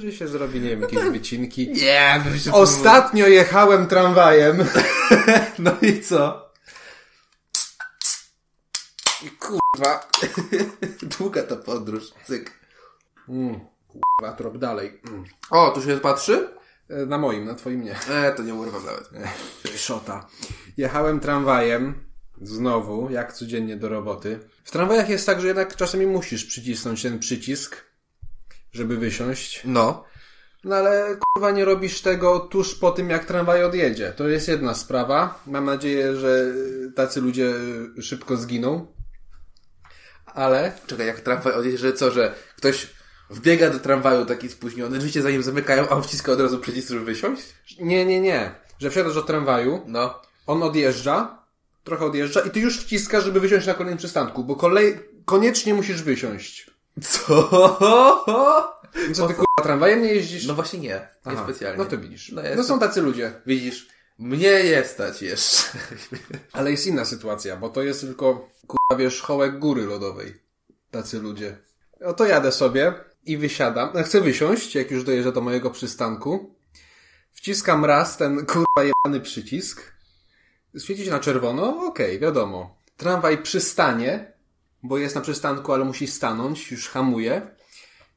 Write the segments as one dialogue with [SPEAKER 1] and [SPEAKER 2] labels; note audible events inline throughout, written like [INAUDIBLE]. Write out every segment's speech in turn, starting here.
[SPEAKER 1] Że się zrobi, No tak. nie wiem, jakieś wycinki.
[SPEAKER 2] Nie, bym się
[SPEAKER 1] Ostatnio jechałem tramwajem. [LAUGHS] No i co?
[SPEAKER 2] I Kurwa. [LAUGHS] Długa ta podróż. Cyk.
[SPEAKER 1] Kurwa, trop dalej. Mm.
[SPEAKER 2] O, tu się patrzy?
[SPEAKER 1] E, Na moim, na twoim nie.
[SPEAKER 2] E, to nie urwam nawet.
[SPEAKER 1] Szota. Jechałem tramwajem. Znowu, jak codziennie do roboty. W tramwajach jest tak, że jednak czasami musisz przycisnąć ten przycisk, żeby wysiąść.
[SPEAKER 2] No.
[SPEAKER 1] No ale kurwa nie robisz tego tuż po tym, jak tramwaj odjedzie. To jest jedna sprawa. Mam nadzieję, że tacy ludzie szybko zginą. Ale
[SPEAKER 2] Czekaj, jak tramwaj odjedzie, że co, że ktoś wbiega do tramwaju taki spóźniony, drzwi się za nim zamykają, a on wciska od razu przycisk, żeby wysiąść?
[SPEAKER 1] nie, nie, nie. Że wsiadasz do tramwaju,
[SPEAKER 2] No.
[SPEAKER 1] on odjeżdża, trochę odjeżdża i ty już wciskasz, żeby wysiąść na kolejnym przystanku, bo kolej... koniecznie musisz wysiąść.
[SPEAKER 2] [LAUGHS] Co?
[SPEAKER 1] Co ty kurwa tramwajem nie jeździsz?
[SPEAKER 2] No właśnie nie. Nie
[SPEAKER 1] Aha,
[SPEAKER 2] specjalnie.
[SPEAKER 1] No to widzisz.
[SPEAKER 2] No
[SPEAKER 1] No,
[SPEAKER 2] jest.
[SPEAKER 1] są tacy ludzie.
[SPEAKER 2] Widzisz, mnie je stać jeszcze. [LAUGHS]
[SPEAKER 1] Ale jest inna sytuacja, bo to jest tylko kurwa wierzchołek góry lodowej. Tacy ludzie. No to jadę sobie i wysiadam. No, Chcę wysiąść, jak już dojeżdżę do mojego przystanku. Wciskam raz ten kurwa jebany przycisk. Świecić na czerwono? Okej, wiadomo. Tramwaj przystanie, bo jest na przystanku, ale musi stanąć, już hamuje.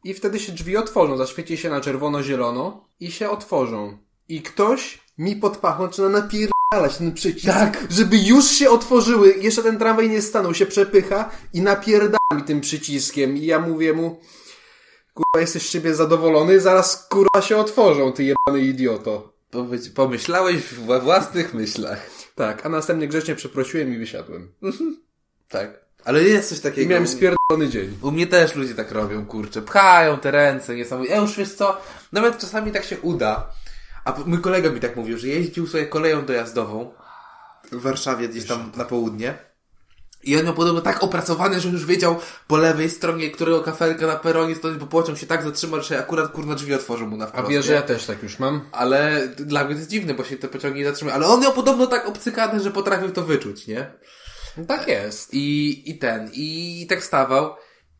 [SPEAKER 1] I wtedy się drzwi otworzą, zaświeci się na czerwono-zielono i się otworzą. I ktoś mi pod pachą zaczyna napierdalać ten przycisk,
[SPEAKER 2] Tak.
[SPEAKER 1] żeby już się otworzyły. Jeszcze ten tramwaj nie stanął, się przepycha i napierdala mi tym przyciskiem. I ja mówię mu, kurwa jesteś z ciebie zadowolony, zaraz kurwa się otworzą, ty jebany idioto.
[SPEAKER 2] Pomyś- Pomyślałeś we własnych myślach.
[SPEAKER 1] Tak, a następnie grzecznie przeprosiłem i wysiadłem.
[SPEAKER 2] Tak. Ale jest coś takiego.
[SPEAKER 1] I miałem spierdolony dzień.
[SPEAKER 2] U mnie też ludzie tak robią, kurczę. Pchają te ręce, niesamowite. E, już wiesz co, nawet czasami tak się uda. A p- mój kolega mi tak mówił, że jeździł sobie koleją dojazdową w Warszawie, gdzieś tam na południe. I on miał podobno tak opracowany, że już wiedział po lewej stronie, którego kafelka na peronie stoi, bo pociąg się tak zatrzymał, że się akurat kurna drzwi otworzył mu na
[SPEAKER 1] A
[SPEAKER 2] wprost.
[SPEAKER 1] wiesz, że
[SPEAKER 2] nie?
[SPEAKER 1] ja też tak już mam?
[SPEAKER 2] Ale dla mnie to jest dziwne, bo się te pociągi nie zatrzymały. Ale on miał podobno tak obcykane, że potrafił to wyczuć, nie?
[SPEAKER 1] Tak jest.
[SPEAKER 2] I, i ten, i tak stawał.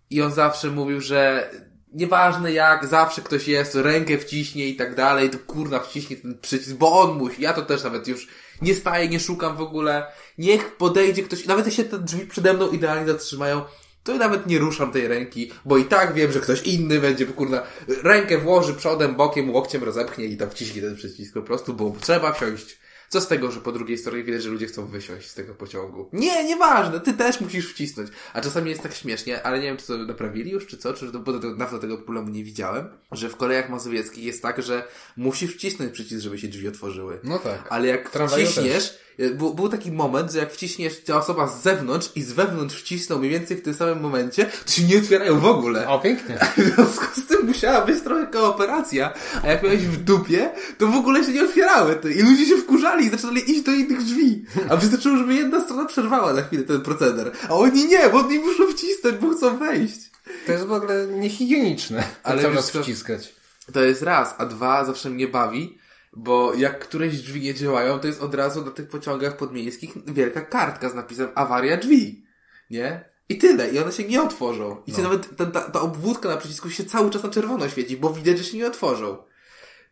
[SPEAKER 2] I on zawsze mówił, że nieważne jak, zawsze ktoś jest, rękę wciśnie i tak dalej, to kurna wciśnie ten przycisk, bo on musi. Ja to też nawet już nie staję, nie szukam w ogóle. Niech podejdzie ktoś, nawet jeśli te drzwi przede mną idealnie zatrzymają, to ja nawet nie ruszam tej ręki, bo i tak wiem, że ktoś inny będzie, kurna, rękę włoży przodem, bokiem, łokciem rozepchnie i tam wciśnie ten przycisk po prostu, bo trzeba wsiąść. Co z tego, że po drugiej stronie widać, że ludzie chcą wysiąść z tego pociągu? Nie, nieważne, ty też musisz wcisnąć. A czasami jest tak śmiesznie, ale nie wiem, czy to naprawili już, czy co, czy bo do tego, dawno tego problemu nie widziałem, że w kolejach mazowieckich jest tak, że musisz wcisnąć przycisk, żeby się drzwi otworzyły.
[SPEAKER 1] No tak.
[SPEAKER 2] Ale jak
[SPEAKER 1] Tramwaju
[SPEAKER 2] wciśniesz, był, był taki moment, że jak wciśniesz ta osoba z zewnątrz i z wewnątrz wcisnął mniej więcej w tym samym momencie, to się nie otwierają w ogóle.
[SPEAKER 1] O, pięknie.
[SPEAKER 2] W związku z tym musiała być trochę kooperacja, a jak miałeś w dupie, to w ogóle się nie otwierały te. I ludzie się wkurzali i zaczynali iść do innych drzwi. A wystarczyło, żeby jedna strona przerwała na chwilę ten proceder. A oni nie, bo oni muszą wcisnąć, bo chcą wejść.
[SPEAKER 1] To jest w ogóle niehigieniczne.
[SPEAKER 2] Ale
[SPEAKER 1] [LAUGHS] Ale cały
[SPEAKER 2] wiesz
[SPEAKER 1] czas
[SPEAKER 2] co?
[SPEAKER 1] wciskać.
[SPEAKER 2] To jest raz, a dwa zawsze mnie bawi, bo jak któreś drzwi nie działają, to jest od razu na tych pociągach podmiejskich wielka kartka z napisem awaria drzwi. Nie? I tyle, i one się nie otworzą. I się nawet ten, ta, ta obwódka na przycisku się cały czas na czerwono świeci, bo widać, że się nie otworzą.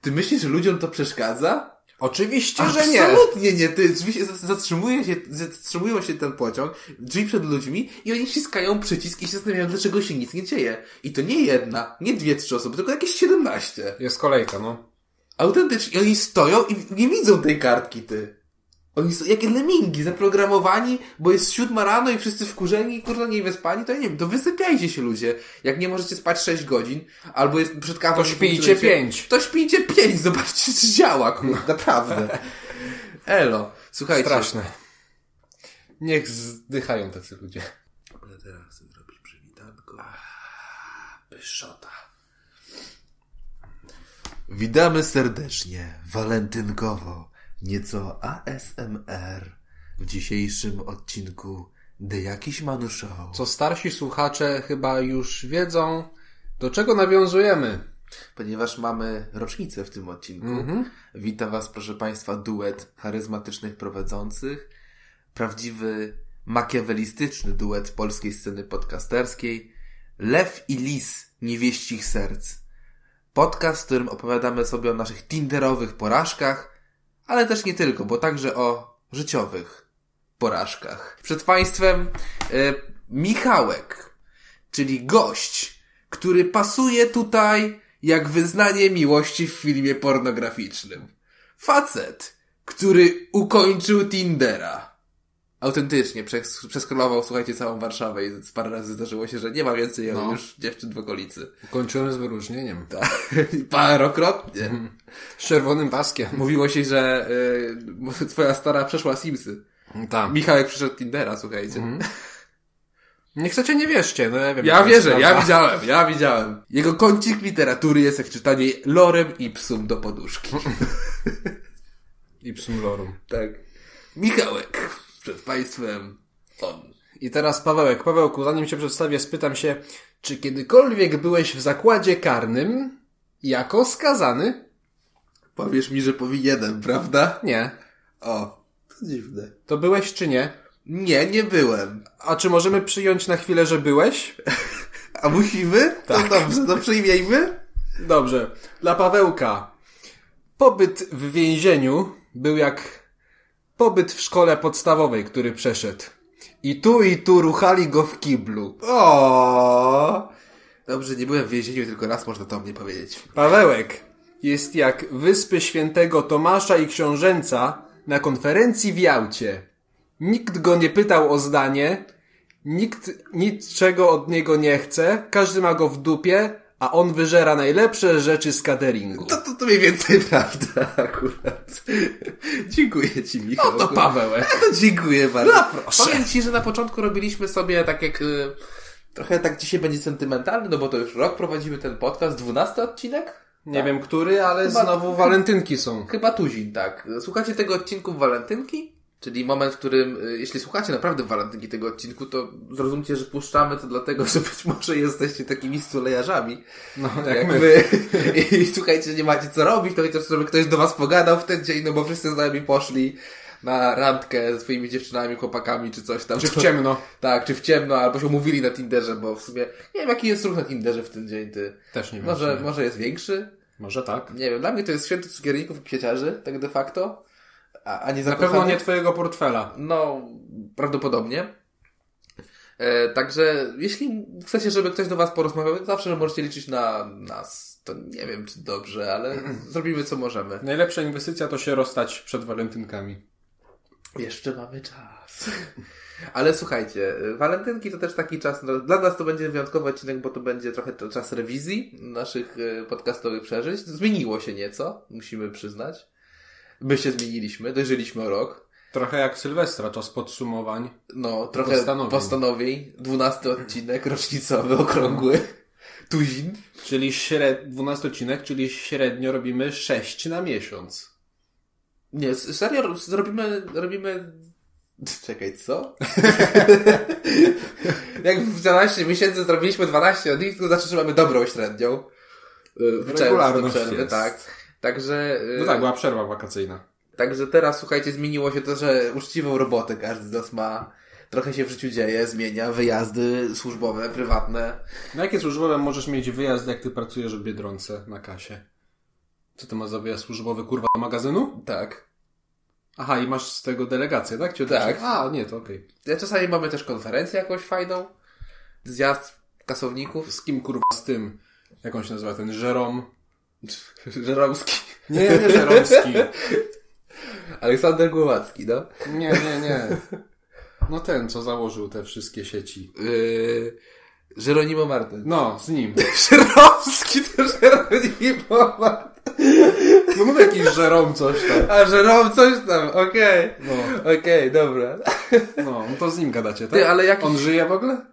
[SPEAKER 2] Ty myślisz, że ludziom to przeszkadza?
[SPEAKER 1] Oczywiście,
[SPEAKER 2] Absolutnie nie. Ty, drzwi się, zatrzymuje się, zatrzymują się ten pociąg, drzwi przed ludźmi i oni ściskają przycisk i się zastanawiają, dlaczego się nic nie dzieje. I to nie jedna, nie dwie, trzy osoby, tylko jakieś 17.
[SPEAKER 1] Jest kolejka, no.
[SPEAKER 2] Autentycznie, oni stoją i nie widzą tej kartki, ty. Oni są jak lemingi, zaprogramowani, bo jest siódma rano i wszyscy wkurzeni i kurwa nie wyspani, to ja nie wiem, to wysypiajcie się ludzie. Jak nie możecie spać sześć godzin, albo jest przed kawą...
[SPEAKER 1] To
[SPEAKER 2] nie
[SPEAKER 1] śpijcie
[SPEAKER 2] funkcjonujecie,
[SPEAKER 1] pięć.
[SPEAKER 2] To śpijcie pięć, zobaczcie czy działa, kurwa,
[SPEAKER 1] [LAUGHS]
[SPEAKER 2] naprawdę. Elo, słuchajcie.
[SPEAKER 1] Straszne. Niech zdychają tacy ludzie.
[SPEAKER 2] Ale teraz chcę zrobić przywitanko. Pyszota. Witamy serdecznie, walentynkowo, nieco ASMR w dzisiejszym odcinku The Jakiś Manu Show.
[SPEAKER 1] Co starsi słuchacze chyba już wiedzą, do czego nawiązujemy.
[SPEAKER 2] Ponieważ mamy rocznicę w tym odcinku, wita Was, proszę Państwa, duet charyzmatycznych prowadzących, prawdziwy makiawelistyczny duet polskiej sceny podcasterskiej, Lew i Lis Niewieścich Serc. Podcast, w którym opowiadamy sobie o naszych Tinderowych porażkach, ale też nie tylko, bo także o życiowych porażkach. Przed Państwem e, Michałek, czyli gość, który pasuje tutaj jak wyznanie miłości w filmie pornograficznym. Facet, który ukończył Tindera. Autentycznie, przes- przeskrolował, słuchajcie, całą Warszawę i z parę razy zdarzyło się, że nie ma więcej
[SPEAKER 1] No.
[SPEAKER 2] już dziewczyn w okolicy.
[SPEAKER 1] Kończyłem z wyróżnieniem.
[SPEAKER 2] [LAUGHS] Parokrotnie.
[SPEAKER 1] Z czerwonym paskiem.
[SPEAKER 2] Mówiło się, że y, [LAUGHS] twoja stara przeszła Simsy.
[SPEAKER 1] Tam.
[SPEAKER 2] Michałek przyszedł Tindera, słuchajcie.
[SPEAKER 1] Nie chcecie, nie wierzcie. No ja wiem.
[SPEAKER 2] Ja
[SPEAKER 1] to jest
[SPEAKER 2] wierzę,
[SPEAKER 1] prawda.
[SPEAKER 2] ja widziałem, ja widziałem. Jego kącik literatury jest jak czytanie lorem i psum do [LAUGHS] poduszki.
[SPEAKER 1] I psum lorum.
[SPEAKER 2] tak. Michałek. Przed państwem on.
[SPEAKER 1] I teraz Pawełek. Pawełku, zanim cię przedstawię, spytam się, czy kiedykolwiek byłeś w zakładzie karnym jako skazany?
[SPEAKER 2] Powiesz mi, że powinienem, prawda?
[SPEAKER 1] Nie.
[SPEAKER 2] O, to dziwne.
[SPEAKER 1] To byłeś czy nie?
[SPEAKER 2] Nie, nie byłem.
[SPEAKER 1] A czy możemy przyjąć na chwilę, że byłeś?
[SPEAKER 2] A musimy? Tak. To dobrze, to przyjmijmy.
[SPEAKER 1] Dobrze. Dla Pawełka. Pobyt w więzieniu był jak pobyt w szkole podstawowej, który przeszedł. I tu, i tu ruchali go w kiblu.
[SPEAKER 2] O. Dobrze, nie byłem w więzieniu, tylko raz można to o mnie powiedzieć.
[SPEAKER 1] Pawełek jest jak wyspy świętego Tomasza i książęca na konferencji w Jałcie. Nikt go nie pytał o zdanie, nikt niczego od niego nie chce, każdy ma go w dupie, a on wyżera najlepsze rzeczy z cateringu.
[SPEAKER 2] To, to, to mniej więcej [LAUGHS] prawda akurat. Dziękuję ci, Michał.
[SPEAKER 1] Oto
[SPEAKER 2] [LAUGHS]
[SPEAKER 1] Pawełek.
[SPEAKER 2] No To dziękuję bardzo.
[SPEAKER 1] No proszę.
[SPEAKER 2] Powiem ci, że na początku robiliśmy sobie tak jak... y, Trochę tak dzisiaj będzie sentymentalny, no bo to już rok prowadzimy ten podcast, 12 odcinek? Tak.
[SPEAKER 1] Nie wiem który, ale znowu walentynki są.
[SPEAKER 2] Chyba tuzin, tak. Słuchacie tego odcinku w walentynki? Czyli moment, w którym, y, jeśli słuchacie naprawdę walentynki tego odcinku, to zrozumcie, że puszczamy to dlatego, [LAUGHS] że być może jesteście takimi
[SPEAKER 1] [LAUGHS]
[SPEAKER 2] stulejarzami.
[SPEAKER 1] No, jak,
[SPEAKER 2] jak
[SPEAKER 1] my.
[SPEAKER 2] wy. [LAUGHS] I, I słuchajcie, nie macie co robić, to chociaż żeby ktoś do was pogadał w ten dzień, no bo wszyscy z nami poszli na randkę ze swoimi dziewczynami, chłopakami czy coś tam.
[SPEAKER 1] Czy w ciemno?
[SPEAKER 2] Tak, czy w ciemno, albo się umówili na Tinderze, bo w sumie nie wiem jaki jest ruch na Tinderze w ten dzień, ty.
[SPEAKER 1] [LAUGHS] Też nie wiem.
[SPEAKER 2] Może,
[SPEAKER 1] Może,
[SPEAKER 2] może jest większy?
[SPEAKER 1] może tak.
[SPEAKER 2] Nie wiem, dla mnie to jest święto cukierników i kwieciarzy, tak de facto. A, a nie
[SPEAKER 1] Na pewno nie twojego portfela.
[SPEAKER 2] no, prawdopodobnie. E, także jeśli chcecie, żeby ktoś do Was porozmawiał, to zawsze możecie liczyć na nas. To nie wiem, czy dobrze, [LAUGHS] ale zrobimy co możemy.
[SPEAKER 1] Najlepsza inwestycja to się rozstać przed walentynkami.
[SPEAKER 2] Jeszcze mamy czas. [LAUGHS] Ale słuchajcie, y, walentynki to też taki czas, no, dla nas to będzie wyjątkowy odcinek, bo to będzie trochę to czas rewizji naszych y, podcastowych przeżyć. Zmieniło się nieco, musimy przyznać. My się zmieniliśmy, dojrzeliśmy o rok.
[SPEAKER 1] Trochę jak Sylwestra, czas podsumowań.
[SPEAKER 2] No, trochę
[SPEAKER 1] Postanowień.
[SPEAKER 2] postanowień. postanowień. 12 odcinek rocznicowy, okrągły. Tuzin.
[SPEAKER 1] Czyli śred... 12 odcinek, czyli średnio robimy 6 na miesiąc.
[SPEAKER 2] Nie, s- serio, ro- zrobimy, robimy... Czekaj, co? [LAUGHS] Jak w 12 miesięcy zrobiliśmy 12 od nich, to znaczy, że mamy dobrą średnią. Y, W czerwcu do
[SPEAKER 1] Regularność
[SPEAKER 2] przerwy,
[SPEAKER 1] jest.
[SPEAKER 2] tak. Także, y,
[SPEAKER 1] No tak, była przerwa wakacyjna.
[SPEAKER 2] także teraz, słuchajcie, zmieniło się to, że uczciwą robotę każdy z nas ma. Trochę się w życiu dzieje, zmienia wyjazdy służbowe, prywatne.
[SPEAKER 1] Na jakie No służbowe możesz mieć wyjazd, jak ty pracujesz w Biedronce na kasie? Co to ma za wyjazd służbowy, kurwa, do magazynu?
[SPEAKER 2] Tak.
[SPEAKER 1] Aha, i masz z tego delegację, tak? Cię
[SPEAKER 2] Tak.
[SPEAKER 1] odrzucili? A, nie, to okej.
[SPEAKER 2] Ja czasami mamy też konferencję jakąś fajną. Zjazd kasowników. [LAUGHS]
[SPEAKER 1] Z kim, kurwa, z tym? Jak on się nazywa? Ten Żerom?
[SPEAKER 2] Żeromski.
[SPEAKER 1] Nie, nie Żeromski.
[SPEAKER 2] Aleksander Głowacki, no.
[SPEAKER 1] Nie, nie, nie. No ten, co założył te wszystkie sieci.
[SPEAKER 2] Yy, Żeronimo Martyn.
[SPEAKER 1] No, z nim.
[SPEAKER 2] [LAUGHS] Żeromski to Żeronimo Martyn.
[SPEAKER 1] No mówię jakiś żerom coś tam.
[SPEAKER 2] A Żerom coś tam, okej.
[SPEAKER 1] No,
[SPEAKER 2] Okej, dobra.
[SPEAKER 1] no, no to z nim gadacie, tak?
[SPEAKER 2] Ty, ale jakiś...
[SPEAKER 1] On żyje w ogóle?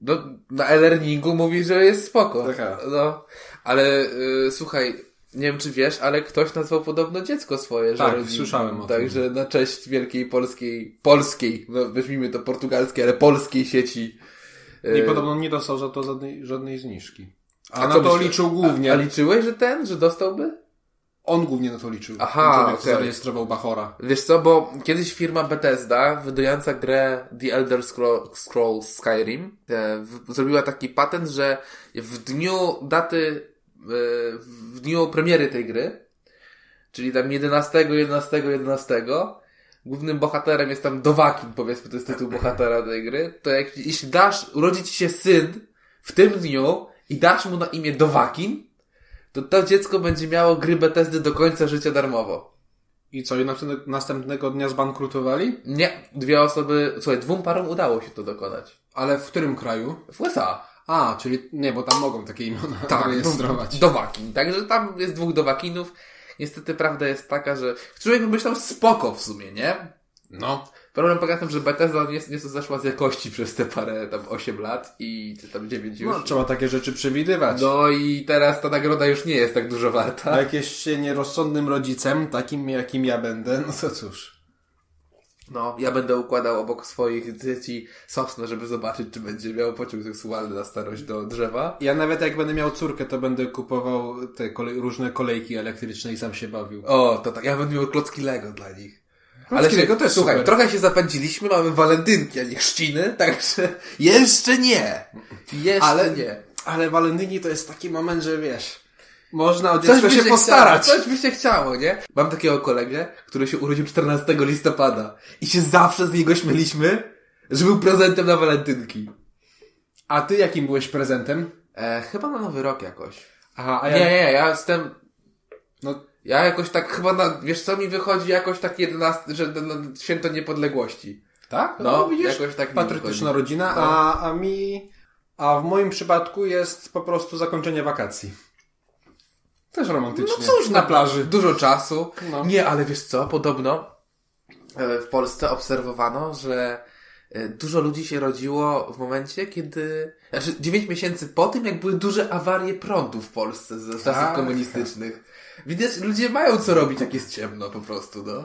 [SPEAKER 2] No, na e-learningu mówi, że jest spoko.
[SPEAKER 1] Aha.
[SPEAKER 2] No, ale yy, słuchaj, nie wiem czy wiesz, ale ktoś nazwał podobno dziecko swoje.
[SPEAKER 1] Tak,
[SPEAKER 2] Żeronimo.
[SPEAKER 1] słyszałem o tym.
[SPEAKER 2] Także na cześć wielkiej polskiej, polskiej, no weźmijmy to portugalskie, ale polskiej sieci. yy,
[SPEAKER 1] I podobno nie dostał za to żadnej, żadnej zniżki. A,
[SPEAKER 2] A
[SPEAKER 1] na
[SPEAKER 2] co
[SPEAKER 1] to
[SPEAKER 2] myślisz?
[SPEAKER 1] liczył głównie.
[SPEAKER 2] A liczyłeś, że ten, że dostałby?
[SPEAKER 1] On głównie na to liczył.
[SPEAKER 2] Aha,
[SPEAKER 1] Ten człowiek, co
[SPEAKER 2] okej.
[SPEAKER 1] zarejestrował Bachora.
[SPEAKER 2] Wiesz co, bo kiedyś firma Bethesda, wydająca grę The Elder Scro- Scrolls Skyrim, e, w- zrobiła taki patent, że w dniu daty w dniu premiery tej gry, czyli tam 11, 11, 11, głównym bohaterem jest tam Dowakin, powiedzmy, to jest tytuł bohatera tej gry, to jak, jeśli dasz, urodzi ci się syn w tym dniu i dasz mu na imię Dowakin, to to dziecko będzie miało gry Bethesdy do końca życia darmowo.
[SPEAKER 1] I co, i następne- następnego dnia zbankrutowali?
[SPEAKER 2] Nie, dwie osoby, słuchaj, dwóm parom udało się to dokonać.
[SPEAKER 1] Ale w którym kraju?
[SPEAKER 2] W USA.
[SPEAKER 1] A, czyli nie, bo tam mogą takie imiona
[SPEAKER 2] Tak.
[SPEAKER 1] rejestrować.
[SPEAKER 2] Dowakin. Także tam jest dwóch Dowakinów. Niestety prawda jest taka, że człowiek by myślał spoko w sumie, nie?
[SPEAKER 1] No.
[SPEAKER 2] Problem polega na tym, że Bethesda nie- nieco zeszła z jakości przez te parę tam 8 lat i czy tam 9 już.
[SPEAKER 1] no, trzeba takie rzeczy przewidywać.
[SPEAKER 2] No i teraz ta nagroda już nie jest tak dużo warta.
[SPEAKER 1] A No jak jest się nierozsądnym rodzicem, takim jakim ja będę, no to cóż.
[SPEAKER 2] No, ja będę układał obok swoich dzieci sosnę, żeby zobaczyć, czy będzie miał pociąg seksualny na starość do drzewa.
[SPEAKER 1] Ja nawet jak będę miał córkę, to będę kupował te kolej, różne kolejki elektryczne i sam się bawił.
[SPEAKER 2] O, to tak, ja będę miał klocki Lego dla nich.
[SPEAKER 1] Lego
[SPEAKER 2] się-
[SPEAKER 1] to jest
[SPEAKER 2] słuchaj,
[SPEAKER 1] super.
[SPEAKER 2] trochę się zapędziliśmy, mamy walentynki, a nie chrzciny, [LAUGHS] także jeszcze nie. Jeszcze
[SPEAKER 1] Ale-
[SPEAKER 2] nie.
[SPEAKER 1] Ale walentynki to jest taki moment, że wiesz, można o
[SPEAKER 2] Coś
[SPEAKER 1] dziecko
[SPEAKER 2] by
[SPEAKER 1] się postarać.
[SPEAKER 2] Chciało, coś by się chciało, nie? Mam takiego kolegę, który się urodził 14 listopada i się zawsze z niego śmieliśmy, że był prezentem na walentynki.
[SPEAKER 1] A ty jakim byłeś prezentem?
[SPEAKER 2] E, chyba na nowy rok jakoś.
[SPEAKER 1] Aha, a
[SPEAKER 2] Nie,
[SPEAKER 1] ja...
[SPEAKER 2] nie, ja jestem
[SPEAKER 1] No,
[SPEAKER 2] Ja jakoś tak chyba na, wiesz co mi wychodzi jakoś tak 11, że no, no, święto niepodległości.
[SPEAKER 1] tak?
[SPEAKER 2] No, jakoś tak mi
[SPEAKER 1] Patriotyczna
[SPEAKER 2] wychodzi.
[SPEAKER 1] rodzina,
[SPEAKER 2] No.
[SPEAKER 1] a, a mi... A w moim przypadku jest po prostu zakończenie wakacji. Też romantycznie.
[SPEAKER 2] No cóż, na plaży. Dużo czasu.
[SPEAKER 1] No.
[SPEAKER 2] Nie, ale wiesz co, podobno e, w Polsce obserwowano, że e, dużo ludzi się rodziło w momencie, kiedy... Znaczy 9 miesięcy po tym, jak były duże awarie prądu w Polsce z czasów
[SPEAKER 1] Tak.
[SPEAKER 2] komunistycznych. Widać, ludzie mają co robić, jak jest ciemno po prostu, no.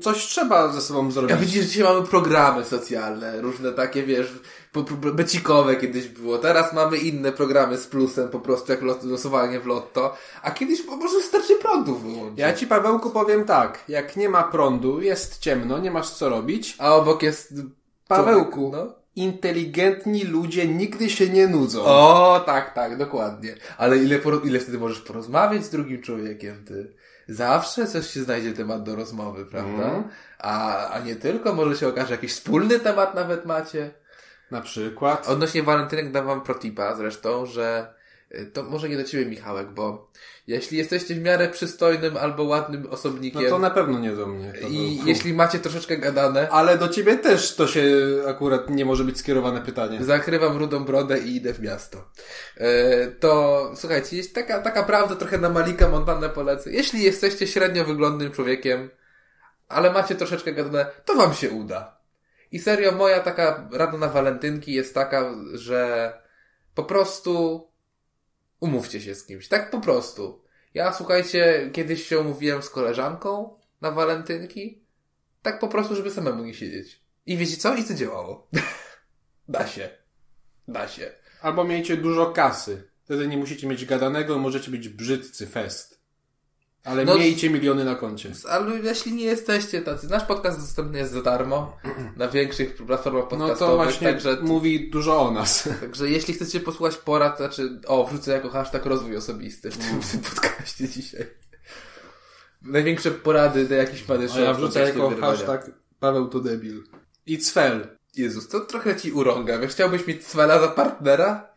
[SPEAKER 1] Coś trzeba ze sobą
[SPEAKER 2] Ja
[SPEAKER 1] zrobić.
[SPEAKER 2] widzisz, dzisiaj mamy programy socjalne, różne takie, wiesz, po- po- becikowe kiedyś było. Teraz mamy inne programy z plusem, po prostu jak lot, losowanie w lotto. A kiedyś po prostu starczy prądu wyłączyć.
[SPEAKER 1] Ja ci, Pawełku, powiem tak. Jak nie ma prądu, jest ciemno, nie masz co robić.
[SPEAKER 2] A obok jest...
[SPEAKER 1] Pawełku,
[SPEAKER 2] No.
[SPEAKER 1] inteligentni ludzie nigdy się nie nudzą.
[SPEAKER 2] O, tak, tak, dokładnie. Ale ile, poro- ile wtedy możesz porozmawiać z drugim człowiekiem, ty? Zawsze coś się znajdzie temat do rozmowy, prawda?
[SPEAKER 1] Mhm.
[SPEAKER 2] A, a nie tylko, może się okaże jakiś wspólny temat nawet macie.
[SPEAKER 1] Na przykład.
[SPEAKER 2] Odnośnie walentynek dam wam protipa zresztą, że y, to może nie do ciebie Michałek, bo jeśli jesteście w miarę przystojnym albo ładnym
[SPEAKER 1] No
[SPEAKER 2] osobnikiem
[SPEAKER 1] to na pewno nie do mnie.
[SPEAKER 2] i
[SPEAKER 1] Pawełku.
[SPEAKER 2] jeśli macie troszeczkę gadane,
[SPEAKER 1] Ale do ciebie też to się akurat nie może być skierowane pytanie.
[SPEAKER 2] zakrywam rudą brodę i idę w miasto. Y, To słuchajcie, jest taka, taka prawda trochę na Malika Montanę polecę. Jeśli jesteście średnio wyglądnym człowiekiem, ale macie troszeczkę gadane, to wam się uda. I serio, moja taka rada na walentynki jest taka, że po prostu umówcie się z kimś. Tak po prostu. Ja, słuchajcie, kiedyś się umówiłem z koleżanką na walentynki. Tak po prostu, żeby samemu nie siedzieć. I wiecie co? I to działało. da się. Da się.
[SPEAKER 1] Albo miejcie dużo kasy. Wtedy nie musicie mieć gadanego, możecie być brzydcy fest. Ale
[SPEAKER 2] No-
[SPEAKER 1] miejcie miliony na koncie. No
[SPEAKER 2] Ale jeśli nie jesteście tacy, nasz podcast dostępny jest za darmo na większych platformach
[SPEAKER 1] No
[SPEAKER 2] podcastowych,
[SPEAKER 1] to właśnie
[SPEAKER 2] także,
[SPEAKER 1] mówi dużo o nas.
[SPEAKER 2] także jeśli chcecie posłuchać porad, znaczy, o, wrzucę jako hashtag rozwój osobisty w tym, w tym podcaście dzisiaj. Największe porady do jakichś
[SPEAKER 1] A
[SPEAKER 2] padyszy.
[SPEAKER 1] No ja wrzucę jako hashtag Paweł to debil. I cfel.
[SPEAKER 2] Jezus, to trochę ci urąga. Wiesz, Chciałbyś mieć Cwela za partnera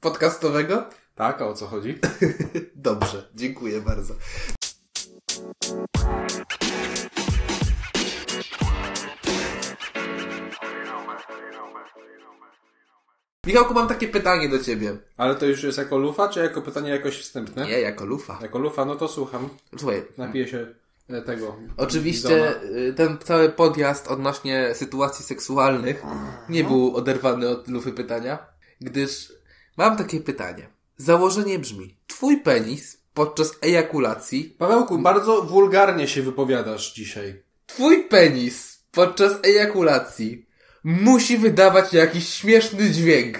[SPEAKER 2] podcastowego?
[SPEAKER 1] Tak, a o co chodzi?
[SPEAKER 2] Dobrze, dziękuję bardzo. Michałku, mam takie pytanie do ciebie.
[SPEAKER 1] Ale to już jest jako lufa, czy jako pytanie jakoś wstępne?
[SPEAKER 2] Nie, jako lufa.
[SPEAKER 1] Jako lufa, no to słucham.
[SPEAKER 2] Słuchaj,
[SPEAKER 1] Napiję się e, tego.
[SPEAKER 2] oczywiście
[SPEAKER 1] bidona.
[SPEAKER 2] y, ten cały podjazd odnośnie sytuacji seksualnych nie był oderwany od lufy pytania, gdyż mam takie pytanie. Założenie brzmi, twój penis podczas ejakulacji
[SPEAKER 1] Pawełku, bardzo wulgarnie się wypowiadasz dzisiaj.
[SPEAKER 2] Twój penis podczas ejakulacji musi wydawać jakiś śmieszny dźwięk.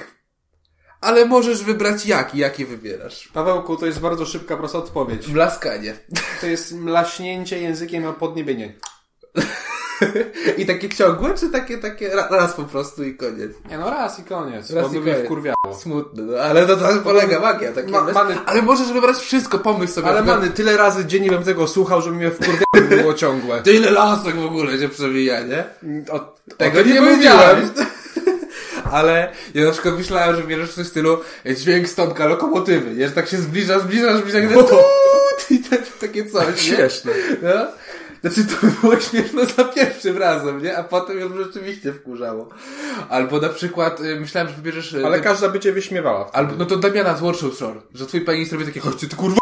[SPEAKER 2] Ale możesz wybrać jaki, jaki wybierasz.
[SPEAKER 1] Pawełku, to jest bardzo szybka, prosta odpowiedź.
[SPEAKER 2] Blaskanie.
[SPEAKER 1] To jest mlaśnięcie językiem o podniebienie.
[SPEAKER 2] I takie ciągłe, czy takie, takie ra- raz po prostu i koniec?
[SPEAKER 1] Nie no, raz i koniec.
[SPEAKER 2] Raz
[SPEAKER 1] Raz bo
[SPEAKER 2] i
[SPEAKER 1] by mnie
[SPEAKER 2] koniec.
[SPEAKER 1] wkurwiało.
[SPEAKER 2] Smutne, no, ale to tam polega magia. Takie,
[SPEAKER 1] Ma-
[SPEAKER 2] wiesz?
[SPEAKER 1] Many-
[SPEAKER 2] Ale możesz wybrać wszystko, pomyśl sobie.
[SPEAKER 1] Ale
[SPEAKER 2] na przykład,
[SPEAKER 1] many, tyle razy dziennie bym tego słuchał, żeby mnie wkurwiało było ciągłe.
[SPEAKER 2] Tyle lasek w ogóle się przewija, nie?
[SPEAKER 1] O,
[SPEAKER 2] Tego nie, mówiłem. [LAUGHS] Ale ja na przykład myślałem, że bierzesz coś w stylu e, dźwięk stąpka lokomotywy, nie? Że tak się zbliża, zbliża, zbliża, i tak tuut i te, takie coś, nie?
[SPEAKER 1] Śmieszne.
[SPEAKER 2] No. Znaczy to by było śmieszne za pierwszym razem, nie? A potem ją rzeczywiście wkurzało. Albo na przykład y, myślałem, że wybierzesz... y,
[SPEAKER 1] Ale
[SPEAKER 2] te-
[SPEAKER 1] każda by cię wyśmiewała.
[SPEAKER 2] Albo, no to Damiana z Workshop Shore, że twój pianist robi takie, chodźcie ty kurwa!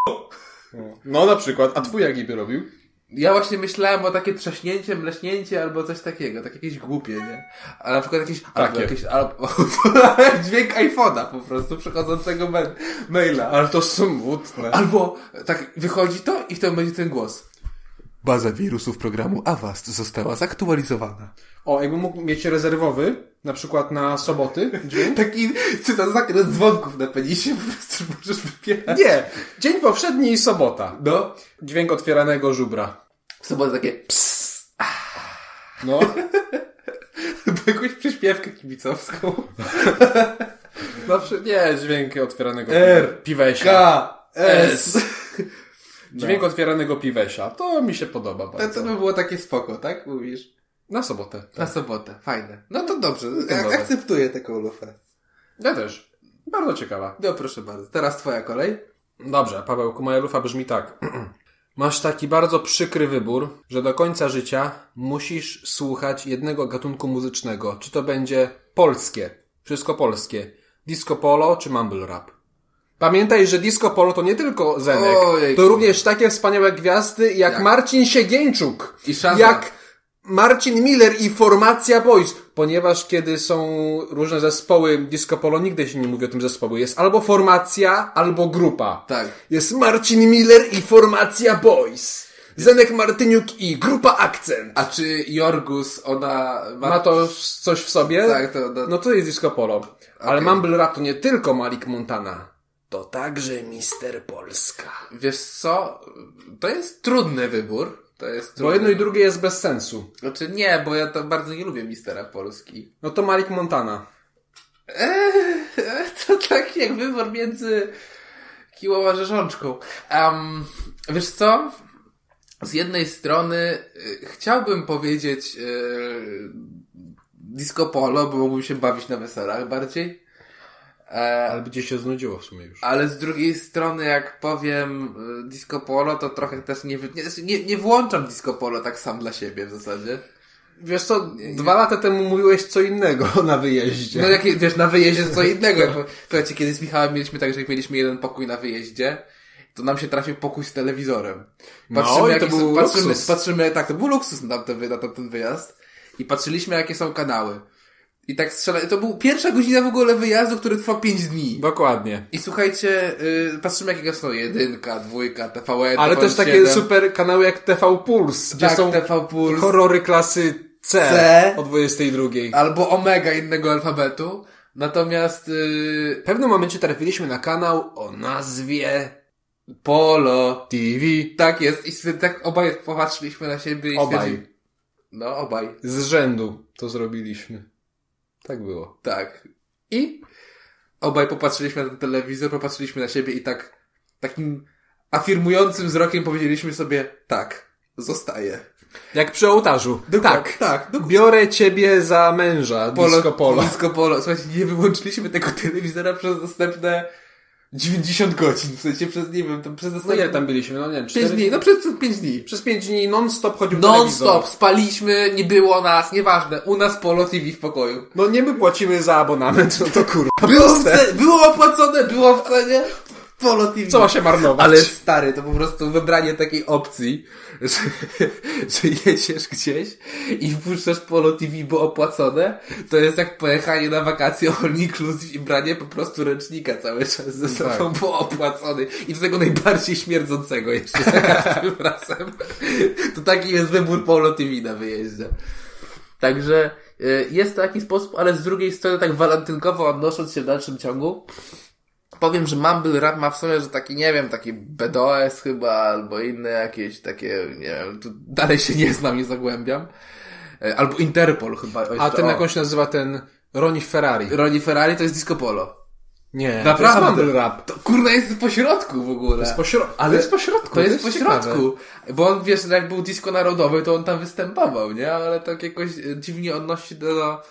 [SPEAKER 1] No na przykład, a twój jak niby robił?
[SPEAKER 2] Ja właśnie myślałem o takie trzaśnięcie, mleśnięcie albo coś takiego, tak jakieś głupie, nie? A na przykład jakieś, albo
[SPEAKER 1] Takie.
[SPEAKER 2] jakieś, [LAUGHS] albo to dźwięk iPhone'a po prostu przechodzącego ma- maila.
[SPEAKER 1] Ale to smutne.
[SPEAKER 2] Albo tak wychodzi to i w tym będzie ten głos. Baza wirusów programu Avast została zaktualizowana.
[SPEAKER 1] O, jakbym mógł mieć rezerwowy, na przykład na soboty. Dzień? [LAUGHS]
[SPEAKER 2] Taki cytat zakres dzwonków na penisie, po prostu możesz wypierać.
[SPEAKER 1] Nie, dzień powszedni i sobota.
[SPEAKER 2] No,
[SPEAKER 1] Dźwięk otwieranego żubra.
[SPEAKER 2] w sobotę takie ps, [LAUGHS]
[SPEAKER 1] No,
[SPEAKER 2] jakąś przyśpiewkę kibicowską.
[SPEAKER 1] zawsze nie, dźwięk otwieranego
[SPEAKER 2] R,
[SPEAKER 1] piwe- piwesia.
[SPEAKER 2] K, No. S.
[SPEAKER 1] Dźwięk otwieranego piwesia, to mi się podoba
[SPEAKER 2] To,
[SPEAKER 1] bardzo.
[SPEAKER 2] to by było takie spoko, tak? Mówisz?
[SPEAKER 1] Na sobotę.
[SPEAKER 2] Na sobotę, fajne. No to dobrze,
[SPEAKER 1] dobra.
[SPEAKER 2] A- akceptuję taką lufę.
[SPEAKER 1] Ja też. Bardzo ciekawa.
[SPEAKER 2] No proszę bardzo, teraz twoja kolej.
[SPEAKER 1] Dobrze, Pawełku, moja lufa brzmi tak. [CLEARS THROAT] Masz taki bardzo przykry wybór, że do końca życia musisz słuchać jednego gatunku muzycznego. Czy to będzie polskie, wszystko polskie, disco polo czy mumble rap. Pamiętaj, że disco polo to nie tylko Zenek,
[SPEAKER 2] Ojejku.
[SPEAKER 1] to również takie wspaniałe gwiazdy jak,
[SPEAKER 2] Jak?
[SPEAKER 1] Marcin Siegieńczuk,
[SPEAKER 2] I Shazam.
[SPEAKER 1] jak Marcin Miller i Formacja Boys, ponieważ kiedy są różne zespoły disco polo, nigdy się nie mówi o tym zespołu. Jest albo formacja, albo grupa.
[SPEAKER 2] Tak.
[SPEAKER 1] Jest Marcin Miller i Formacja Boys. Zenek Martyniuk i Grupa Akcent.
[SPEAKER 2] A czy Jorgus, ona ma...
[SPEAKER 1] Ma to coś w sobie?
[SPEAKER 2] Tak, to- to-
[SPEAKER 1] No to jest disco polo. Ale Mumble Rap to nie tylko Malik Montana. To także Mister Polska.
[SPEAKER 2] Wiesz co, to jest trudny wybór. To jest trudny.
[SPEAKER 1] Bo jedno i drugie jest bez sensu.
[SPEAKER 2] Znaczy nie, bo ja to bardzo nie lubię Mistera Polski.
[SPEAKER 1] No to Malik Montana.
[SPEAKER 2] Eee, to tak jak wybór między kiłą a rzeżączką. Em, wiesz co? Z jednej strony y, chciałbym powiedzieć y, disco polo, bo mógłbym się bawić na weselach bardziej. E,
[SPEAKER 1] Ale by ci się znudziło w sumie już.
[SPEAKER 2] ale z drugiej strony, jak powiem y, disco polo, to trochę też nie, wy- nie, znaczy nie, nie włączam disco polo tak sam dla siebie w zasadzie.
[SPEAKER 1] Wiesz co, dwa lata temu mówiłeś co innego [LAUGHS] na wyjeździe.
[SPEAKER 2] No jak, wiesz, na wyjeździe to co innego. Jak- Słuchajcie, kiedy z Michałem mieliśmy tak, że jak mieliśmy jeden pokój na wyjeździe, to nam się trafił pokój z telewizorem.
[SPEAKER 1] No i to
[SPEAKER 2] jakie
[SPEAKER 1] był
[SPEAKER 2] patrzymy,
[SPEAKER 1] luksus.
[SPEAKER 2] patrzymy, tak, to był luksus na tamten, wy- na tamten wyjazd. I patrzyliśmy, jakie są kanały. I tak strzela, to był pierwsza godzina w ogóle wyjazdu, który trwał pięć dni.
[SPEAKER 1] Dokładnie.
[SPEAKER 2] I słuchajcie, y, patrzymy jakiego są jedynka, dwójka, TVN,
[SPEAKER 1] Ale też takie
[SPEAKER 2] TVN7.
[SPEAKER 1] super kanały jak TV Puls, gdzie
[SPEAKER 2] tak,
[SPEAKER 1] są
[SPEAKER 2] TV Puls,
[SPEAKER 1] horrory klasy C,
[SPEAKER 2] C.
[SPEAKER 1] o 22.
[SPEAKER 2] albo Omega innego alfabetu. Natomiast y,
[SPEAKER 1] W pewnym momencie trafiliśmy na kanał o nazwie
[SPEAKER 2] Polo,
[SPEAKER 1] TV.
[SPEAKER 2] Tak jest i sobie tak obaj popatrzyliśmy na siebie i stwierdzili-
[SPEAKER 1] Obaj.
[SPEAKER 2] No, obaj.
[SPEAKER 1] Z rzędu to zrobiliśmy. Tak było.
[SPEAKER 2] Tak. I obaj popatrzyliśmy na ten telewizor, popatrzyliśmy na siebie i tak takim afirmującym wzrokiem powiedzieliśmy sobie tak, zostaje.
[SPEAKER 1] Jak przy ołtarzu.
[SPEAKER 2] Tak,
[SPEAKER 1] Tak.
[SPEAKER 2] tak. Do...
[SPEAKER 1] Biorę ciebie za męża, disco polo.
[SPEAKER 2] Disco polo. Słuchajcie, nie wyłączyliśmy tego telewizora przez następne 90 godzin. W sensie przez, nie wiem, tam przez
[SPEAKER 1] No
[SPEAKER 2] następne
[SPEAKER 1] ile tam byliśmy? No nie wiem,
[SPEAKER 2] 5
[SPEAKER 1] cztery...
[SPEAKER 2] dni. No przez 5 dni.
[SPEAKER 1] Przez pięć dni non-stop chodził telewizor.
[SPEAKER 2] Non-stop, spaliśmy, nie było nas, nieważne. U nas Polo TV w pokoju.
[SPEAKER 1] No nie my płacimy za abonament, no to kurwa.
[SPEAKER 2] Było, w ce- było opłacone, było w cenie Polo TV.
[SPEAKER 1] Co ma się marnować?
[SPEAKER 2] Ale stary, to po prostu wybranie takiej opcji, [LAUGHS] że, że jedziesz gdzieś i wpuszczasz Polo TV, bo opłacone, to jest jak pojechanie na wakacje all inclusive i branie po prostu ręcznika cały czas ze sobą, bo opłacony. I do tego najbardziej śmierdzącego jeszcze za każdym [LAUGHS] razem. To taki jest wybór Polo TV na wyjeździe. Także y, jest to jakiś sposób, ale z drugiej strony tak walentynkowo odnosząc się w dalszym ciągu, powiem, że Mumble Rap ma w sobie, że taki, nie wiem, taki BDOS chyba, albo inne jakieś takie, nie wiem, tu dalej się nie znam, nie zagłębiam. E, Albo Interpol chyba.
[SPEAKER 1] A
[SPEAKER 2] jeszcze,
[SPEAKER 1] ten
[SPEAKER 2] o.
[SPEAKER 1] jakąś nazywa ten Roni Ferrari.
[SPEAKER 2] Ronnie Ferrari to jest disco polo.
[SPEAKER 1] Nie,
[SPEAKER 2] Naprawdę.
[SPEAKER 1] to jest mumble rap.
[SPEAKER 2] To kurna jest po środku w ogóle.
[SPEAKER 1] To jest pośro-
[SPEAKER 2] Ale
[SPEAKER 1] to jest pośrodku,
[SPEAKER 2] To
[SPEAKER 1] to
[SPEAKER 2] jest
[SPEAKER 1] jest
[SPEAKER 2] po
[SPEAKER 1] ciekawe.
[SPEAKER 2] środku. Bo on wiesz, jak był disco narodowe, to on tam występował, nie? Ale tak jakoś e, dziwnie odnosi się do. do...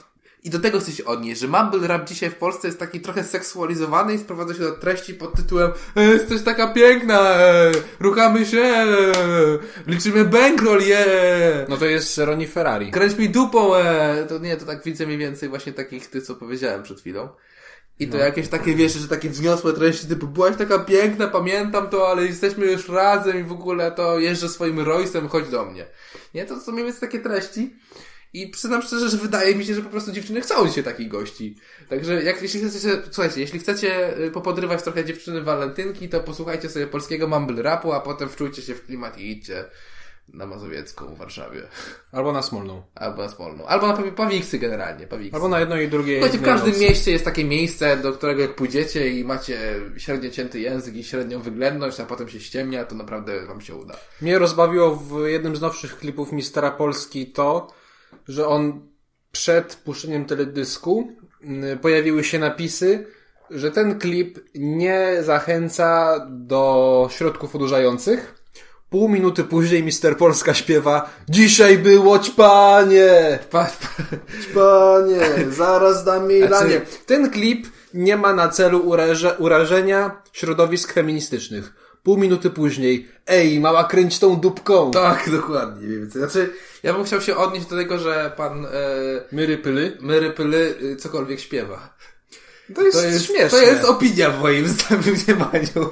[SPEAKER 2] I do tego chcę się odnieść, że mumble rap dzisiaj w Polsce jest taki trochę seksualizowany i sprowadza się do treści pod tytułem e, Jesteś taka piękna, e, ruchamy się, e, liczymy bankroll, je!
[SPEAKER 1] No to jest Roni Ferrari.
[SPEAKER 2] Kręć mi dupą, e. To nie, to tak widzę mniej więcej właśnie takich ty, co powiedziałem przed chwilą. I to jakieś takie, wiesz, że takie wzniosłe treści, typu byłaś taka piękna, pamiętam to, ale jesteśmy już razem i w ogóle to jeżdżę swoim Royce'em, chodź do mnie. Nie, to są mniej więcej takie treści. I przyznam szczerze, że wydaje mi się, że po prostu dziewczyny chcą dzisiaj takich gości. Także jak, jeśli chcecie, słuchajcie, jeśli chcecie y, popodrywać trochę dziewczyny walentynki, to posłuchajcie sobie polskiego mumble rapu, a potem wczujcie się w klimat i idźcie na Mazowiecką w Warszawie.
[SPEAKER 1] Albo na Smolną.
[SPEAKER 2] Albo na Smolną. Albo na pawi- Pawiksy generalnie. Pawiksy.
[SPEAKER 1] Albo na jedno i drugie.
[SPEAKER 2] Słuchajcie, w
[SPEAKER 1] jednej
[SPEAKER 2] każdym
[SPEAKER 1] nocy.
[SPEAKER 2] mieście jest takie miejsce, do którego jak pójdziecie i macie średnio cięty język i średnią wyględność, a potem się ściemnia, to naprawdę wam się uda.
[SPEAKER 1] Mnie rozbawiło w jednym z nowszych klipów Mistera Polski to, że on przed puszczeniem teledysku mm, pojawiły się napisy, że ten klip nie zachęca do środków odurzających. Pół minuty później Mister Polska śpiewa Dzisiaj było ćpanie!
[SPEAKER 2] Pa,
[SPEAKER 1] Panie, zaraz dam jej
[SPEAKER 2] Znaczy-
[SPEAKER 1] lanie. Ten klip nie ma na celu uraże, urażenia środowisk feministycznych. Pół minuty później. Ej, mała kręć tą dupką.
[SPEAKER 2] Tak, [LAUGHS] dokładnie. mniej więcej. Znaczy, ja bym chciał się odnieść do tego, że pan e,
[SPEAKER 1] Myry pyly.
[SPEAKER 2] Myry Pyly e, cokolwiek śpiewa.
[SPEAKER 1] To jest, śmieszne.
[SPEAKER 2] To jest opinia w moim [LAUGHS] mniemaniu.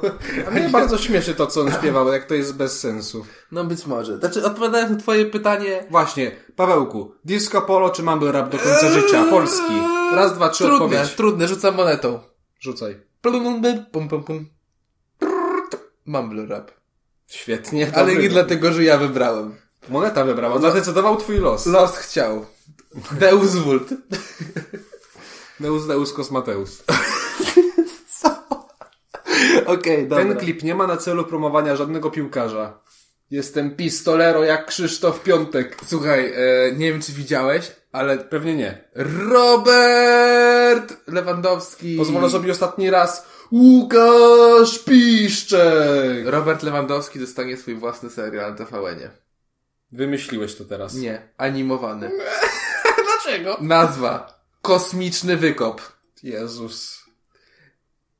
[SPEAKER 1] A [LAUGHS] mnie bardzo śmieszy to, co on śpiewał, jak to jest bez sensu.
[SPEAKER 2] No być może. Znaczy, odpowiadając na twoje pytanie...
[SPEAKER 1] Właśnie, Pawełku, disco polo czy mumble rap do końca życia? Polski. Raz, dwa, trzy,
[SPEAKER 2] Trudne,
[SPEAKER 1] odpowiedź.
[SPEAKER 2] trudne, rzucam monetą.
[SPEAKER 1] Rzucaj.
[SPEAKER 2] Pum, pum, pum, pum, pum. Mumble rap.
[SPEAKER 1] Świetnie.
[SPEAKER 2] Ale
[SPEAKER 1] dobry. No.
[SPEAKER 2] nie dlatego, że ja wybrałem.
[SPEAKER 1] Moneta wybrała, zadecydował twój los.
[SPEAKER 2] Los chciał. Deus Vult.
[SPEAKER 1] Deus, Deus, Kosmateus.
[SPEAKER 2] [LAUGHS] Okej, dobra.
[SPEAKER 1] Ten klip nie ma na celu promowania żadnego piłkarza. Jestem pistolero jak Krzysztof Piątek.
[SPEAKER 2] Słuchaj, e, nie wiem czy widziałeś, ale
[SPEAKER 1] Pewnie nie.
[SPEAKER 2] Robert Lewandowski.
[SPEAKER 1] Pozwolę sobie ostatni raz. Łukasz Piszczek!
[SPEAKER 2] Robert Lewandowski dostanie swój własny serial na TVN-ie.
[SPEAKER 1] Wymyśliłeś to teraz.
[SPEAKER 2] Nie, animowany.
[SPEAKER 1] [LAUGHS] Dlaczego?
[SPEAKER 2] Nazwa. Kosmiczny wykop.
[SPEAKER 1] Jezus.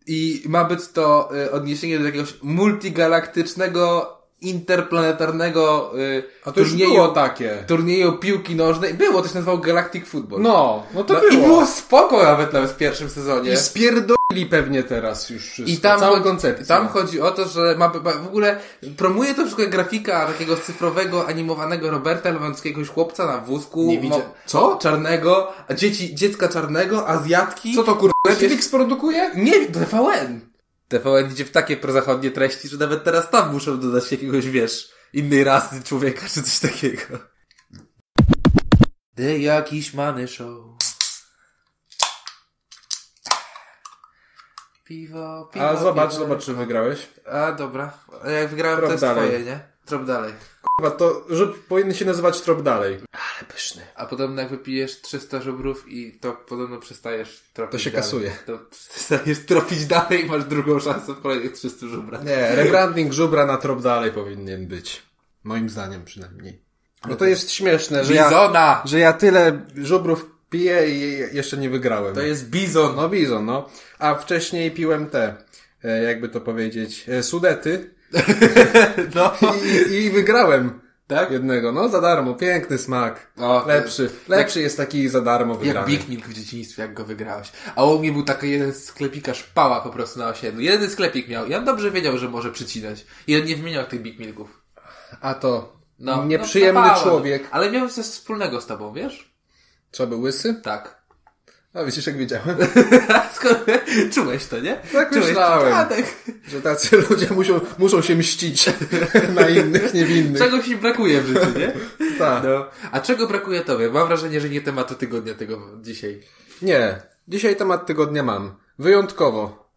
[SPEAKER 2] I ma być to y, odniesienie do jakiegoś multigalaktycznego, interplanetarnego y,
[SPEAKER 1] A to już
[SPEAKER 2] turnieju,
[SPEAKER 1] było takie.
[SPEAKER 2] turnieju piłki nożnej. Było, to się nazywało Galactic Football.
[SPEAKER 1] No, no to
[SPEAKER 2] No I
[SPEAKER 1] było.
[SPEAKER 2] było spoko nawet nawet w pierwszym sezonie.
[SPEAKER 1] I spierdolili pewnie teraz już wszystko.
[SPEAKER 2] I tam,
[SPEAKER 1] Całą
[SPEAKER 2] chodzi,
[SPEAKER 1] koncepcję.
[SPEAKER 2] tam chodzi o to, że ma, ma, w ogóle promuje to wszystko grafika takiego cyfrowego, animowanego Roberta Lewandowskiego, jakiegoś chłopca na wózku.
[SPEAKER 1] Nie widzia-
[SPEAKER 2] mo-
[SPEAKER 1] Co?
[SPEAKER 2] Czarnego, a dzieci, dziecka czarnego, Azjatki.
[SPEAKER 1] Co to kurwa? Netflix produkuje?
[SPEAKER 2] Nie, TVN. TVN idzie w takie prozachodnie treści, że nawet teraz tam muszą dodać jakiegoś, wiesz, innej rasy człowieka, czy coś takiego. The jakiś many show. Piwo, piwo.
[SPEAKER 1] A zobacz,
[SPEAKER 2] piwo.
[SPEAKER 1] zobacz, czy wygrałeś.
[SPEAKER 2] A dobra. A jak wygrałem,
[SPEAKER 1] Trop
[SPEAKER 2] to jest
[SPEAKER 1] dalej.
[SPEAKER 2] twoje, nie? Trop dalej.
[SPEAKER 1] Kurwa, to rzut powinien się nazywać trop dalej. Ale pyszny.
[SPEAKER 2] A podobno jak wypijesz 300 żubrów i to podobno przestajesz tropić
[SPEAKER 1] To się
[SPEAKER 2] dalej.
[SPEAKER 1] kasuje.
[SPEAKER 2] To przestajesz tropić dalej i masz drugą szansę w kolejnych 300 żubrach.
[SPEAKER 1] Nie, rebranding żubra na trop dalej powinien być. Moim zdaniem przynajmniej. No to jest śmieszne, że ja,
[SPEAKER 2] Bizona!
[SPEAKER 1] że ja tyle żubrów piję i jeszcze nie wygrałem.
[SPEAKER 2] To jest bizon.
[SPEAKER 1] No bizon, no. A wcześniej piłem te, e, jakby to powiedzieć, e, [LAUGHS] sudety
[SPEAKER 2] No.
[SPEAKER 1] i, i wygrałem.
[SPEAKER 2] Tak?
[SPEAKER 1] Jednego, no za darmo, piękny smak.
[SPEAKER 2] O,
[SPEAKER 1] lepszy, lepszy jest taki za darmo
[SPEAKER 2] Jak
[SPEAKER 1] wygrany.
[SPEAKER 2] Big Milk w dzieciństwie, jak go wygrałeś. A u mnie był taki jeden sklepikarz pała po prostu na osiedlu. Jeden sklepik miał. Ja dobrze wiedział, że może przycinać. I on nie wymieniał tych Big Milków.
[SPEAKER 1] A to
[SPEAKER 2] No,
[SPEAKER 1] nieprzyjemny
[SPEAKER 2] no, pała.
[SPEAKER 1] człowiek.
[SPEAKER 2] Ale miał coś wspólnego z tobą, wiesz?
[SPEAKER 1] Co, był łysy?
[SPEAKER 2] Tak. [LAUGHS]
[SPEAKER 1] No widzisz, jak wiedziałem. [LAUGHS]
[SPEAKER 2] Skoro- Czułeś to, nie?
[SPEAKER 1] Tak
[SPEAKER 2] Czułeś
[SPEAKER 1] myślałem.
[SPEAKER 2] to. A, tak.
[SPEAKER 1] Że tacy [LAUGHS] ludzie muszą, muszą się mścić [LAUGHS] na innych niewinnych.
[SPEAKER 2] Czegoś mi brakuje w życiu, nie?
[SPEAKER 1] Tak.
[SPEAKER 2] No. A czego brakuje tobie? Mam wrażenie, że nie tematu tygodnia tego dzisiaj.
[SPEAKER 1] Nie, dzisiaj temat tygodnia mam. Wyjątkowo.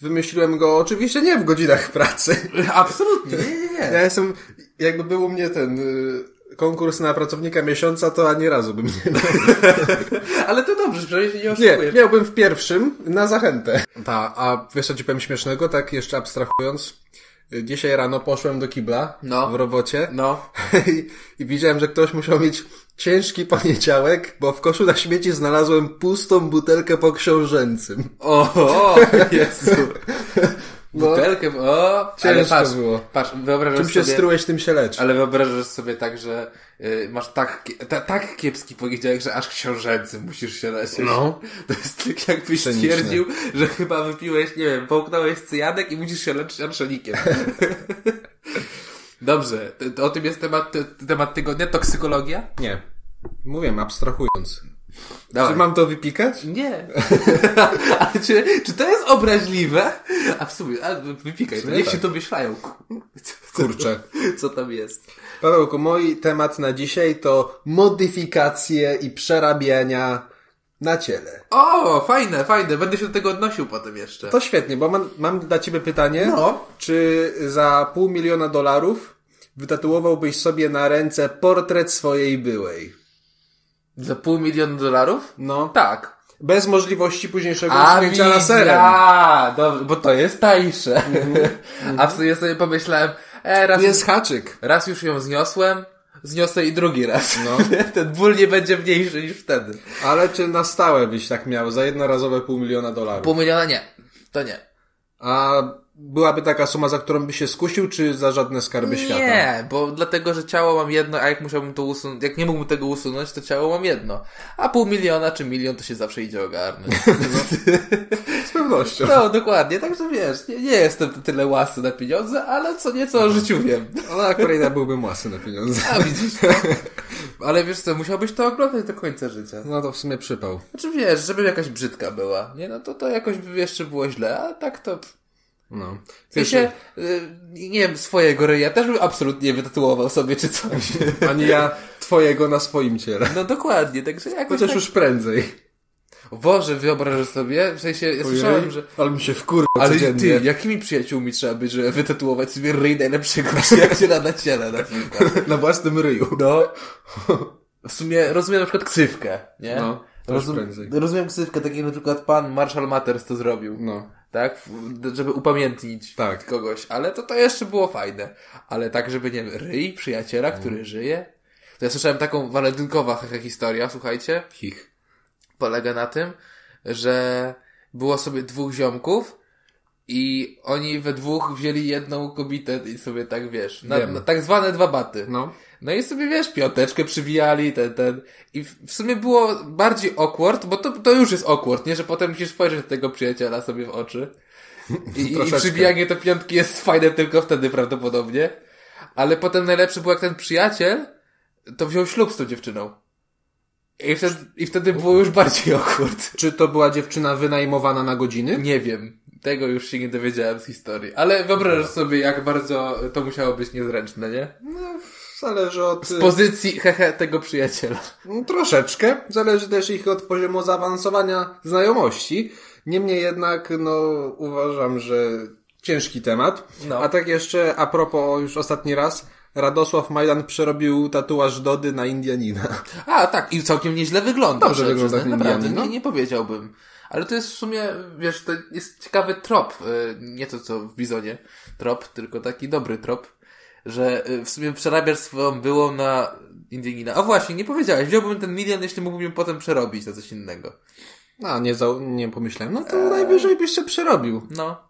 [SPEAKER 1] Wymyśliłem go oczywiście nie w godzinach pracy.
[SPEAKER 2] Absolutnie. Nie, nie, nie.
[SPEAKER 1] Ja jestem, jakby był u mnie ten y, konkurs na pracownika miesiąca, to ani razu bym nie...
[SPEAKER 2] [LAUGHS] Ale to dobrze, przynajmniej się nie
[SPEAKER 1] Nie,
[SPEAKER 2] oszukujesz.
[SPEAKER 1] miałbym w pierwszym na zachętę. Ta, a wiesz co ci powiem śmiesznego, tak jeszcze abstrahując? Y, Dzisiaj rano poszłem do kibla
[SPEAKER 2] No.
[SPEAKER 1] w robocie [LAUGHS]
[SPEAKER 2] No.
[SPEAKER 1] I, i widziałem, że ktoś musiał mieć ciężki poniedziałek, bo w koszu na śmieci znalazłem pustą butelkę po książęcym.
[SPEAKER 2] O, o
[SPEAKER 1] [LAUGHS]
[SPEAKER 2] Jezu. Butelkę, o. Ale
[SPEAKER 1] No. Ciężko
[SPEAKER 2] patrz,
[SPEAKER 1] było.
[SPEAKER 2] patrz, wyobrażasz
[SPEAKER 1] Czym się
[SPEAKER 2] sobie...
[SPEAKER 1] strułeś, tym się lecz.
[SPEAKER 2] Ale wyobrażasz sobie tak, że y, masz tak, kie- ta, tak kiepski poniedziałek, że aż książęcy musisz się leczyć.
[SPEAKER 1] No.
[SPEAKER 2] To jest tak jakbyś
[SPEAKER 1] Cyniczne.
[SPEAKER 2] stwierdził, że chyba wypiłeś, nie wiem, połknąłeś cyjanek i musisz się
[SPEAKER 1] [LAUGHS]
[SPEAKER 2] leczyć arszenikiem. Dobrze, to, to o tym jest temat, te- temat tygodnia, toksykologia?
[SPEAKER 1] Nie. Mówię, abstrahując. Czy
[SPEAKER 2] Dawaj.
[SPEAKER 1] mam to wypikać?
[SPEAKER 2] Nie. [LAUGHS] ale czy, czy to jest obraźliwe? A w sumie, a, wypikaj,
[SPEAKER 1] W
[SPEAKER 2] to
[SPEAKER 1] sumie
[SPEAKER 2] niech
[SPEAKER 1] tak.
[SPEAKER 2] się to myślają. Co, co,
[SPEAKER 1] Kurczę.
[SPEAKER 2] co tam jest?
[SPEAKER 1] Pawełku, mój temat na dzisiaj to modyfikacje i przerabiania na ciele.
[SPEAKER 2] O, fajne, fajne, będę się do tego odnosił potem jeszcze.
[SPEAKER 1] To świetnie, bo mam, mam dla ciebie pytanie.
[SPEAKER 2] No.
[SPEAKER 1] Czy za pół miliona dolarów wytatuowałbyś sobie na ręce portret swojej byłej?
[SPEAKER 2] Za pół miliona dolarów?
[SPEAKER 1] No.
[SPEAKER 2] Tak.
[SPEAKER 1] Bez możliwości późniejszego usunięcia laserem.
[SPEAKER 2] A, dobrze, bo to jest tańsze. [LAUGHS] A w sumie sobie pomyślałem, e, raz,
[SPEAKER 1] Mhm, Jest haczyk.
[SPEAKER 2] raz już ją zniosłem, zniosę i drugi raz.
[SPEAKER 1] No.
[SPEAKER 2] [LAUGHS] Ten ból nie będzie mniejszy niż wtedy.
[SPEAKER 1] Ale czy na stałe byś tak miał za jednorazowe pół miliona dolarów?
[SPEAKER 2] Pół miliona nie, to nie.
[SPEAKER 1] A byłaby taka suma, za którą byś się skusił, czy za żadne skarby świata?
[SPEAKER 2] Nie, bo dlatego, że ciało mam jedno, a jak musiałbym to usunąć, jak nie mógłbym tego usunąć, to ciało mam jedno. A pół miliona czy milion to się zawsze
[SPEAKER 1] [LAUGHS]
[SPEAKER 2] idzie ogarnąć.
[SPEAKER 1] Z pewnością.
[SPEAKER 2] No, dokładnie, także wiesz, nie, nie jestem tyle łasy na pieniądze, ale co nieco o życiu wiem.
[SPEAKER 1] Ale akurat ja byłbym łasy na pieniądze.
[SPEAKER 2] A widzisz. tak?
[SPEAKER 1] [LAUGHS]
[SPEAKER 2] Ale wiesz co, musiałbyś to oglądać do końca życia.
[SPEAKER 1] No to w sumie przypał.
[SPEAKER 2] Znaczy wiesz, żeby jakaś brzydka była, nie? No to to jakoś by jeszcze było źle, a tak to...
[SPEAKER 1] No.
[SPEAKER 2] W sensie, y, nie wiem, swojego ryja też bym absolutnie wytatuował sobie czy coś.
[SPEAKER 1] [LAUGHS] Ani ja twojego na swoim ciele.
[SPEAKER 2] No dokładnie, także jakoś
[SPEAKER 1] Chociaż
[SPEAKER 2] tak...
[SPEAKER 1] już prędzej.
[SPEAKER 2] O Boże, wyobrażasz sobie, w sensie, ja słyszałem, że...
[SPEAKER 1] Ale mi się wkurwa
[SPEAKER 2] Ale
[SPEAKER 1] codziennie.
[SPEAKER 2] ty, jakimi przyjaciółmi trzeba być, żeby wytatuować sobie ryj najlepszego przyjaciela na ciele na przykład?
[SPEAKER 1] Na własnym ryju.
[SPEAKER 2] No. W sumie rozumiem na przykład ksywkę, nie?
[SPEAKER 1] No, to już prędzej.
[SPEAKER 2] rozumiem ksywkę, tak jak na przykład pan Marshall Matters to zrobił.
[SPEAKER 1] No.
[SPEAKER 2] Tak? W- Żeby upamiętnić
[SPEAKER 1] Tak.
[SPEAKER 2] kogoś. Ale to, to jeszcze było fajne. Ale tak, żeby, nie wiem, ryj przyjaciela,
[SPEAKER 1] Mhm.
[SPEAKER 2] który żyje. To ja słyszałem taką walentynkowa hehe historia, słuchajcie
[SPEAKER 1] Hich.
[SPEAKER 2] polega na tym, że było sobie dwóch ziomków i oni we dwóch wzięli jedną kobietę i sobie tak wiesz, na,
[SPEAKER 1] Wiem.
[SPEAKER 2] na tak zwane dwa baty. No.
[SPEAKER 1] No.
[SPEAKER 2] i sobie wiesz, piąteczkę przybijali, ten, ten. I w w sumie było bardziej awkward, bo to, to już jest awkward, nie? Że potem musisz spojrzeć na tego przyjaciela sobie w oczy. I, i
[SPEAKER 1] Troszeczkę.
[SPEAKER 2] przybijanie do piątki jest fajne tylko wtedy prawdopodobnie. Ale potem najlepszy był jak ten przyjaciel, to wziął ślub z tą dziewczyną. I wtedy, i wtedy było już bardziej awkward.
[SPEAKER 1] Czy to była dziewczyna wynajmowana na godziny?
[SPEAKER 2] Nie wiem. Tego już się nie dowiedziałem z historii. Ale wyobrażasz sobie, jak bardzo to musiało być niezręczne, nie?
[SPEAKER 1] No, zależy od...
[SPEAKER 2] Z pozycji hehe tego przyjaciela.
[SPEAKER 1] No, Troszeczkę. Zależy też ich od poziomu zaawansowania znajomości. Niemniej jednak, no, uważam, że ciężki temat.
[SPEAKER 2] No.
[SPEAKER 1] A tak jeszcze, a propos już ostatni raz, Radosław Majdan przerobił tatuaż Dody na Indianina. [LAUGHS]
[SPEAKER 2] A, tak. I całkiem nieźle wygląda.
[SPEAKER 1] Dobrze
[SPEAKER 2] trzeba
[SPEAKER 1] wygląda
[SPEAKER 2] przyznać.
[SPEAKER 1] ten
[SPEAKER 2] Naprawdę,
[SPEAKER 1] Indianin, no.
[SPEAKER 2] nie, nie powiedziałbym. Ale to jest w sumie, wiesz, to jest ciekawy trop. y, Nie to, co w Bizonie trop, tylko taki dobry trop. Że y, w sumie przerabiasz swoją byłą na Indianina. A właśnie, nie powiedziałeś. Wziąłbym ten milion, jeśli mógłbym ją potem przerobić na coś innego.
[SPEAKER 1] A, nie, za, nie pomyślałem. No to najwyżej byś się przerobił.
[SPEAKER 2] No.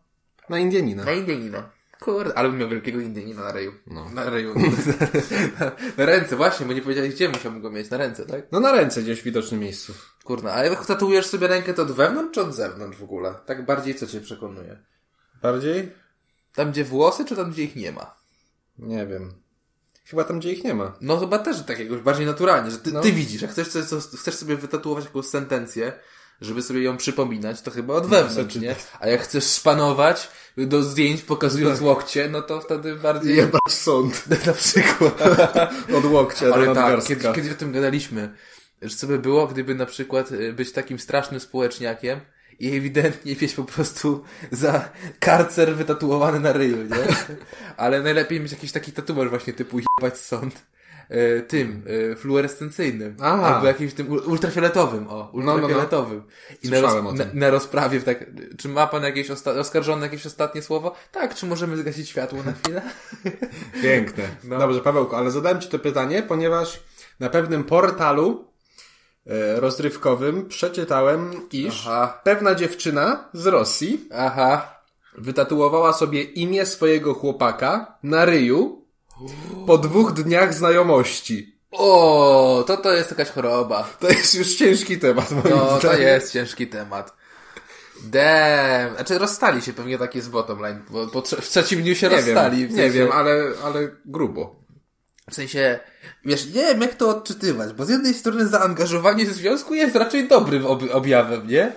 [SPEAKER 1] Na Indianina.
[SPEAKER 2] Na Indianina. Kurde, ale bym miał wielkiego Indianina na reju.
[SPEAKER 1] No.
[SPEAKER 2] Na reju. [LAUGHS] na, na ręce, właśnie, bo nie powiedziałeś, gdzie musiałbym go mieć. Na ręce, tak?
[SPEAKER 1] No na ręce gdzieś w widocznym miejscu.
[SPEAKER 2] Kurna, a jak tatuujesz sobie rękę, to od wewnątrz, czy od zewnątrz w ogóle? Tak bardziej co cię przekonuje?
[SPEAKER 1] Bardziej?
[SPEAKER 2] Tam, gdzie włosy, czy tam, gdzie ich nie ma?
[SPEAKER 1] Nie wiem. Chyba tam, gdzie ich nie ma.
[SPEAKER 2] No chyba też tak jakoś bardziej naturalnie, że ty,
[SPEAKER 1] No.
[SPEAKER 2] ty widzisz, jak chcesz, coś- coś- chcesz sobie wytatuować jakąś sentencję, żeby sobie ją przypominać, to chyba od wewnątrz,
[SPEAKER 1] znaczy-
[SPEAKER 2] nie? A jak chcesz szpanować do zdjęć, pokazując łokcie, no to wtedy bardziej...
[SPEAKER 1] Jebać sąd.
[SPEAKER 2] [LAUGHS] Na przykład.
[SPEAKER 1] [LAUGHS] Od łokcia do
[SPEAKER 2] Ale tak,
[SPEAKER 1] nadgarstka.
[SPEAKER 2] kiedyś, kiedyś o tym gadaliśmy, że co by było, gdyby na przykład y, być takim strasznym społeczniakiem i ewidentnie mieć po prostu za karcer
[SPEAKER 1] [LAUGHS]
[SPEAKER 2] wytatuowany na ryju, nie? Ale najlepiej mieć jakiś taki tatuaż właśnie typu jebać sąd. e, tym e, fluorescencyjnym.
[SPEAKER 1] Aha.
[SPEAKER 2] Albo jakimś tym u- ultrafioletowym, o,
[SPEAKER 1] no.
[SPEAKER 2] ultrafioletowym. I na,
[SPEAKER 1] Słyszałem
[SPEAKER 2] roz,
[SPEAKER 1] o
[SPEAKER 2] na,
[SPEAKER 1] tym.
[SPEAKER 2] na rozprawie tak, czy ma pan jakieś osta- oskarżone jakieś ostatnie słowo? Tak, czy możemy zgasić światło na
[SPEAKER 1] [LAUGHS]
[SPEAKER 2] chwilę?
[SPEAKER 1] Piękne.
[SPEAKER 2] No.
[SPEAKER 1] Dobrze, Pawełku, ale zadałem Ci to pytanie, ponieważ na pewnym portalu e, rozrywkowym przeczytałem, iż
[SPEAKER 2] Aha.
[SPEAKER 1] pewna dziewczyna z Rosji
[SPEAKER 2] Aha.
[SPEAKER 1] wytatuowała sobie imię swojego chłopaka na ryju po dwóch dniach znajomości.
[SPEAKER 2] O, to to jest jakaś choroba.
[SPEAKER 1] To jest już ciężki temat, moim
[SPEAKER 2] No, to
[SPEAKER 1] [LAUGHS] zdaniem.
[SPEAKER 2] jest ciężki temat. Damn. Znaczy, rozstali się pewnie takie z bottom line, bo po trze- w trzecim dniu się
[SPEAKER 1] Nie
[SPEAKER 2] rozstali.
[SPEAKER 1] wiem,
[SPEAKER 2] w
[SPEAKER 1] nie
[SPEAKER 2] sensie-
[SPEAKER 1] wiem, ale, ale grubo.
[SPEAKER 2] W sensie, wiesz, nie wiem jak to odczytywać, bo z jednej strony zaangażowanie w związku jest raczej dobrym ob objawem, nie?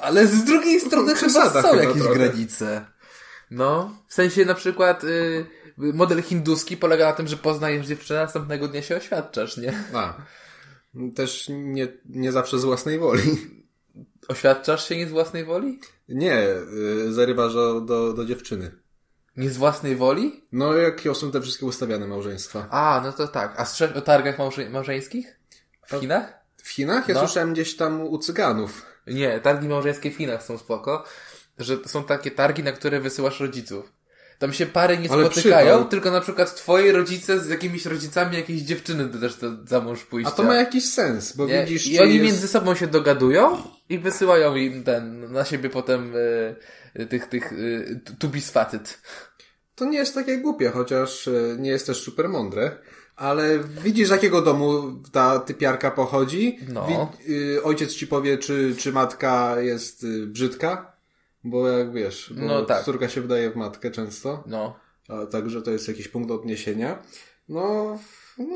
[SPEAKER 2] Ale z drugiej strony chyba
[SPEAKER 1] No. przesada
[SPEAKER 2] są
[SPEAKER 1] chyba
[SPEAKER 2] jakieś
[SPEAKER 1] trochę.
[SPEAKER 2] granice. No, w sensie na przykład y, model hinduski polega na tym, że poznajesz dziewczynę, następnego dnia się oświadczasz, nie?
[SPEAKER 1] A. Też nie, nie zawsze z własnej woli. [LAUGHS]
[SPEAKER 2] Oświadczasz się nie z własnej woli?
[SPEAKER 1] Nie, y, zarywasz do, do, do dziewczyny.
[SPEAKER 2] Nie z własnej woli?
[SPEAKER 1] No, jakie są te wszystkie ustawiane małżeństwa?
[SPEAKER 2] A, no to tak. A słyszałeś o targach małże małżeńskich? W Chinach?
[SPEAKER 1] W Chinach? Ja
[SPEAKER 2] No.
[SPEAKER 1] słyszałem gdzieś tam u cyganów.
[SPEAKER 2] Nie, targi małżeńskie w Chinach są spoko, że są takie targi, na które wysyłasz rodziców. Tam się pary nie
[SPEAKER 1] Ale
[SPEAKER 2] spotykają,
[SPEAKER 1] przypał.
[SPEAKER 2] tylko na przykład twoi rodzice z jakimiś rodzicami jakiejś dziewczyny do- też do- za mąż
[SPEAKER 1] A
[SPEAKER 2] pójścia.
[SPEAKER 1] to ma jakiś sens, bo
[SPEAKER 2] nie?
[SPEAKER 1] widzisz,
[SPEAKER 2] I
[SPEAKER 1] czy
[SPEAKER 2] oni
[SPEAKER 1] jest...
[SPEAKER 2] między sobą się dogadują i wysyłają im ten, na siebie potem y, y, tych, tych y, tu- tubis facet.
[SPEAKER 1] To nie jest takie głupie, chociaż e, nie jest też super mądre. Ale widzisz, z jakiego domu ta typiarka pochodzi?
[SPEAKER 2] No.
[SPEAKER 1] Wi- y, ojciec ci powie, czy, czy matka jest y, brzydka? Bo jak wiesz, bo
[SPEAKER 2] No tak.
[SPEAKER 1] córka się wydaje w matkę często.
[SPEAKER 2] No.
[SPEAKER 1] A także to jest jakiś punkt odniesienia. No, no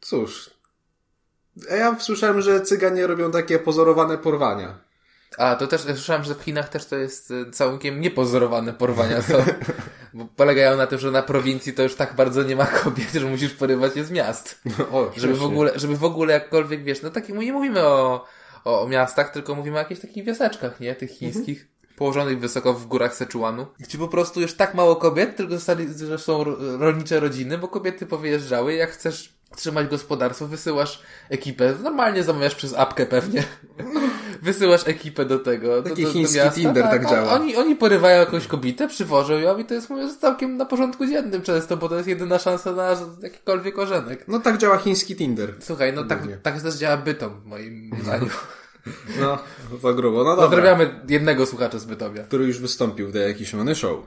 [SPEAKER 1] cóż. A ja słyszałem, że cyganie robią takie pozorowane porwania. [LAUGHS]
[SPEAKER 2] A, to też słyszałem, że w Chinach też to jest y, całkiem niepozorowane porwania są. Bo polegają na tym, że na prowincji to już tak bardzo nie ma kobiet, że musisz porywać je z miast.
[SPEAKER 1] O,
[SPEAKER 2] Żeby w
[SPEAKER 1] śmiesznie.
[SPEAKER 2] ogóle, żeby w ogóle jakkolwiek, wiesz, no takich, nie mówimy o, o, o miastach, tylko mówimy o jakichś takich wioseczkach, nie? Tych
[SPEAKER 1] Mhm.
[SPEAKER 2] chińskich. Położonych wysoko w górach Seczłanu, gdzie po prostu już tak mało kobiet, tylko zostali, że są ro- rolnicze rodziny, bo kobiety powyjeżdżały. Jak chcesz trzymać gospodarstwo, wysyłasz ekipę. Normalnie zamawiasz przez apkę pewnie. [LAUGHS] Wysyłasz ekipę do tego. do-
[SPEAKER 1] Taki
[SPEAKER 2] do, do,
[SPEAKER 1] chiński
[SPEAKER 2] miasta.
[SPEAKER 1] Tinder tak
[SPEAKER 2] on-
[SPEAKER 1] działa.
[SPEAKER 2] Oni, oni porywają jakąś kobietę, przywożą ją i to jest mówiąc całkiem na porządku dziennym często, bo to jest jedyna szansa na jakikolwiek orzenek.
[SPEAKER 1] No tak działa chiński Tinder.
[SPEAKER 2] Słuchaj, no tak,
[SPEAKER 1] Głównie.
[SPEAKER 2] tak też działa bytom, w
[SPEAKER 1] [LAUGHS]
[SPEAKER 2] moim zdaniu.
[SPEAKER 1] No, za grubo. No dobra.
[SPEAKER 2] Pozdrawiamy jednego słuchacza z Bytomia.
[SPEAKER 1] który już wystąpił w The Jakiś Many Show.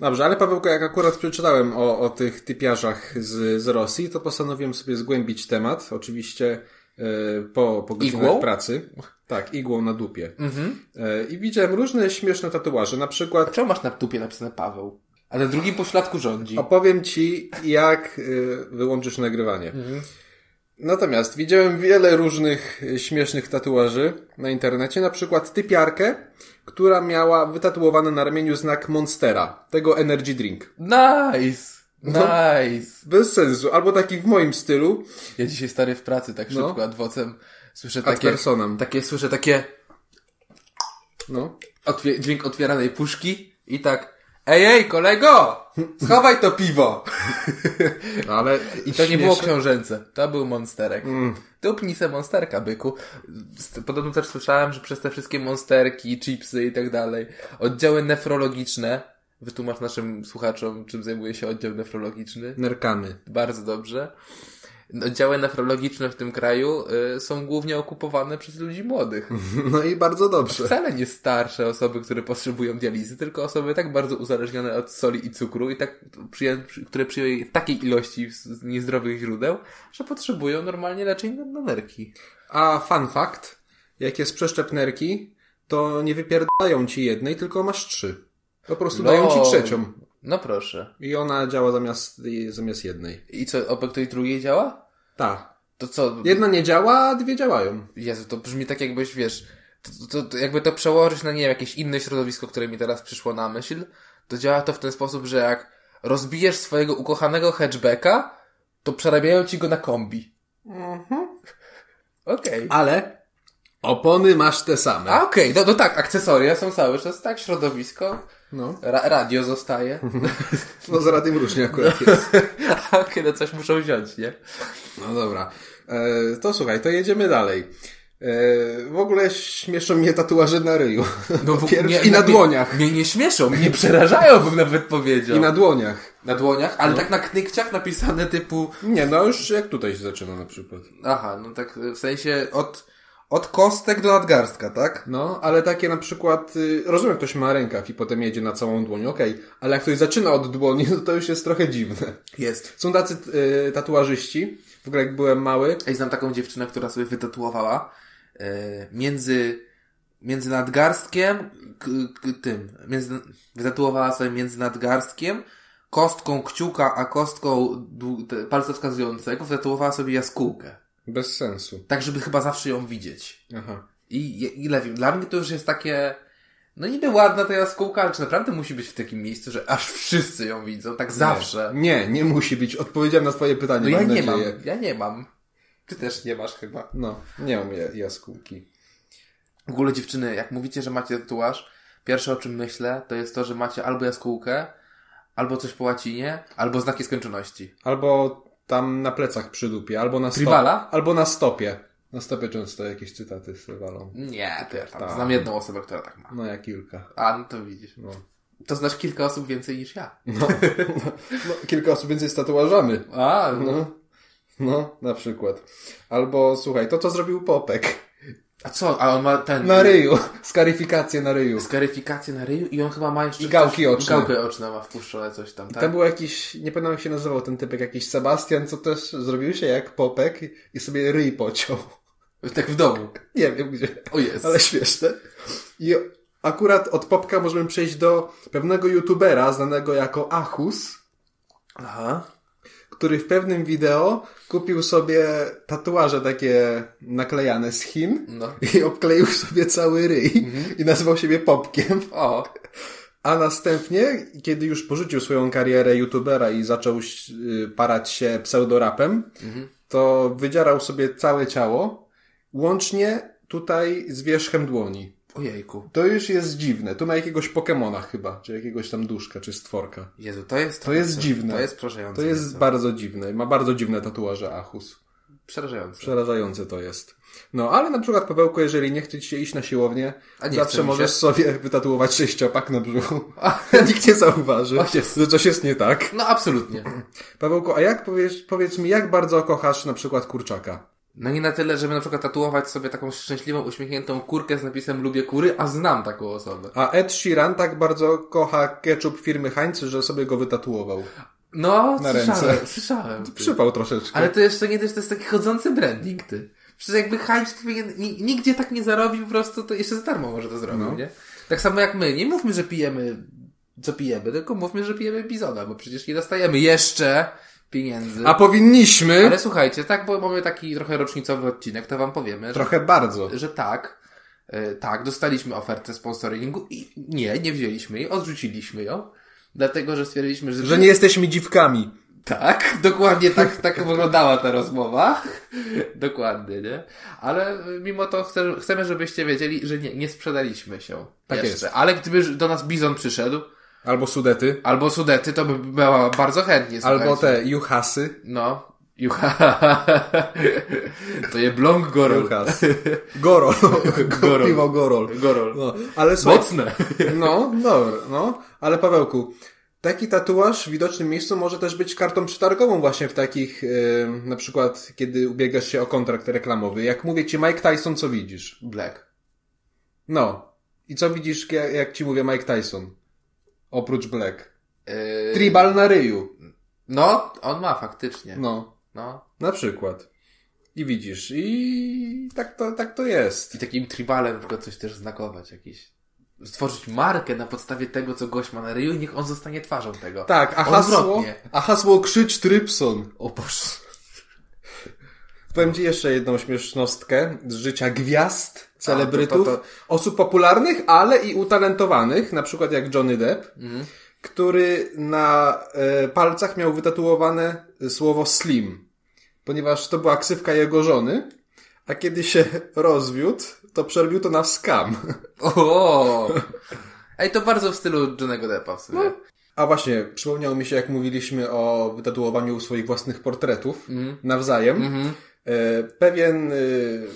[SPEAKER 1] Dobrze, ale Pawełko, jak akurat przeczytałem o, o tych typiarzach z, z Rosji, to postanowiłem sobie zgłębić temat, oczywiście e, po, po godzinach
[SPEAKER 2] Igłą?
[SPEAKER 1] pracy. Tak, igłą na dupie. E, I widziałem różne śmieszne tatuaże, na przykład
[SPEAKER 2] Czemu masz na tupie napisane Paweł? A na drugim poszlatku rządzi.
[SPEAKER 1] Opowiem ci, jak y, wyłączysz nagrywanie.
[SPEAKER 2] Mhm.
[SPEAKER 1] Natomiast widziałem wiele różnych y, śmiesznych tatuaży na internecie, na przykład typiarkę, która miała wytatuowany na ramieniu znak Monstera, tego energy drink.
[SPEAKER 2] Nice!
[SPEAKER 1] No.
[SPEAKER 2] Nice!
[SPEAKER 1] Bez sensu, albo taki w moim stylu,
[SPEAKER 2] Ja dzisiaj stary w pracy tak
[SPEAKER 1] No.
[SPEAKER 2] szybko ad vocem słyszę
[SPEAKER 1] ad
[SPEAKER 2] takie, tak.
[SPEAKER 1] personam.
[SPEAKER 2] takie, słyszę takie
[SPEAKER 1] No.
[SPEAKER 2] otwie, dźwięk otwieranej puszki i tak Ej, ej,
[SPEAKER 1] [LAUGHS]
[SPEAKER 2] kolego! Schowaj to [LAUGHS] piwo!
[SPEAKER 1] Ale
[SPEAKER 2] I to nie było książęce, to był monsterek. Mm. Tupnij se monsterka, byku. Z- Podobno też słyszałem, że przez te wszystkie monsterki, chipsy i tak dalej, oddziały nefrologiczne, wytłumacz naszym słuchaczom, czym zajmuje się oddział nefrologiczny,
[SPEAKER 1] Nerkamy.
[SPEAKER 2] bardzo dobrze. Oddziały nefrologiczne w tym kraju y, są głównie okupowane przez ludzi młodych.
[SPEAKER 1] No i bardzo dobrze.
[SPEAKER 2] Wcale nie starsze osoby, które potrzebują dializy, tylko osoby tak bardzo uzależnione od soli i cukru i tak, przyję, przy- które przyjęły takiej ilości z- z niezdrowych źródeł, że potrzebują normalnie leczeń na- na nerki.
[SPEAKER 1] A fun fact, jak jest przeszczep nerki, to nie wypierdają ci jednej, tylko masz trzy. Po prostu dają ci
[SPEAKER 2] Lol.
[SPEAKER 1] trzecią.
[SPEAKER 2] No proszę.
[SPEAKER 1] I ona działa zamiast, zamiast jednej.
[SPEAKER 2] I co, obok tej drugiej działa?
[SPEAKER 1] Ta.
[SPEAKER 2] To co?
[SPEAKER 1] Jedna nie działa, a dwie działają.
[SPEAKER 2] Jezu, to brzmi tak jakbyś, wiesz, to, to, to jakby to przełożyć na, nie wiem, jakieś inne środowisko, które mi teraz przyszło na myśl, to działa to w ten sposób, że jak rozbijesz swojego ukochanego hatchbacka, to przerabiają ci go na kombi.
[SPEAKER 1] Mhm.
[SPEAKER 2] Okej.
[SPEAKER 1] Ale opony masz te same.
[SPEAKER 2] A okej, no, no tak, akcesoria są cały czas, tak, środowisko.
[SPEAKER 1] No.
[SPEAKER 2] Ra- radio zostaje. [LAUGHS]
[SPEAKER 1] No z Radiem różnie akurat jest.
[SPEAKER 2] A kiedy coś muszą wziąć, nie?
[SPEAKER 1] No dobra. E, to słuchaj, to jedziemy dalej. E, w ogóle śmieszą mnie tatuaże na ryju. [LAUGHS]
[SPEAKER 2] No, w-
[SPEAKER 1] Pierś
[SPEAKER 2] nie-
[SPEAKER 1] i na
[SPEAKER 2] nie-
[SPEAKER 1] dłoniach.
[SPEAKER 2] Mnie nie śmieszą, mnie przerażają, bym nawet powiedział.
[SPEAKER 1] I na dłoniach.
[SPEAKER 2] Na dłoniach, ale tak na knykciach napisane typu...
[SPEAKER 1] Nie, no już jak tutaj się zaczyna na przykład.
[SPEAKER 2] Aha, no tak w sensie od, od kostek do nadgarstka, tak?
[SPEAKER 1] No, ale takie na przykład, y, rozumiem, ktoś ma rękaw i potem jedzie na całą dłoń, okej, ale jak ktoś zaczyna od dłoni, [LAUGHS] no to już jest trochę dziwne.
[SPEAKER 2] Jest.
[SPEAKER 1] Są tacy y, tatuażyści, w ogóle jak byłem mały,
[SPEAKER 2] Ej, znam taką dziewczynę, która sobie wytatuowała e, między, między nadgarstkiem, k, k, tym, między, wytatuowała sobie między nadgarstkiem, kostką kciuka, a kostką dłu- te- palca wskazującego wytatuowała sobie jaskółkę.
[SPEAKER 1] bez sensu.
[SPEAKER 2] Tak, żeby chyba zawsze ją widzieć.
[SPEAKER 1] Aha.
[SPEAKER 2] I, i ile wiem, dla mnie to już jest takie, no niby ładna ta jaskółka, ale czy naprawdę musi być w takim miejscu, że aż wszyscy ją widzą, tak zawsze?
[SPEAKER 1] Nie, nie musi być. Odpowiedziałem na twoje pytanie,
[SPEAKER 2] No ja
[SPEAKER 1] mam
[SPEAKER 2] nie mam,
[SPEAKER 1] nadzieję.
[SPEAKER 2] ja nie mam. Ty też nie masz chyba.
[SPEAKER 1] No, nie mam ja- jaskółki.
[SPEAKER 2] W ogóle dziewczyny, jak mówicie, że macie tatuaż, pierwsze o czym myślę, to jest to, że macie albo jaskółkę, albo coś po łacinie, albo znaki skończoności.
[SPEAKER 1] Albo tam na plecach przy dupie, albo na stopie.
[SPEAKER 2] Tribala?
[SPEAKER 1] Albo na stopie. Na stopie często jakieś cytaty z trywalą.
[SPEAKER 2] Nie, to ja tam
[SPEAKER 1] Tak.
[SPEAKER 2] znam jedną osobę, która tak ma.
[SPEAKER 1] No ja kilka.
[SPEAKER 2] A, no to widzisz.
[SPEAKER 1] No.
[SPEAKER 2] To znasz kilka osób więcej niż ja.
[SPEAKER 1] No. no, kilka osób więcej z tatuażami.
[SPEAKER 2] A, no.
[SPEAKER 1] No. No, na przykład. Albo słuchaj, to co zrobił Popek.
[SPEAKER 2] A co? A on ma ten...
[SPEAKER 1] Na ryju. Skaryfikację na ryju.
[SPEAKER 2] Skaryfikację na ryju i on chyba ma jeszcze...
[SPEAKER 1] I gałki
[SPEAKER 2] coś,
[SPEAKER 1] oczne.
[SPEAKER 2] Gałkę oczne ma wpuszczone, coś tam, tak?
[SPEAKER 1] Tam był jakiś, nie pamiętam jak się nazywał ten typek, jakiś Sebastian, co też zrobił się jak Popek i sobie ryj pociął. [LAUGHS]
[SPEAKER 2] Tak w domu.
[SPEAKER 1] Nie wiem gdzie.
[SPEAKER 2] O jest.
[SPEAKER 1] Ale śmieszne. I akurat od popka możemy przejść do pewnego youtubera znanego jako Achus,
[SPEAKER 2] Aha.
[SPEAKER 1] który w pewnym wideo kupił sobie tatuaże takie naklejane z Chin
[SPEAKER 2] No.
[SPEAKER 1] i obkleił sobie cały ryj i nazwał siebie popkiem.
[SPEAKER 2] O.
[SPEAKER 1] A następnie, kiedy już porzucił swoją karierę youtubera i zaczął y, parać się pseudorapem, to wydzierał sobie całe ciało, łącznie tutaj z wierzchem dłoni.
[SPEAKER 2] Ojejku.
[SPEAKER 1] To już jest dziwne. Tu ma jakiegoś Pokemona chyba, czy jakiegoś tam duszka, czy stworka.
[SPEAKER 2] Jezu, to jest...
[SPEAKER 1] To jest dziwne.
[SPEAKER 2] To jest przerażające.
[SPEAKER 1] To jest
[SPEAKER 2] nieco.
[SPEAKER 1] bardzo dziwne. Ma bardzo dziwne tatuaże Achus.
[SPEAKER 2] Przerażające.
[SPEAKER 1] Przerażające to jest. No, ale na przykład, Pawełku, jeżeli nie chce ci się iść na siłownię,
[SPEAKER 2] A nie chce
[SPEAKER 1] zawsze
[SPEAKER 2] mi
[SPEAKER 1] możesz
[SPEAKER 2] się.
[SPEAKER 1] sobie wytatuować sześciopak na brzuchu. [LAUGHS] Nikt nie zauważy,
[SPEAKER 2] O, jest.
[SPEAKER 1] że coś jest nie tak.
[SPEAKER 2] No absolutnie.
[SPEAKER 1] Pawełku, a jak powiesz, powiedz mi, jak bardzo kochasz na przykład kurczaka?
[SPEAKER 2] No nie na tyle, żeby na przykład tatuować sobie taką szczęśliwą, uśmiechniętą kurkę z napisem lubię kury, a znam taką osobę.
[SPEAKER 1] A Ed Sheeran tak bardzo kocha ketchup firmy Heinz, że sobie go wytatuował.
[SPEAKER 2] No,
[SPEAKER 1] Na
[SPEAKER 2] słyszałem,
[SPEAKER 1] ręce.
[SPEAKER 2] słyszałem. ty.
[SPEAKER 1] Przypał troszeczkę.
[SPEAKER 2] Ale to jeszcze nie też to jest taki chodzący branding, ty. Przecież jakby Heinz powinien- ni- nigdzie tak nie zarobił, po prostu to jeszcze za darmo może to zrobił,
[SPEAKER 1] No.
[SPEAKER 2] nie? Tak samo jak my. Nie mówmy, że pijemy, co pijemy, tylko mówmy, że pijemy bizona, bo przecież nie dostajemy jeszcze pieniędzy.
[SPEAKER 1] A powinniśmy...
[SPEAKER 2] Ale słuchajcie, tak, bo mamy taki trochę rocznicowy odcinek, to wam powiemy, że
[SPEAKER 1] Trochę bardzo.
[SPEAKER 2] że tak, e, tak, dostaliśmy ofertę sponsoringu i nie, nie wzięliśmy jej, odrzuciliśmy ją, dlatego, że stwierdziliśmy, że...
[SPEAKER 1] Że nie jesteśmy dziwkami.
[SPEAKER 2] Tak, [LAUGHS] dokładnie tak, tak wyglądała ta rozmowa. Dokładnie, nie? Ale e, mimo to chcę, chcemy, żebyście wiedzieli, że nie, nie sprzedaliśmy się.
[SPEAKER 1] Tak
[SPEAKER 2] jeszcze.
[SPEAKER 1] jest.
[SPEAKER 2] Ale gdyby do nas Bizon przyszedł,
[SPEAKER 1] Albo sudety.
[SPEAKER 2] albo Sudety, to by była bardzo chętnie,
[SPEAKER 1] Albo
[SPEAKER 2] słuchajcie.
[SPEAKER 1] te juchasy.
[SPEAKER 2] No. Jucha. [LAUGHS] To je blong gorol.
[SPEAKER 1] Juchas. Gorol.
[SPEAKER 2] Gorol.
[SPEAKER 1] Piwo gorol.
[SPEAKER 2] [LAUGHS] Gorol.
[SPEAKER 1] No, ale słuchaj,
[SPEAKER 2] Mocne.
[SPEAKER 1] no, dobra, no, ale Pawełku, taki tatuaż w widocznym miejscu może też być kartą przetargową właśnie w takich, yy, na przykład, kiedy ubiegasz się o kontrakt reklamowy. Jak mówię ci Mike Tyson, co widzisz?
[SPEAKER 2] Black.
[SPEAKER 1] No. I co widzisz, jak, jak ci mówię Mike Tyson? Oprócz Black.
[SPEAKER 2] Yy,
[SPEAKER 1] Tribal na ryju.
[SPEAKER 2] No, on ma faktycznie.
[SPEAKER 1] No,
[SPEAKER 2] No.
[SPEAKER 1] na przykład. I widzisz, i tak to, tak to jest.
[SPEAKER 2] I takim tribalem na przykład coś też znakować jakiś. Stworzyć markę na podstawie tego, co gość ma na ryju i niech on zostanie twarzą tego.
[SPEAKER 1] Tak, a hasło,
[SPEAKER 2] Odwrotnie.
[SPEAKER 1] a hasło krzycz Trypson.
[SPEAKER 2] O Boże.
[SPEAKER 1] Powiem Ci jeszcze jedną śmiesznostkę z życia gwiazd, celebrytów,
[SPEAKER 2] to- to- to-
[SPEAKER 1] osób popularnych, ale i utalentowanych, na przykład jak Johnny Depp,
[SPEAKER 2] Mhm.
[SPEAKER 1] który na e, palcach miał wytatuowane słowo slim, ponieważ to była ksywka jego żony, a [LAUGHS] kiedy się rozwiódł, to przerobił to na scam.
[SPEAKER 2] O! Ej, to bardzo w stylu Johnego Deppa w sumie.
[SPEAKER 1] [LAUGHS] No, A właśnie, przypomniało mi się, jak mówiliśmy o wytatuowaniu swoich własnych portretów
[SPEAKER 2] Mhm.
[SPEAKER 1] nawzajem. E, pewien e,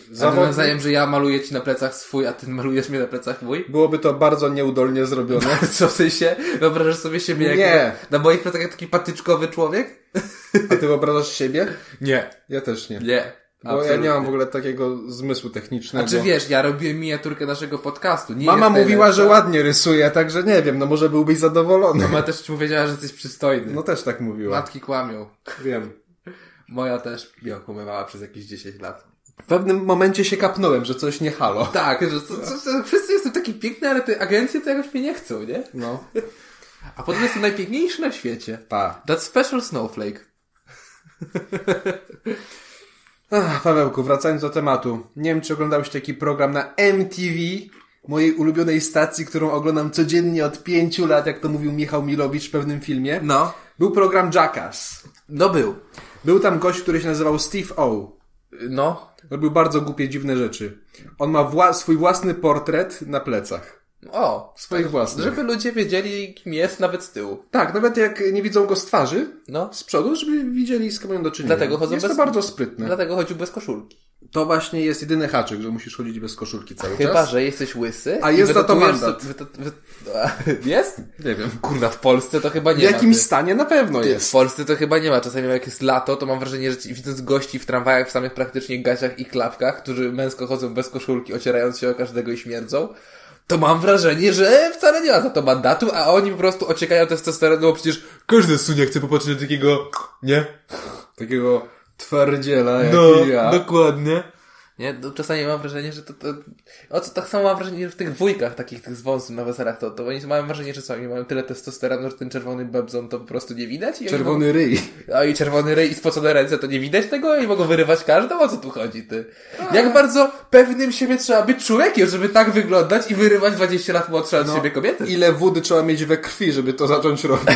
[SPEAKER 2] No,
[SPEAKER 1] zawodnik,
[SPEAKER 2] nawzajem, że ja maluję ci na plecach swój, a ty malujesz mnie na plecach mój.
[SPEAKER 1] byłoby to bardzo nieudolnie zrobione.
[SPEAKER 2] [LAUGHS] Co w sensie? Wyobrażasz sobie siebie jak
[SPEAKER 1] Nie.
[SPEAKER 2] na moich plecach jak taki patyczkowy człowiek?
[SPEAKER 1] A
[SPEAKER 2] [LAUGHS]
[SPEAKER 1] ty wyobrażasz siebie?
[SPEAKER 2] Nie.
[SPEAKER 1] Ja też nie.
[SPEAKER 2] Nie.
[SPEAKER 1] Bo ja nie mam w ogóle takiego zmysłu technicznego.
[SPEAKER 2] Znaczy wiesz, ja robiłem miniaturkę naszego podcastu. Nie
[SPEAKER 1] Mama
[SPEAKER 2] jest najlepsza.
[SPEAKER 1] mówiła, że ładnie rysuje, także nie wiem, no może byłbyś zadowolony.
[SPEAKER 2] Mama też ci powiedziała, że jesteś przystojny.
[SPEAKER 1] No też tak mówiła.
[SPEAKER 2] Matki kłamią.
[SPEAKER 1] Wiem.
[SPEAKER 2] Moja też mnie okłamywała przez jakieś 10 lat.
[SPEAKER 1] W pewnym momencie się kapnąłem, że coś nie halo.
[SPEAKER 2] Tak, że co, co, co, wszyscy jestem taki piękny, ale te agencje to jakoś mnie nie chcą, nie?
[SPEAKER 1] No.
[SPEAKER 2] A potem jestem najpiękniejszy na świecie.
[SPEAKER 1] Pa.
[SPEAKER 2] That special snowflake.
[SPEAKER 1] Ach, Pawełku, wracając do tematu. Nie wiem, czy oglądałeś taki program na MTV, mojej ulubionej stacji, którą oglądam codziennie od pięciu lat, jak to mówił Michał Milowicz w pewnym filmie.
[SPEAKER 2] No.
[SPEAKER 1] Był program Jackass.
[SPEAKER 2] No był.
[SPEAKER 1] Był tam gość, który się nazywał Steve O.
[SPEAKER 2] No.
[SPEAKER 1] Robił bardzo głupie, dziwne rzeczy. On ma wła- swój własny portret na plecach.
[SPEAKER 2] O.
[SPEAKER 1] Swoich własnych.
[SPEAKER 2] Żeby ludzie wiedzieli, kim jest nawet z tyłu.
[SPEAKER 1] Tak, nawet jak nie widzą go z twarzy,
[SPEAKER 2] No.
[SPEAKER 1] z przodu, żeby widzieli, z kim mają do czynienia.
[SPEAKER 2] Dlatego chodzą
[SPEAKER 1] Jest
[SPEAKER 2] bez-
[SPEAKER 1] to bardzo sprytne.
[SPEAKER 2] Dlatego chodził bez koszulki.
[SPEAKER 1] To właśnie jest jedyny haczyk, że musisz chodzić bez koszulki cały
[SPEAKER 2] Chyba,
[SPEAKER 1] czas.
[SPEAKER 2] że jesteś łysy.
[SPEAKER 1] A
[SPEAKER 2] i
[SPEAKER 1] jest za to
[SPEAKER 2] wytatuujesz
[SPEAKER 1] mandat.
[SPEAKER 2] so- wytat- wy- A, [LAUGHS] Jest?
[SPEAKER 1] Nie wiem.
[SPEAKER 2] Kurna, w Polsce to chyba
[SPEAKER 1] W
[SPEAKER 2] nie ma.
[SPEAKER 1] jakim
[SPEAKER 2] ty.
[SPEAKER 1] stanie na pewno
[SPEAKER 2] W
[SPEAKER 1] jest.
[SPEAKER 2] Polsce to chyba nie ma. Czasami jak jest lato, to mam wrażenie, że ci- widząc gości w tramwajach w samych praktycznie gaciach i klapkach, którzy męsko chodzą bez koszulki, ocierając się o każdego i śmierdzą, to mam wrażenie, że wcale nie ma za to mandatu, a oni po prostu ociekają testosteronu, bo przecież każdy sunie chce popatrzeć na takiego, nie?
[SPEAKER 1] Takiego twardziela jak
[SPEAKER 2] No,
[SPEAKER 1] ja.
[SPEAKER 2] dokładnie. Nie, no, czasami mam wrażenie, że to, to... O co, tak samo mam wrażenie, że w tych wujkach takich, tych z wąsem na weselach, to, to oni mają wrażenie, że sami mają tyle testosteronu, że ten czerwony bebzon to po prostu nie widać. I oni mogą-
[SPEAKER 1] Czerwony ryj.
[SPEAKER 2] a i czerwony ryj i spocone ręce, to nie widać tego i mogą wyrywać każdą? O co tu chodzi, ty? Jak bardzo pewnym siebie trzeba być człowiekiem, żeby tak wyglądać i wyrywać 20 lat młodsze od
[SPEAKER 1] No.
[SPEAKER 2] siebie kobiety?
[SPEAKER 1] Ile wody trzeba mieć we krwi, żeby to zacząć
[SPEAKER 2] [LAUGHS]
[SPEAKER 1] robić?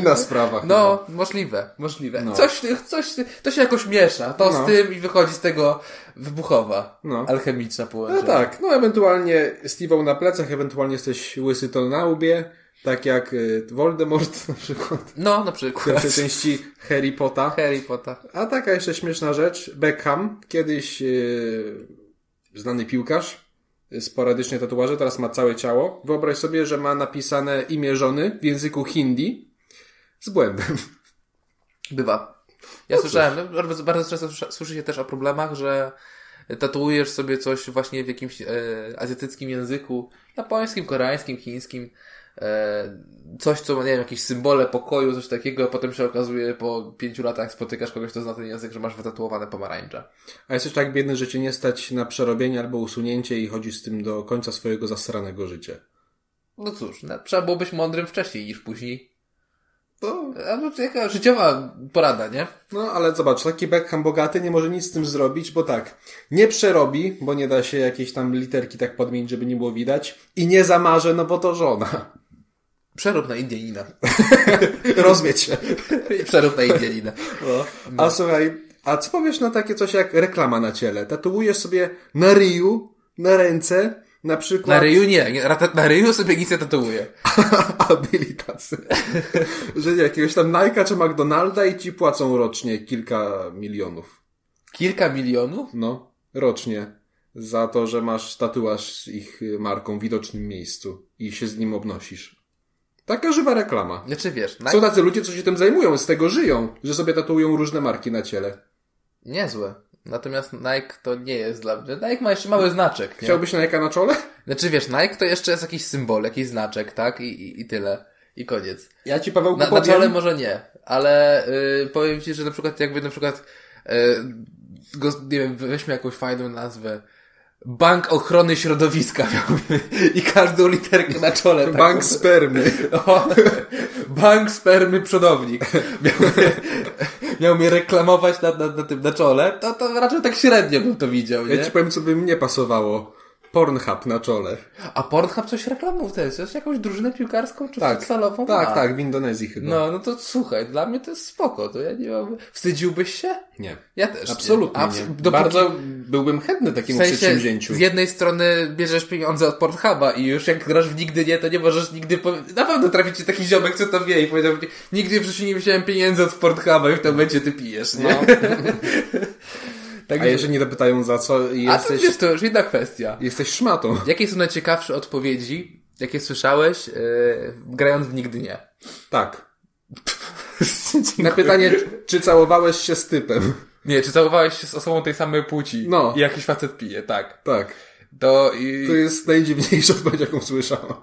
[SPEAKER 1] Inna sprawa. chyba.
[SPEAKER 2] No, możliwe, możliwe.
[SPEAKER 1] No.
[SPEAKER 2] Coś, coś, to się jakoś miesza, to
[SPEAKER 1] No.
[SPEAKER 2] z tym i wychodzi z tego wybuchowa,
[SPEAKER 1] No.
[SPEAKER 2] alchemiczna połączenie.
[SPEAKER 1] No tak, no ewentualnie Steve'ą na plecach, ewentualnie jesteś łysy to na łbie, tak jak y, Voldemort na przykład.
[SPEAKER 2] No, na
[SPEAKER 1] W
[SPEAKER 2] przykład.
[SPEAKER 1] pierwszej części Harry Potter.
[SPEAKER 2] [LAUGHS] Harry Potter.
[SPEAKER 1] A taka jeszcze śmieszna rzecz. Beckham, kiedyś yy, znany piłkarz, yy, sporadycznie tatuaże, teraz ma całe ciało. Wyobraź sobie, że ma napisane imię żony w języku hindi z błędem.
[SPEAKER 2] Bywa. Ja słyszałem, no, bardzo, bardzo często słysza- słyszy się też o problemach, że tatuujesz sobie coś właśnie w jakimś e, azjatyckim języku, japońskim, koreańskim, chińskim, e, coś co, ma, nie wiem, jakieś symbole pokoju, coś takiego, a potem się okazuje po pięciu latach spotykasz kogoś, kto zna ten język, że masz wytatuowane pomarańcze.
[SPEAKER 1] A jesteś tak biedny, że cię nie stać na przerobienie albo usunięcie i chodzisz z tym do końca swojego zasranego życia.
[SPEAKER 2] No cóż, no, trzeba było być mądrym wcześniej niż później.
[SPEAKER 1] To,
[SPEAKER 2] A no, to jaka życiowa porada, nie?
[SPEAKER 1] no ale zobacz, taki Beckham bogaty nie może nic z tym zrobić, bo tak, nie przerobi, bo nie da się jakiejś tam literki tak podmienić, żeby nie było widać i nie zamarze, no bo to żona. [LAUGHS]
[SPEAKER 2] Przerób na Indianina.
[SPEAKER 1] Rozumiecie?
[SPEAKER 2] [LAUGHS] Przerób na Indianina. no.
[SPEAKER 1] A słuchaj, a co powiesz na takie coś jak reklama na ciele? Tatuujesz sobie na ryju, na ręce, na
[SPEAKER 2] Na
[SPEAKER 1] przykład... [LAUGHS]
[SPEAKER 2] ryju nie, nie, rata- na ryju sobie nic nie tatuuję.
[SPEAKER 1] A byli tacy. że nie, jakiegoś tam Nike'a czy McDonalda i ci płacą rocznie kilka milionów.
[SPEAKER 2] Kilka milionów?
[SPEAKER 1] No, rocznie. Za to, że masz tatuaż z ich y, marką w widocznym miejscu i się z nim obnosisz. Taka żywa reklama.
[SPEAKER 2] Znaczy wiesz, na...
[SPEAKER 1] Są tacy ludzie, co się tym zajmują, z tego żyją, że sobie tatuują różne marki na ciele.
[SPEAKER 2] niezłe. Natomiast Nike to nie jest dla mnie. Nike ma jeszcze mały znaczek. Nie?
[SPEAKER 1] Chciałbyś Nike'a na czole?
[SPEAKER 2] Znaczy wiesz, Nike to jeszcze jest jakiś symbol, jakiś znaczek, tak? I, i, i tyle. I koniec.
[SPEAKER 1] Ja ci Paweł
[SPEAKER 2] Na, na czole może nie, ale y, powiem ci, że na przykład jakby na przykład y, go, nie wiem, weźmy jakąś fajną nazwę. Bank Ochrony Środowiska [LAUGHS] miałby i każdą literkę na
[SPEAKER 1] [LAUGHS]
[SPEAKER 2] czole. tak?
[SPEAKER 1] [LAUGHS]
[SPEAKER 2] taką.
[SPEAKER 1] Bank spermy.
[SPEAKER 2] [LAUGHS] O, bank spermy przodownik. Miał mnie, miał mnie reklamować na, na, na tym na czole. To, to raczej tak średnio bym to widział,
[SPEAKER 1] Ja
[SPEAKER 2] nie?
[SPEAKER 1] ci powiem, co by mnie pasowało. Pornhub na czole.
[SPEAKER 2] A Pornhub coś reklamą w ten sens? Jakąś drużynę piłkarską czy
[SPEAKER 1] Tak.
[SPEAKER 2] futsalową?
[SPEAKER 1] Tak,
[SPEAKER 2] Ma.
[SPEAKER 1] tak, w Indonezji chyba.
[SPEAKER 2] No, no to słuchaj, dla mnie to jest spoko, to ja nie mam... Wstydziłbyś się?
[SPEAKER 1] Nie.
[SPEAKER 2] Ja też nie.
[SPEAKER 1] Absolutnie nie.
[SPEAKER 2] Abs- dopóki-
[SPEAKER 1] Bardzo byłbym chętny takiemu przedsięwzięciu.
[SPEAKER 2] z jednej strony bierzesz pieniądze od Pornhuba i już jak grasz w nigdy nie, to nie możesz nigdy powie... Na pewno trafi ci taki ziomek, co to wie i powiedział ci, nigdy w życiu nie wziąłem pieniędzy od Pornhuba i w tym momencie ty pijesz, nie? [LAUGHS]
[SPEAKER 1] No. A
[SPEAKER 2] Także...
[SPEAKER 1] jeżeli nie dopytają za co i
[SPEAKER 2] A to
[SPEAKER 1] jesteś,
[SPEAKER 2] wiesz, to już inna kwestia.
[SPEAKER 1] jesteś szmatą.
[SPEAKER 2] Jakie są najciekawsze odpowiedzi, jakie słyszałeś, yy, grając w nigdy
[SPEAKER 1] [LAUGHS]
[SPEAKER 2] nie?
[SPEAKER 1] Tak. Na pytanie, czy całowałeś się z typem? [LAUGHS]
[SPEAKER 2] Nie, czy całowałeś się z osobą tej samej płci?
[SPEAKER 1] No.
[SPEAKER 2] I jakiś facet pije, tak.
[SPEAKER 1] Tak.
[SPEAKER 2] To i...
[SPEAKER 1] To jest najdziwniejsza odpowiedź, jaką słyszałam.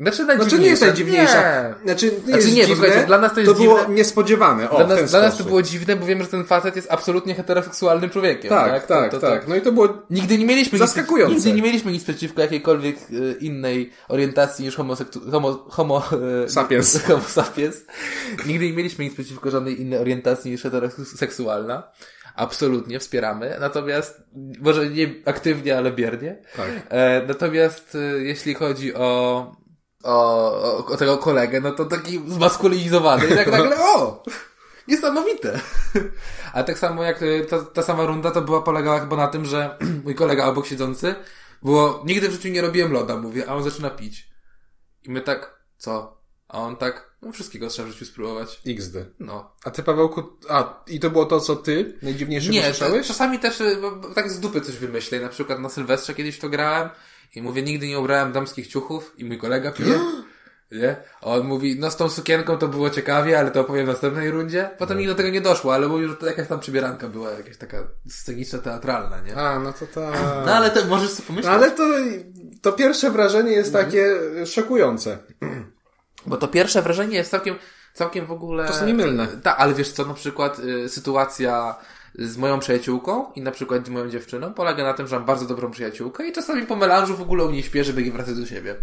[SPEAKER 2] Znaczy, najdziwniejsza.
[SPEAKER 1] Znaczy nie jest najdziwniejsza.
[SPEAKER 2] Nie.
[SPEAKER 1] Znaczy, nie,
[SPEAKER 2] Znaczy
[SPEAKER 1] jest
[SPEAKER 2] nie, bo
[SPEAKER 1] dziwne,
[SPEAKER 2] słuchajcie, dla nas to jest
[SPEAKER 1] To było
[SPEAKER 2] dziwne.
[SPEAKER 1] niespodziewane. O,
[SPEAKER 2] Dla
[SPEAKER 1] w ten
[SPEAKER 2] nas, dla nas to
[SPEAKER 1] sposób.
[SPEAKER 2] było dziwne, bo wiemy, że ten facet jest absolutnie heteroseksualnym człowiekiem.
[SPEAKER 1] Tak,
[SPEAKER 2] tak,
[SPEAKER 1] tak, tak.
[SPEAKER 2] To- to- to-
[SPEAKER 1] No i to było.
[SPEAKER 2] Nigdy nie mieliśmy
[SPEAKER 1] Zaskakujące.
[SPEAKER 2] Nic, nigdy nie mieliśmy nic przeciwko jakiejkolwiek e, innej orientacji niż homoseksu... homo... homo... e,
[SPEAKER 1] Sapiens.
[SPEAKER 2] [LAUGHS] homo sapiens. Nigdy nie mieliśmy nic przeciwko żadnej innej orientacji niż heteroseksualna. Absolutnie, wspieramy. Natomiast, może nie aktywnie, ale biernie.
[SPEAKER 1] Tak.
[SPEAKER 2] E, natomiast e, jeśli chodzi o, o, o, o tego kolegę, no to taki zmaskulinizowany. I tak nagle, o! Niesamowite. [LAUGHS] A tak samo jak e, ta, ta sama runda to była polegała chyba na tym, że [CLEARS THROAT] mój kolega obok siedzący było, nigdy w życiu nie robiłem loda, mówię, a on zaczyna pić. I my tak, co? A on tak, no wszystkiego trzeba w życiu spróbować.
[SPEAKER 1] XD.
[SPEAKER 2] No.
[SPEAKER 1] A ty, Pawełku. A, i to było to, co ty najdziwniejsze
[SPEAKER 2] Nie,
[SPEAKER 1] słyszałeś?
[SPEAKER 2] czasami też y, bo- bo tak z dupy coś wymyślę. Na przykład na Sylwestrze kiedyś to grałem i mówię, nigdy nie ubrałem damskich ciuchów i mój kolega pije. [GASPS] Nie? A on mówi, no z tą sukienką to było ciekawie, ale to opowiem w następnej rundzie. Potem nigdy do tego nie doszło, ale mówił, że to jakaś tam przybieranka była, jakaś taka sceniczna, teatralna, nie?
[SPEAKER 1] A, no to tak.
[SPEAKER 2] No ale to możesz sobie pomyśleć.
[SPEAKER 1] Ale to, to pierwsze wrażenie jest
[SPEAKER 2] No.
[SPEAKER 1] takie e, szokujące.
[SPEAKER 2] Bo to pierwsze wrażenie jest całkiem, całkiem w ogóle...
[SPEAKER 1] Czasem niemylne.
[SPEAKER 2] Tak, ale wiesz co, na przykład y, sytuacja z moją przyjaciółką i na przykład z moją dziewczyną polega na tym, że mam bardzo dobrą przyjaciółkę i czasami po melanżu w ogóle u niej śpię, żeby nie wracać do siebie.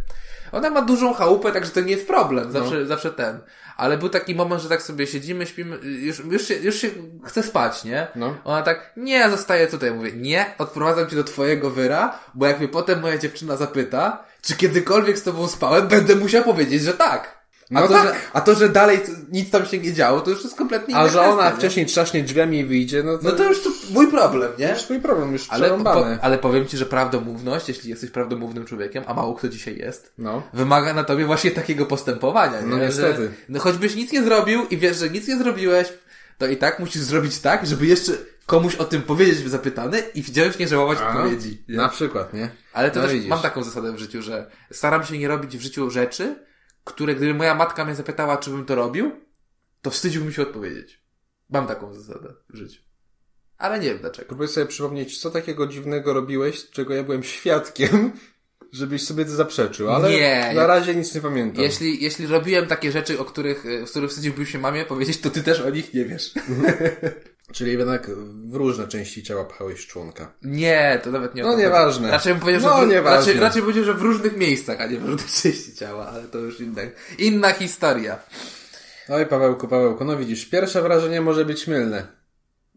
[SPEAKER 2] Ona ma dużą chałupę, także to nie jest problem, zawsze, zawsze ten. Ale był taki moment, że tak sobie siedzimy, śpimy, y, już, już, się, już się chce spać, nie?
[SPEAKER 1] No.
[SPEAKER 2] Ona tak, nie, ja zostaję tutaj. Mówię, nie, odprowadzam cię do twojego wyra, bo jak mnie potem moja dziewczyna zapyta, czy kiedykolwiek z tobą spałem, będę musiał powiedzieć, że tak. A,
[SPEAKER 1] No
[SPEAKER 2] to,
[SPEAKER 1] tak.
[SPEAKER 2] Że, a to, że dalej t- nic tam się nie działo, to już jest kompletnie
[SPEAKER 1] A
[SPEAKER 2] inna
[SPEAKER 1] że ona
[SPEAKER 2] kwestia, nie?
[SPEAKER 1] wcześniej trzaśnie drzwiami i wyjdzie, no to.
[SPEAKER 2] No to już to mój problem, nie?
[SPEAKER 1] już twój problem, już
[SPEAKER 2] Ale, po,
[SPEAKER 1] przerąbany.
[SPEAKER 2] ale powiem ci, że prawdomówność, jeśli jesteś prawdomównym człowiekiem, a mało kto dzisiaj jest,
[SPEAKER 1] No.
[SPEAKER 2] wymaga na tobie właśnie takiego postępowania, nie?
[SPEAKER 1] No
[SPEAKER 2] Że-
[SPEAKER 1] niestety.
[SPEAKER 2] no choćbyś nic nie zrobił i wiesz, że nic nie zrobiłeś, to i tak musisz zrobić tak, żeby jeszcze komuś o tym powiedzieć zapytany i wciąż nie żałować
[SPEAKER 1] A,
[SPEAKER 2] odpowiedzi. nie?
[SPEAKER 1] Na przykład, nie?
[SPEAKER 2] Ale to
[SPEAKER 1] No
[SPEAKER 2] też
[SPEAKER 1] widzisz.
[SPEAKER 2] mam taką zasadę w życiu, że staram się nie robić w życiu rzeczy, które gdyby moja matka mnie zapytała, czy bym to robił, to wstydziłbym się odpowiedzieć. Mam taką zasadę w życiu. Ale nie wiem dlaczego.
[SPEAKER 1] Próbuję sobie przypomnieć, co takiego dziwnego robiłeś, czego ja byłem świadkiem, żebyś sobie to zaprzeczył, ale
[SPEAKER 2] Nie,
[SPEAKER 1] na
[SPEAKER 2] ja-
[SPEAKER 1] razie nic nie pamiętam.
[SPEAKER 2] Jeśli, jeśli robiłem takie rzeczy, o których, y, z których wstydziłbym się mamie powiedzieć, to ty też o nich nie wiesz.
[SPEAKER 1] Czyli jednak w różne części ciała pchałeś członka.
[SPEAKER 2] Nie, to nawet nie o
[SPEAKER 1] No
[SPEAKER 2] to chodzi.
[SPEAKER 1] nieważne.
[SPEAKER 2] Raczej bym powiedział, że,
[SPEAKER 1] No,
[SPEAKER 2] w, ró-
[SPEAKER 1] nieważne.
[SPEAKER 2] raczej, raczej bym powiedział, że w różnych miejscach, a nie w różnych części ciała, ale to już inna, inna historia.
[SPEAKER 1] Oj, Pawełku, Pawełku, no widzisz, pierwsze wrażenie może być mylne.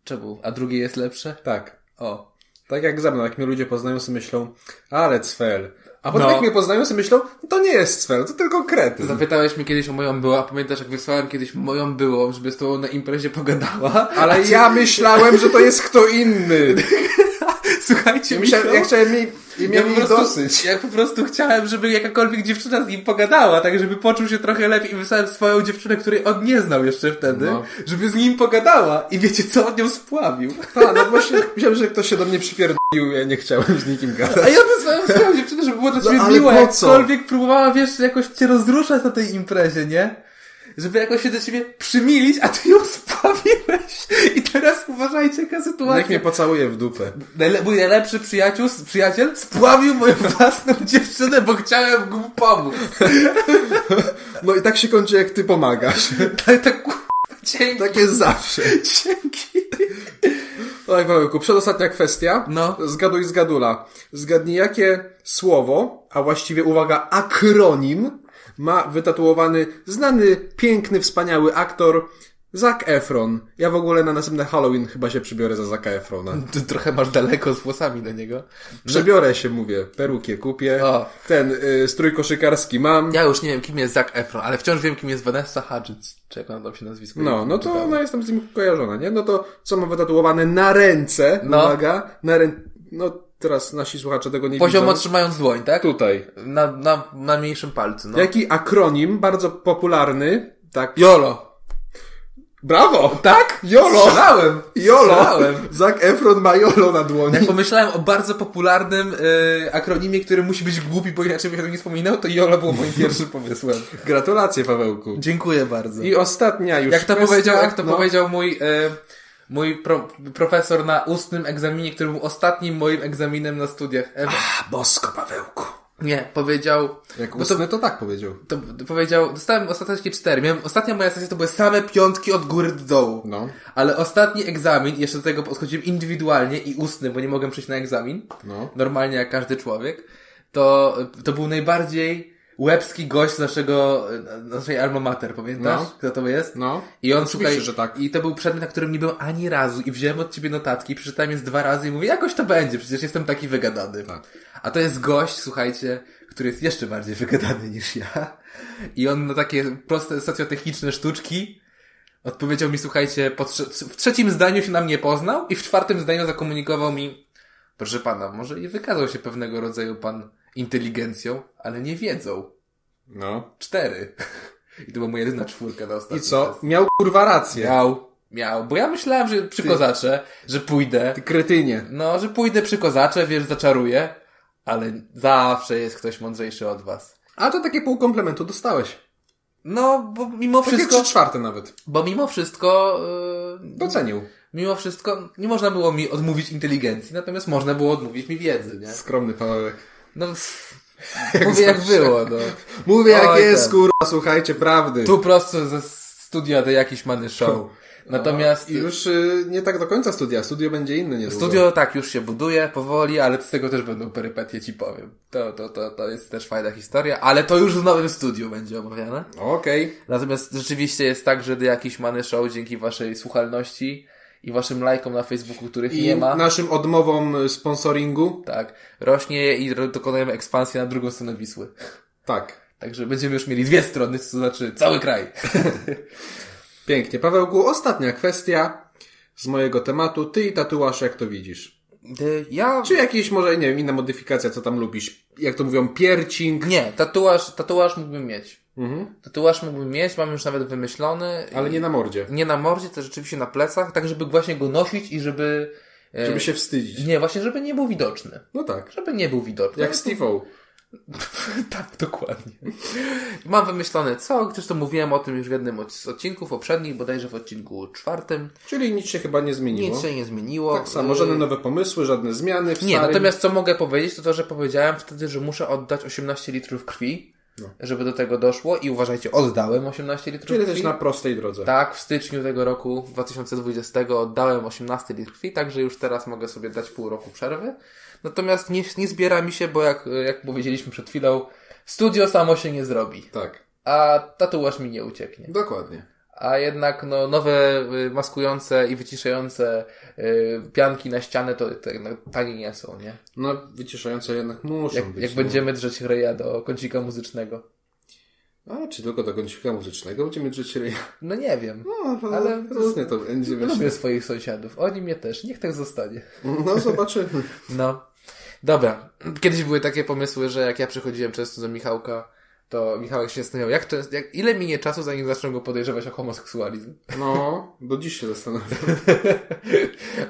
[SPEAKER 2] Czemu? A drugie jest lepsze?
[SPEAKER 1] Tak.
[SPEAKER 2] O.
[SPEAKER 1] Tak jak ze mną, jak mnie ludzie poznają, sobie myślą, ale cfel. A potem
[SPEAKER 2] No.
[SPEAKER 1] jak mnie poznają, sobie myślą, to nie jest cfel, to tylko krety.
[SPEAKER 2] Zapytałeś mnie kiedyś o moją byłą, a pamiętasz jak wysłałem kiedyś moją byłą, żeby z tobą na imprezie pogadała?
[SPEAKER 1] Ale ja myślałem, że to jest kto
[SPEAKER 2] [LAUGHS]
[SPEAKER 1] inny.
[SPEAKER 2] Słuchajcie,
[SPEAKER 1] Ja, myślałem, ja chciałem jej, jej
[SPEAKER 2] ja
[SPEAKER 1] miałem
[SPEAKER 2] po,
[SPEAKER 1] jej
[SPEAKER 2] prostu,
[SPEAKER 1] dosyć.
[SPEAKER 2] ja po prostu chciałem, żeby jakakolwiek dziewczyna z nim pogadała, tak żeby poczuł się trochę lepiej i wysłałem swoją dziewczynę, której on nie znał jeszcze wtedy,
[SPEAKER 1] No.
[SPEAKER 2] żeby z nim pogadała i wiecie co, on ją spławił.
[SPEAKER 1] Tak, no właśnie, myślałem, że ktoś się do mnie przypierdolił, ja nie chciałem z nikim gadać.
[SPEAKER 2] [LAUGHS] A ja wysłałem swoją dziewczynę, żeby było dla ciebie
[SPEAKER 1] ale
[SPEAKER 2] miła,
[SPEAKER 1] po co?
[SPEAKER 2] jakkolwiek próbowała, wiesz, jakoś cię rozruszać na tej imprezie, nie? Żeby jakoś się do ciebie przymilić, a ty ją spławiłeś. I teraz uważajcie, jaka sytuacja.
[SPEAKER 1] Niech mnie pocałuje w dupę.
[SPEAKER 2] Najle- mój najlepszy przyjaciół, przyjaciel spławił moją [LAUGHS] własną dziewczynę, bo chciałem mu pomóc. [LAUGHS]
[SPEAKER 1] No i tak się kończy, jak ty pomagasz. [LAUGHS]
[SPEAKER 2] Tak, tak, kurwa, dzięki,
[SPEAKER 1] Tak jest zawsze.
[SPEAKER 2] dzięki.
[SPEAKER 1] Oj, Pawełku, przedostatnia kwestia.
[SPEAKER 2] No.
[SPEAKER 1] Zgaduj z gadula. Zgadnij, jakie słowo, a właściwie, uwaga, akronim ma wytatuowany znany, piękny, wspaniały aktor Zac Efron. Ja w ogóle na następne Halloween chyba się przybiorę za Zaka Efrona.
[SPEAKER 2] Ty trochę masz daleko z włosami do niego.
[SPEAKER 1] Przebiorę się, mówię. Perukię kupię.
[SPEAKER 2] O.
[SPEAKER 1] Ten y, strój koszykarski mam.
[SPEAKER 2] Ja już nie wiem, kim jest Zac Efron, ale wciąż wiem, kim jest Vanessa Hudgens. Czy jak ona tam się nazwisko
[SPEAKER 1] No, no to no, jestem z nim kojarzona, nie? No to co mam wytatuowane na ręce,
[SPEAKER 2] No.
[SPEAKER 1] uwaga, na rę... No teraz nasi słuchacze tego nie
[SPEAKER 2] Poziom
[SPEAKER 1] widzą.
[SPEAKER 2] otrzymając dłoń, tak?
[SPEAKER 1] No. Tutaj.
[SPEAKER 2] Na, na, na mniejszym palcu, no.
[SPEAKER 1] Jaki akronim, bardzo popularny, tak?
[SPEAKER 2] YOLO.
[SPEAKER 1] Brawo!
[SPEAKER 2] Tak?
[SPEAKER 1] Jolo.
[SPEAKER 2] Strzelałem!
[SPEAKER 1] Jolo!
[SPEAKER 2] Strzelałem.
[SPEAKER 1] Zac Efron ma Jolo na dłoni.
[SPEAKER 2] Jak [LAUGHS] pomyślałem o bardzo popularnym y, akronimie, który musi być głupi, bo inaczej bym się o tym nie wspominał, to YOLO było
[SPEAKER 1] [LAUGHS]
[SPEAKER 2] moim pierwszym pomysłem.
[SPEAKER 1] Gratulacje, Pawełku.
[SPEAKER 2] Dziękuję bardzo.
[SPEAKER 1] I ostatnia już
[SPEAKER 2] jak to
[SPEAKER 1] kwestia,
[SPEAKER 2] powiedział, jak to
[SPEAKER 1] no.
[SPEAKER 2] powiedział mój, e, mój pro, profesor na ustnym egzaminie, który był ostatnim moim egzaminem na studiach. E,
[SPEAKER 1] A, bosko, Pawełku.
[SPEAKER 2] nie, powiedział,
[SPEAKER 1] Jak
[SPEAKER 2] bo to,
[SPEAKER 1] ustny, to tak powiedział.
[SPEAKER 2] to powiedział, dostałem ostatecznie cztery, miałem, ostatnia moja sesja to były same piątki od góry do dołu.
[SPEAKER 1] No.
[SPEAKER 2] Ale ostatni egzamin, jeszcze do tego podchodziłem indywidualnie i ustny, bo nie mogłem przyjść na egzamin,
[SPEAKER 1] No.
[SPEAKER 2] normalnie jak każdy człowiek, to, to był najbardziej łebski gość z naszego, e, naszej alma mater, pamiętasz?
[SPEAKER 1] No.
[SPEAKER 2] Kto to jest?
[SPEAKER 1] No.
[SPEAKER 2] I on
[SPEAKER 1] Oczywiście,
[SPEAKER 2] słuchaj,
[SPEAKER 1] że tak.
[SPEAKER 2] i to był przedmiot, na którym nie byłem ani razu i wziąłem od ciebie notatki, przeczytałem je z dwa razy i mówię, jakoś to będzie, przecież jestem taki wygadany.
[SPEAKER 1] Tak.
[SPEAKER 2] A to jest gość, słuchajcie, który jest jeszcze bardziej [LAUGHS] wygadany niż ja. I on na takie proste socjotechniczne sztuczki odpowiedział mi, słuchajcie, po trze- w trzecim zdaniu się na mnie poznał i w czwartym zdaniu zakomunikował mi, proszę pana, może i wykazał się pewnego rodzaju pan inteligencją, ale nie wiedzą.
[SPEAKER 1] No.
[SPEAKER 2] Cztery. [LAUGHS] I to była moja jedyna czwórka na
[SPEAKER 1] I
[SPEAKER 2] ostatni
[SPEAKER 1] co? Miał kurwa rację.
[SPEAKER 2] Miał, miał, bo ja myślałem, że przy kozacze, że pójdę,
[SPEAKER 1] Ty kretynie.
[SPEAKER 2] no, że pójdę przy kozacze, wiesz, zaczaruję, ale zawsze jest ktoś mądrzejszy od was.
[SPEAKER 1] A to takie pół komplementu dostałeś.
[SPEAKER 2] No, bo mimo
[SPEAKER 1] Wszystko?
[SPEAKER 2] wszystko,
[SPEAKER 1] Takie trzy czwarte nawet.
[SPEAKER 2] bo mimo wszystko, yy,
[SPEAKER 1] Docenił.
[SPEAKER 2] mimo wszystko, nie można było mi odmówić inteligencji, natomiast można było odmówić mi wiedzy, nie?
[SPEAKER 1] Skromny Pawełek.
[SPEAKER 2] No,
[SPEAKER 1] [LAUGHS]
[SPEAKER 2] mówię jak
[SPEAKER 1] zawsze.
[SPEAKER 2] było, no.
[SPEAKER 1] Mówię jak
[SPEAKER 2] Oj,
[SPEAKER 1] jest,
[SPEAKER 2] ten.
[SPEAKER 1] kurwa, słuchajcie prawdy.
[SPEAKER 2] Tu prosto ze studia do jakiś many show. Natomiast...
[SPEAKER 1] No, I już y, nie tak do końca studia. Studio będzie inne niedługo.
[SPEAKER 2] Studio tak już się buduje powoli, ale z tego też będą perypetie, ci powiem. To, to, to, to jest też fajna historia, ale to już w nowym studiu będzie omawiane.
[SPEAKER 1] Okej.
[SPEAKER 2] Natomiast rzeczywiście jest tak, że The Jakiś Many Show dzięki waszej słuchalności i waszym lajkom na Facebooku, których
[SPEAKER 1] I
[SPEAKER 2] nie ma,
[SPEAKER 1] naszym odmową y, sponsoringu.
[SPEAKER 2] tak, rośnie i ro- dokonujemy ekspansji na drugą stronę Wisły.
[SPEAKER 1] Tak.
[SPEAKER 2] Także będziemy już mieli dwie strony, co znaczy cały kraj.
[SPEAKER 1] Pięknie. Pawełku, ostatnia kwestia z mojego tematu. Ty i tatuaż, jak to widzisz?
[SPEAKER 2] Ty- Ja...
[SPEAKER 1] Czy jakieś może, nie wiem, inna modyfikacja, co tam lubisz? Jak to mówią, piercing?
[SPEAKER 2] Nie, tatuaż, tatuaż mógłbym mieć.
[SPEAKER 1] Mhm.
[SPEAKER 2] Tatuaż mógłbym mieć, mam już nawet wymyślony.
[SPEAKER 1] Ale nie na mordzie.
[SPEAKER 2] Nie na mordzie, to rzeczywiście na plecach, tak żeby właśnie go nosić i żeby... e,
[SPEAKER 1] Żeby się wstydzić.
[SPEAKER 2] Nie, No właśnie żeby nie był widoczny.
[SPEAKER 1] No tak.
[SPEAKER 2] Żeby nie był widoczny.
[SPEAKER 1] Jak Steve-O.
[SPEAKER 2] [LAUGHS] tak, dokładnie. Mam wymyślone co, zresztą mówiłem o tym już w jednym od- z odcinków poprzednich, bodajże w odcinku czwartym.
[SPEAKER 1] Czyli nic się chyba nie zmieniło.
[SPEAKER 2] Nic się nie zmieniło.
[SPEAKER 1] No. Tak samo,
[SPEAKER 2] Y,
[SPEAKER 1] żadne nowe pomysły, żadne zmiany w
[SPEAKER 2] Nie,
[SPEAKER 1] starym.
[SPEAKER 2] natomiast co mogę powiedzieć, to to, że powiedziałem wtedy, że muszę oddać 18 litrów krwi, żeby do tego doszło i uważajcie, oddałem 18 litrów
[SPEAKER 1] No. Czyli
[SPEAKER 2] krwi.
[SPEAKER 1] jesteś na prostej drodze.
[SPEAKER 2] Tak, w styczniu tego roku 2020 oddałem 18 litr krwi, także już teraz mogę sobie dać pół roku przerwy. Natomiast nie, nie zbiera mi się, bo jak, jak powiedzieliśmy przed chwilą, studio samo się nie zrobi,
[SPEAKER 1] Tak,
[SPEAKER 2] a tatuaż mi nie ucieknie.
[SPEAKER 1] dokładnie.
[SPEAKER 2] A jednak no, nowe y, maskujące i wyciszające y, pianki na ścianę to, to jednak tanie nie są, nie?
[SPEAKER 1] No, wyciszające jednak muszą
[SPEAKER 2] Jak,
[SPEAKER 1] być.
[SPEAKER 2] jak
[SPEAKER 1] no.
[SPEAKER 2] będziemy drzeć reja do kącika muzycznego.
[SPEAKER 1] A, czy tylko do kącika muzycznego będziemy drzeć ryja?
[SPEAKER 2] No nie wiem.
[SPEAKER 1] No,
[SPEAKER 2] Ale-
[SPEAKER 1] [LAUGHS]
[SPEAKER 2] no,
[SPEAKER 1] różnie to będzie. wiesz.
[SPEAKER 2] Lubię swoich sąsiadów. Oni mnie też. Niech tak zostanie.
[SPEAKER 1] No, zobaczymy.
[SPEAKER 2] No. Dobra. Kiedyś były takie pomysły, że jak ja przychodziłem często do Michałka, to Michałek się zastanawiał, jak często, jak, ile minie czasu, zanim zaczną go podejrzewać o homoseksualizm.
[SPEAKER 1] No, do dziś się zastanawiam.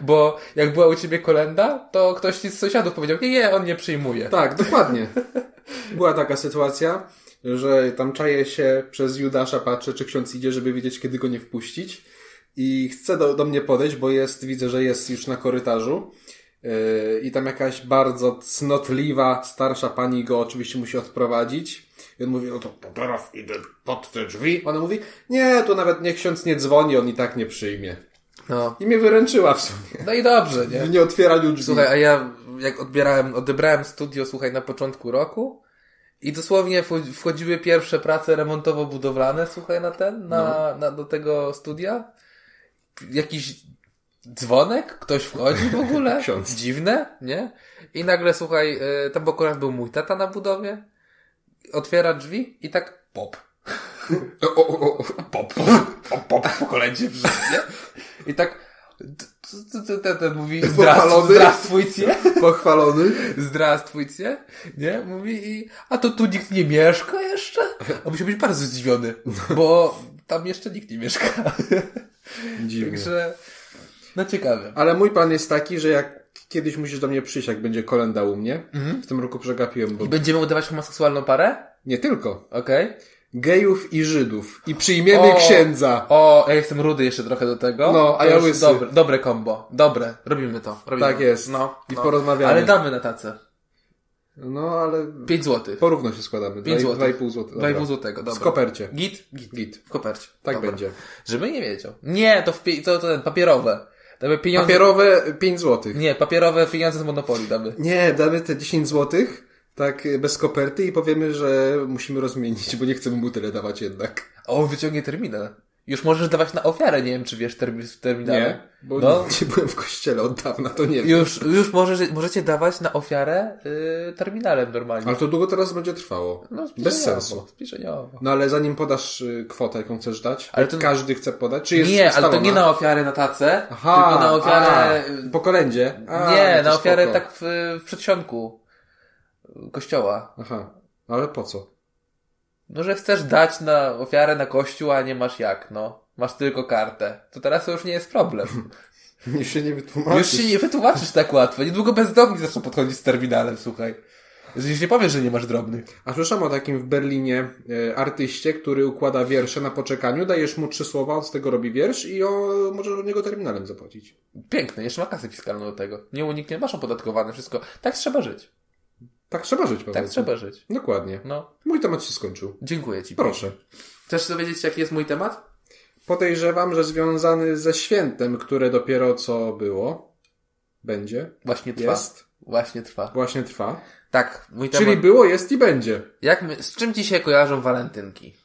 [SPEAKER 2] Bo jak była u ciebie kolenda, to ktoś ci z sąsiadów powiedział, nie, nie, on nie przyjmuje.
[SPEAKER 1] Tak, dokładnie. Była taka sytuacja, że tam czaję się przez Judasza, patrzę, czy ksiądz idzie, żeby wiedzieć, kiedy go nie wpuścić. I chce do, do mnie podejść, bo jest, widzę, że jest już na korytarzu. Yy, I tam jakaś bardzo cnotliwa, starsza pani go oczywiście musi odprowadzić. I on mówi, no to teraz idę pod te drzwi. Ona mówi, nie, tu nawet niech ksiądz nie dzwoni, on i tak nie przyjmie.
[SPEAKER 2] No.
[SPEAKER 1] I mnie wyręczyła w sumie.
[SPEAKER 2] No i dobrze, nie?
[SPEAKER 1] W nieotwieraniu drzwi.
[SPEAKER 2] Słuchaj, a ja jak odbierałem, odebrałem studio, słuchaj, na początku roku I dosłownie wcho- wchodziły pierwsze prace remontowo-budowlane, słuchaj, na ten, na,
[SPEAKER 1] No.
[SPEAKER 2] na, do tego studia. Jakiś dzwonek, ktoś wchodzi w ogóle.
[SPEAKER 1] [LAUGHS] Ksiądz.
[SPEAKER 2] Dziwne, nie? I nagle, słuchaj, y, tam bo akurat był mój tata na budowie. Otwiera drzwi i tak pop.
[SPEAKER 1] O, o, o, o.
[SPEAKER 2] Pop, pop, pop, pokolenie się przyszło, nie? I tak t- t- t- ten, ten mówi,
[SPEAKER 1] Popalony.
[SPEAKER 2] zdrastwujcie.
[SPEAKER 1] Pochwalony.
[SPEAKER 2] Zdrastwujcie, nie? Mówi i, a to tu nikt nie mieszka jeszcze? A musiał być bardzo zdziwiony, bo tam jeszcze nikt nie mieszka.
[SPEAKER 1] [LAUGHS] Dziwnie.
[SPEAKER 2] Także, no ciekawe.
[SPEAKER 1] Ale mój plan jest taki, że jak kiedyś musisz do mnie przyjść, jak będzie kolenda u mnie. W tym roku przegapiłem, bo
[SPEAKER 2] Mhm. I będziemy udawać homoseksualną parę?
[SPEAKER 1] nie tylko.
[SPEAKER 2] Okej.
[SPEAKER 1] Gejów i Żydów. I przyjmiemy
[SPEAKER 2] O.
[SPEAKER 1] księdza.
[SPEAKER 2] O, ja jestem rudy jeszcze trochę do tego.
[SPEAKER 1] No, a
[SPEAKER 2] To
[SPEAKER 1] ja
[SPEAKER 2] już
[SPEAKER 1] łysy.
[SPEAKER 2] Dobre, dobre kombo. Dobre, robimy to. Robimy.
[SPEAKER 1] Tak jest.
[SPEAKER 2] No,
[SPEAKER 1] I
[SPEAKER 2] no.
[SPEAKER 1] porozmawiamy.
[SPEAKER 2] Ale damy na tacę.
[SPEAKER 1] No, ale
[SPEAKER 2] 5 złotych.
[SPEAKER 1] porówno się składamy.
[SPEAKER 2] Pięć złotych.
[SPEAKER 1] 2,5 zł.
[SPEAKER 2] 2,5 złotego, dobra.
[SPEAKER 1] W kopercie.
[SPEAKER 2] Git? Git.
[SPEAKER 1] Git.
[SPEAKER 2] W kopercie.
[SPEAKER 1] Tak
[SPEAKER 2] Dobra.
[SPEAKER 1] będzie.
[SPEAKER 2] Żeby nie wiedział. Nie, to, w pie- to, to ten, papierowe. Damy pieniądze.
[SPEAKER 1] Papierowe 5 zł.
[SPEAKER 2] Nie, papierowe pieniądze z Monopoli damy.
[SPEAKER 1] Nie, damy te 10 zł, tak y, bez koperty i powiemy, że musimy rozmienić, bo nie chcemy mu tyle dawać jednak.
[SPEAKER 2] O, on wyciągnie terminal. Już możesz dawać na ofiarę, nie wiem czy wiesz termin w terminale.
[SPEAKER 1] Nie, bo
[SPEAKER 2] Tak. no,
[SPEAKER 1] nie, nie byłem w kościele od dawna, to nie wiem.
[SPEAKER 2] już, już możesz, możecie dawać na ofiarę y, terminalem normalnie.
[SPEAKER 1] Ale to długo teraz będzie trwało.
[SPEAKER 2] No,
[SPEAKER 1] bez
[SPEAKER 2] zbliżeniowo,
[SPEAKER 1] sensu.
[SPEAKER 2] Zbliżeniowo.
[SPEAKER 1] No ale zanim podasz y, kwotę, jaką chcesz dać,
[SPEAKER 2] Ale
[SPEAKER 1] ale
[SPEAKER 2] to-
[SPEAKER 1] każdy chce podać, czy jest
[SPEAKER 2] Nie, ale
[SPEAKER 1] ustalona?
[SPEAKER 2] to nie na ofiarę na tacę,
[SPEAKER 1] Aha,
[SPEAKER 2] tylko na ofiarę... y,
[SPEAKER 1] A, po kolędzie? A,
[SPEAKER 2] nie,
[SPEAKER 1] no to
[SPEAKER 2] na ofiarę
[SPEAKER 1] spoko.
[SPEAKER 2] tak w, w przedsionku y, kościoła.
[SPEAKER 1] Aha, ale po co?
[SPEAKER 2] No, że chcesz dać na ofiarę na kościół, a nie masz jak, no. Masz tylko kartę. To teraz to już nie jest
[SPEAKER 1] [LAUGHS]
[SPEAKER 2] problem.
[SPEAKER 1] Już się nie
[SPEAKER 2] [LAUGHS] Już
[SPEAKER 1] wytłumaczysz.
[SPEAKER 2] się nie wytłumaczysz tak łatwo. Niedługo bezdomni zaczną podchodzić z terminalem, słuchaj. Jeżeli nie powiesz, że nie masz drobnych.
[SPEAKER 1] A słyszałem o takim w Berlinie e, artyście, który układa wiersze na poczekaniu, dajesz mu trzy słowa, on z tego robi wiersz i o, możesz od niego terminalem zapłacić.
[SPEAKER 2] Piękne, jeszcze ma kasę fiskalną do tego. Nie uniknie, masz opodatkowane wszystko. Tak trzeba żyć.
[SPEAKER 1] Tak trzeba żyć, powiedzmy.
[SPEAKER 2] Tak trzeba żyć.
[SPEAKER 1] Dokładnie.
[SPEAKER 2] No,
[SPEAKER 1] Mój temat się skończył.
[SPEAKER 2] dziękuję ci.
[SPEAKER 1] Proszę.
[SPEAKER 2] Chcesz dowiedzieć się, jaki jest mój temat?
[SPEAKER 1] Podejrzewam, że związany ze świętem, które dopiero co było, będzie,
[SPEAKER 2] Właśnie trwa.
[SPEAKER 1] jest,
[SPEAKER 2] Właśnie trwa.
[SPEAKER 1] właśnie trwa.
[SPEAKER 2] Tak, mój temat.
[SPEAKER 1] Czyli było, jest i będzie.
[SPEAKER 2] Jak my... Z czym ci się kojarzą walentynki?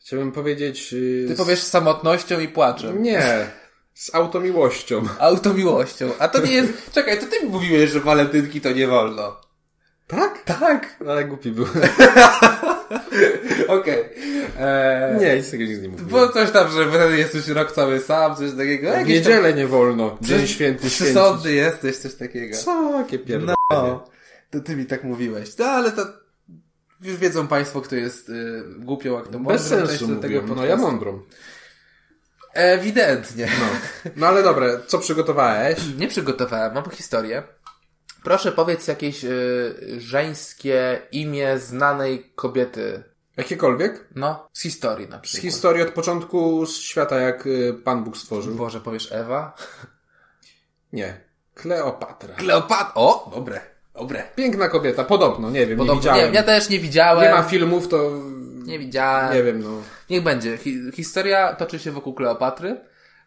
[SPEAKER 1] Chciałbym powiedzieć... y,
[SPEAKER 2] Ty
[SPEAKER 1] z-
[SPEAKER 2] powiesz z samotnością i płaczem.
[SPEAKER 1] Nie, z automiłością.
[SPEAKER 2] Automiłością. A to nie
[SPEAKER 1] [LAUGHS]
[SPEAKER 2] jest... Czekaj, to ty mi mówiłeś, że walentynki to nie wolno.
[SPEAKER 1] Tak?
[SPEAKER 2] Tak.
[SPEAKER 1] Ale głupi był.
[SPEAKER 2] [LAUGHS] Okej. Eee...
[SPEAKER 1] Nie, nic takiego nie mówiłem.
[SPEAKER 2] Bo coś tam, że wtedy jesteś rok cały sam, coś takiego.
[SPEAKER 1] W
[SPEAKER 2] Jakieś
[SPEAKER 1] niedzielę nie wolno.
[SPEAKER 2] tam,
[SPEAKER 1] Dzień święty, święty.
[SPEAKER 2] Przesądny jesteś, coś takiego.
[SPEAKER 1] Co? Jakie pierdolenie.
[SPEAKER 2] No, to ty mi tak mówiłeś. No, ale to już wiedzą państwo, kto jest y, głupią, a kto mądrą.
[SPEAKER 1] Bez
[SPEAKER 2] Cześć
[SPEAKER 1] sensu
[SPEAKER 2] do
[SPEAKER 1] mówię. no
[SPEAKER 2] podcastu.
[SPEAKER 1] ja mądrą.
[SPEAKER 2] Ewidentnie.
[SPEAKER 1] No. no ale dobra, co przygotowałeś?
[SPEAKER 2] Nie przygotowałem, mam historię. Proszę powiedz jakieś y, żeńskie imię znanej kobiety.
[SPEAKER 1] Jakiekolwiek?
[SPEAKER 2] No, z historii na
[SPEAKER 1] Z
[SPEAKER 2] przykład.
[SPEAKER 1] historii od początku z świata, jak y, Pan Bóg stworzył.
[SPEAKER 2] Boże, powiesz Ewa?
[SPEAKER 1] Nie. Kleopatra.
[SPEAKER 2] Kleopatra. O, dobre, dobre.
[SPEAKER 1] Piękna kobieta, podobno, nie wiem, nie
[SPEAKER 2] Podobno, nie,
[SPEAKER 1] widziałem.
[SPEAKER 2] ja też nie widziałem.
[SPEAKER 1] nie ma filmów, to
[SPEAKER 2] Nie widziałem.
[SPEAKER 1] nie wiem, no.
[SPEAKER 2] Niech będzie. Hi historia toczy się wokół Kleopatry.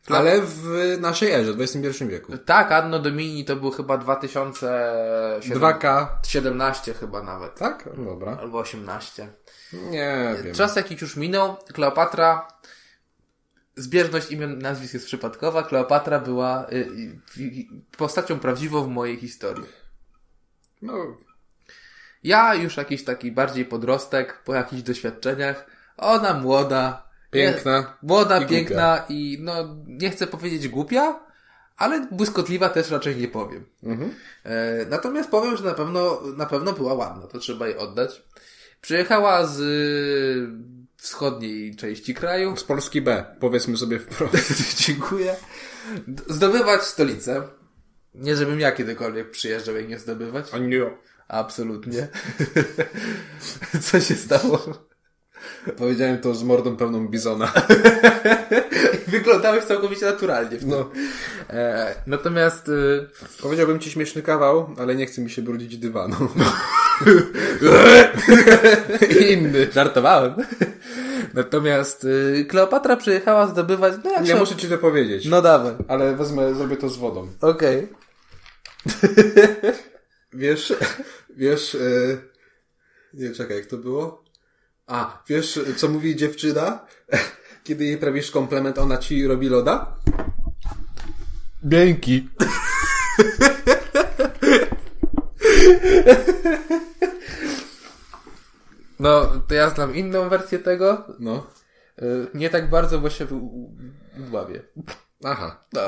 [SPEAKER 1] Ale w naszej erze, XXI wieku.
[SPEAKER 2] Tak, Anno Domini to był chyba 2017
[SPEAKER 1] 2K,
[SPEAKER 2] 17 chyba nawet.
[SPEAKER 1] tak? No Dobra.
[SPEAKER 2] Albo 18.
[SPEAKER 1] Nie wiem.
[SPEAKER 2] Czas jakiś już minął. Kleopatra. Zbieżność imion nazwisk jest przypadkowa. Kleopatra była y, y, y, postacią prawdziwą w mojej historii.
[SPEAKER 1] No,
[SPEAKER 2] Ja już jakiś taki bardziej podrostek, po jakichś doświadczeniach. Ona młoda.
[SPEAKER 1] piękna.
[SPEAKER 2] Młoda,
[SPEAKER 1] I
[SPEAKER 2] piękna i no nie chcę powiedzieć głupia, ale błyskotliwa też raczej nie powiem.
[SPEAKER 1] Mhm.
[SPEAKER 2] E, natomiast powiem, że na pewno, na pewno była ładna, to trzeba jej oddać. Przyjechała z y, wschodniej części kraju. [LAUGHS]
[SPEAKER 1] Z Polski B, powiedzmy sobie wprost.
[SPEAKER 2] Dziękuję. D- Zdobywać stolicę. Nie żebym ja kiedykolwiek przyjeżdżał i nie zdobywać.
[SPEAKER 1] [LAUGHS] A nie.
[SPEAKER 2] Absolutnie. [LAUGHS] Co się stało? [LAUGHS]
[SPEAKER 1] Powiedziałem to z mordą pełną bizona. [LAUGHS]
[SPEAKER 2] Wyglądałeś całkowicie naturalnie. w tym.
[SPEAKER 1] No.
[SPEAKER 2] E, natomiast y,
[SPEAKER 1] Powiedziałbym ci śmieszny kawał, ale nie chce mi się brudzić dywanu. [LAUGHS] Inny.
[SPEAKER 2] Żartowałem. [LAUGHS] Natomiast y, Kleopatra przyjechała zdobywać. No jak
[SPEAKER 1] [LAUGHS] Nie
[SPEAKER 2] się...
[SPEAKER 1] muszę ci to powiedzieć.
[SPEAKER 2] No dawaj.
[SPEAKER 1] Ale wezmę, zrobię to z wodą.
[SPEAKER 2] Okej.
[SPEAKER 1] [LAUGHS] Wiesz, wiesz, e, Nie, czekaj, jak to było? A, wiesz, co mówi dziewczyna? [LAUGHS] Kiedy jej prawisz komplement, ona ci robi loda?
[SPEAKER 2] Miękki. [LAUGHS] No, to ja znam inną wersję tego.
[SPEAKER 1] No.
[SPEAKER 2] Y, Nie tak bardzo, bo się w- u- udławię.
[SPEAKER 1] Aha,
[SPEAKER 2] No,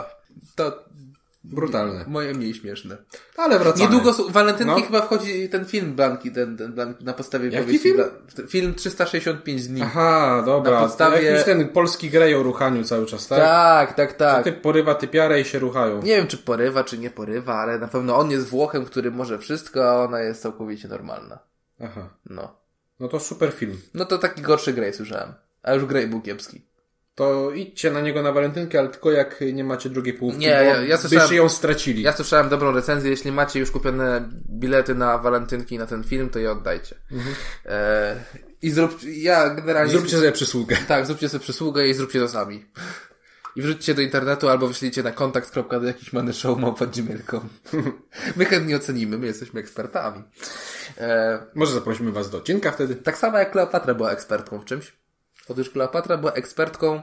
[SPEAKER 2] to
[SPEAKER 1] brutalne.
[SPEAKER 2] moje mniej śmieszne.
[SPEAKER 1] Ale wracamy.
[SPEAKER 2] Niedługo są- walentynki
[SPEAKER 1] No.
[SPEAKER 2] chyba wchodzi ten film Blanki, ten, ten Blanki na podstawie
[SPEAKER 1] Jaki
[SPEAKER 2] powieści.
[SPEAKER 1] film?
[SPEAKER 2] Bla- Film 365 dni.
[SPEAKER 1] Aha, dobra.
[SPEAKER 2] Na podstawie-
[SPEAKER 1] To Jakiś ten polski grej o ruchaniu cały czas, tak?
[SPEAKER 2] Tak, tak, tak.
[SPEAKER 1] Ty porywa typiarę i się ruchają.
[SPEAKER 2] Nie wiem, czy porywa, czy nie porywa, ale na pewno on jest Włochem, który może wszystko, a ona jest całkowicie normalna.
[SPEAKER 1] Aha.
[SPEAKER 2] No.
[SPEAKER 1] No to super film.
[SPEAKER 2] No to taki gorszy Grey słyszałem. A już Grey był kiepski.
[SPEAKER 1] To idźcie na niego na walentynkę, ale tylko jak nie macie drugiej połówki,
[SPEAKER 2] Nie,
[SPEAKER 1] bo
[SPEAKER 2] ja- ja słyszałem-
[SPEAKER 1] byście ją stracili.
[SPEAKER 2] Ja słyszałem dobrą recenzję. Jeśli macie już kupione bilety na walentynki na ten film, to je oddajcie. E, I zrób, ja generalnie...
[SPEAKER 1] Mhm. Zróbcie sobie przysługę.
[SPEAKER 2] Tak, zróbcie sobie przysługę i zróbcie to sami. [LAUGHS] I wrzućcie do internetu albo wyślijcie na kontakt. do jakiś [LAUGHS] My chętnie ocenimy, my jesteśmy ekspertami. E,
[SPEAKER 1] Może zaprosimy was do odcinka wtedy
[SPEAKER 2] tak samo jak Kleopatra była ekspertką w czymś. Otóż Kleopatra była ekspertką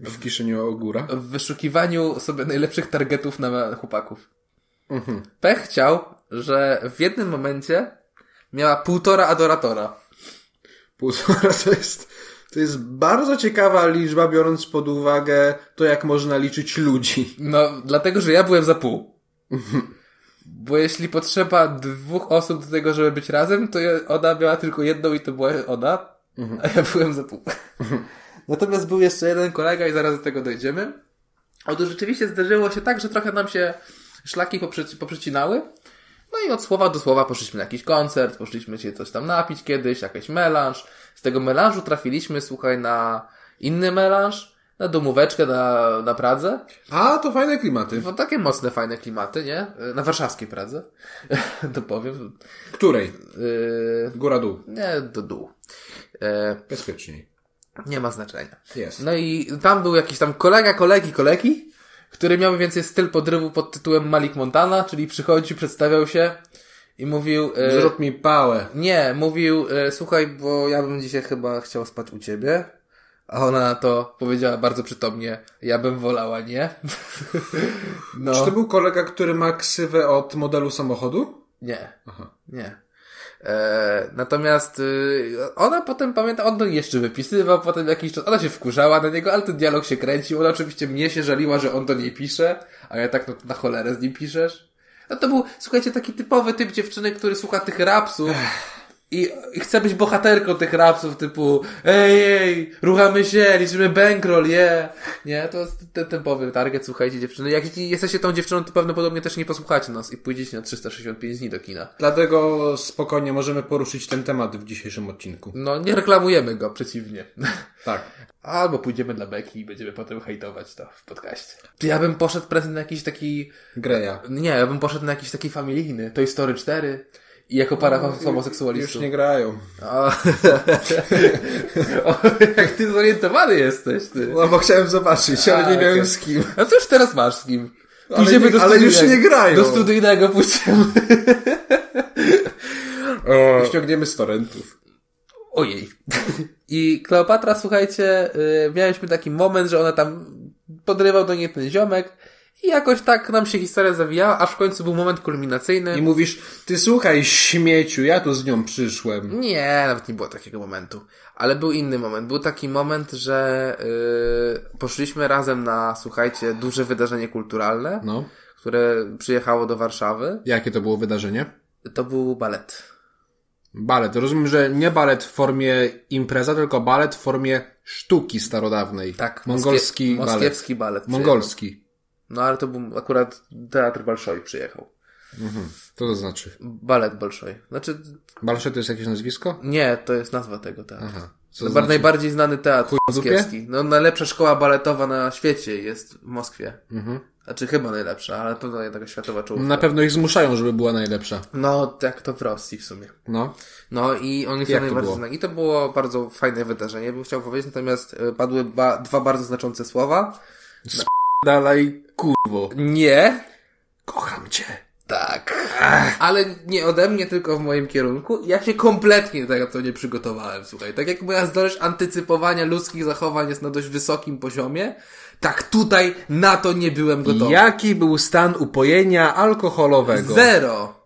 [SPEAKER 1] w Kiszyniu Ogóra.
[SPEAKER 2] w wyszukiwaniu sobie najlepszych targetów na chłopaków. Pech chciał, że w jednym momencie miała półtora adoratora.
[SPEAKER 1] Półtora to jest, to jest bardzo ciekawa liczba, biorąc pod uwagę to, jak można liczyć ludzi.
[SPEAKER 2] No, dlatego, że ja byłem za pół. Bo jeśli potrzeba dwóch osób do tego, żeby być razem, to ja- ona miała tylko jedną i to była ona, a ja byłem za pół. Natomiast był jeszcze jeden kolega i zaraz do tego dojdziemy. Otóż rzeczywiście zdarzyło się tak, że trochę nam się szlaki poprzeci- poprzecinały. No i od słowa do słowa poszliśmy na jakiś koncert, poszliśmy się coś tam napić kiedyś, jakiś melanż. Z tego melanżu trafiliśmy, słuchaj, na inny melanż, na domóweczkę na, na Pradze.
[SPEAKER 1] A, to fajne klimaty.
[SPEAKER 2] No takie mocne, fajne klimaty, nie? E, Na warszawskiej Pradze, [LAUGHS] to powiem.
[SPEAKER 1] Której?
[SPEAKER 2] Yy,
[SPEAKER 1] Góra-dół.
[SPEAKER 2] nie, do dół. Yy,
[SPEAKER 1] Bezpieczniej.
[SPEAKER 2] nie ma znaczenia.
[SPEAKER 1] Jest.
[SPEAKER 2] No i tam był jakiś tam kolega, kolegi, kolegi, który miał mniej więcej styl podrywu pod tytułem Malik Montana, czyli przychodził, przedstawiał się i mówił... yy,
[SPEAKER 1] Zrób mi pałę.
[SPEAKER 2] nie, mówił, e, słuchaj, bo ja bym dzisiaj chyba chciał spać u ciebie. A ona na to powiedziała bardzo przytomnie, ja bym wolała, nie? [LAUGHS] no,
[SPEAKER 1] Czy to był kolega, który ma ksywę od modelu samochodu?
[SPEAKER 2] nie.
[SPEAKER 1] Aha.
[SPEAKER 2] Nie. E, natomiast y, ona potem, pamięta, on do niej jeszcze wypisywał, potem jakiś czas, ona się wkurzała na niego, ale ten dialog się kręcił, ona oczywiście mnie się żaliła, że on do niej pisze, a ja tak, no na cholerę z nim piszesz. No to był, słuchajcie, taki typowy typ dziewczyny, który słucha tych rapsów i, i chce być bohaterką tych rapsów typu ej, ej, ruchamy się, liczymy bankroll, je. Nie, to jest ten typowy target, słuchajcie dziewczyny. Jak jesteście tą dziewczyną, to prawdopodobnie też nie posłuchacie nas i pójdziecie na 365 dni do kina.
[SPEAKER 1] Dlatego spokojnie możemy poruszyć ten temat w dzisiejszym odcinku.
[SPEAKER 2] No, nie reklamujemy go, przeciwnie. [LAUGHS]
[SPEAKER 1] Tak.
[SPEAKER 2] Albo pójdziemy dla beki i będziemy potem hejtować to w podcaście. Czy ja bym poszedł prezent na jakiś taki...
[SPEAKER 1] Greja.
[SPEAKER 2] Nie, ja bym poszedł na jakiś taki familijny. Toy Story 4. I jako para
[SPEAKER 1] No, Już
[SPEAKER 2] homoseksualistów.
[SPEAKER 1] nie grają.
[SPEAKER 2] O, [LAUGHS] o, jak ty zorientowany jesteś, ty.
[SPEAKER 1] No bo chciałem zobaczyć,
[SPEAKER 2] A,
[SPEAKER 1] ale nie miałem
[SPEAKER 2] okej.
[SPEAKER 1] z kim.
[SPEAKER 2] No to już teraz masz z kim.
[SPEAKER 1] Ale nie- ale już
[SPEAKER 2] studyjnego-
[SPEAKER 1] nie grają.
[SPEAKER 2] Do studyjnego pójdziemy. O,
[SPEAKER 1] Ściągniemy z torrentów.
[SPEAKER 2] Ojej. I Kleopatra, słuchajcie, y, mieliśmy taki moment, że ona tam podrywał do niej ten ziomek i jakoś tak nam się historia zawijała, aż w końcu był moment
[SPEAKER 1] I
[SPEAKER 2] kulminacyjny.
[SPEAKER 1] mówisz, ty słuchaj śmieciu, ja tu z nią przyszłem.
[SPEAKER 2] Nie, nawet nie było takiego momentu. Ale był inny moment. Był taki moment, że y, poszliśmy razem na, słuchajcie, duże wydarzenie kulturalne,
[SPEAKER 1] No.
[SPEAKER 2] które przyjechało do Warszawy.
[SPEAKER 1] Jakie to było wydarzenie?
[SPEAKER 2] To był balet.
[SPEAKER 1] Balet. Rozumiem, że nie balet w formie impreza, tylko balet w formie sztuki starodawnej.
[SPEAKER 2] Tak,
[SPEAKER 1] Mongolski
[SPEAKER 2] moskiewski
[SPEAKER 1] balet.
[SPEAKER 2] Moskiewski balet. przyjechał.
[SPEAKER 1] Mongolski.
[SPEAKER 2] No ale to był akurat teatr Balszoi przyjechał.
[SPEAKER 1] Co to znaczy?
[SPEAKER 2] Balet Bolszoj. Znaczy,
[SPEAKER 1] Balsze to jest jakieś nazwisko?
[SPEAKER 2] nie, to jest nazwa tego teatru.
[SPEAKER 1] Aha. Co
[SPEAKER 2] To
[SPEAKER 1] to
[SPEAKER 2] bar-
[SPEAKER 1] znaczy?
[SPEAKER 2] Najbardziej znany teatr
[SPEAKER 1] w dupie?
[SPEAKER 2] moskiewski. No, najlepsza szkoła baletowa na świecie jest w Moskwie.
[SPEAKER 1] Mhm.
[SPEAKER 2] Znaczy, chyba najlepsza, ale to no, taka światowa czołówka.
[SPEAKER 1] Na pewno ich zmuszają, żeby była najlepsza.
[SPEAKER 2] No, tak to w Rosji w sumie.
[SPEAKER 1] No.
[SPEAKER 2] No i on jest
[SPEAKER 1] Jak to
[SPEAKER 2] najbardziej
[SPEAKER 1] było?
[SPEAKER 2] znany. I to było bardzo fajne wydarzenie, bym chciał powiedzieć, natomiast e, padły ba- dwa bardzo znaczące słowa.
[SPEAKER 1] Dalej, kurwo.
[SPEAKER 2] Nie,
[SPEAKER 1] Kocham cię.
[SPEAKER 2] Tak. Ale nie ode mnie, tylko w moim kierunku. Ja się kompletnie tak na to nie przygotowałem, słuchaj. Tak jak moja zdolność antycypowania ludzkich zachowań jest na dość wysokim poziomie, tak tutaj na to nie byłem
[SPEAKER 1] No
[SPEAKER 2] gotowy.
[SPEAKER 1] Jaki był stan upojenia alkoholowego?
[SPEAKER 2] Zero.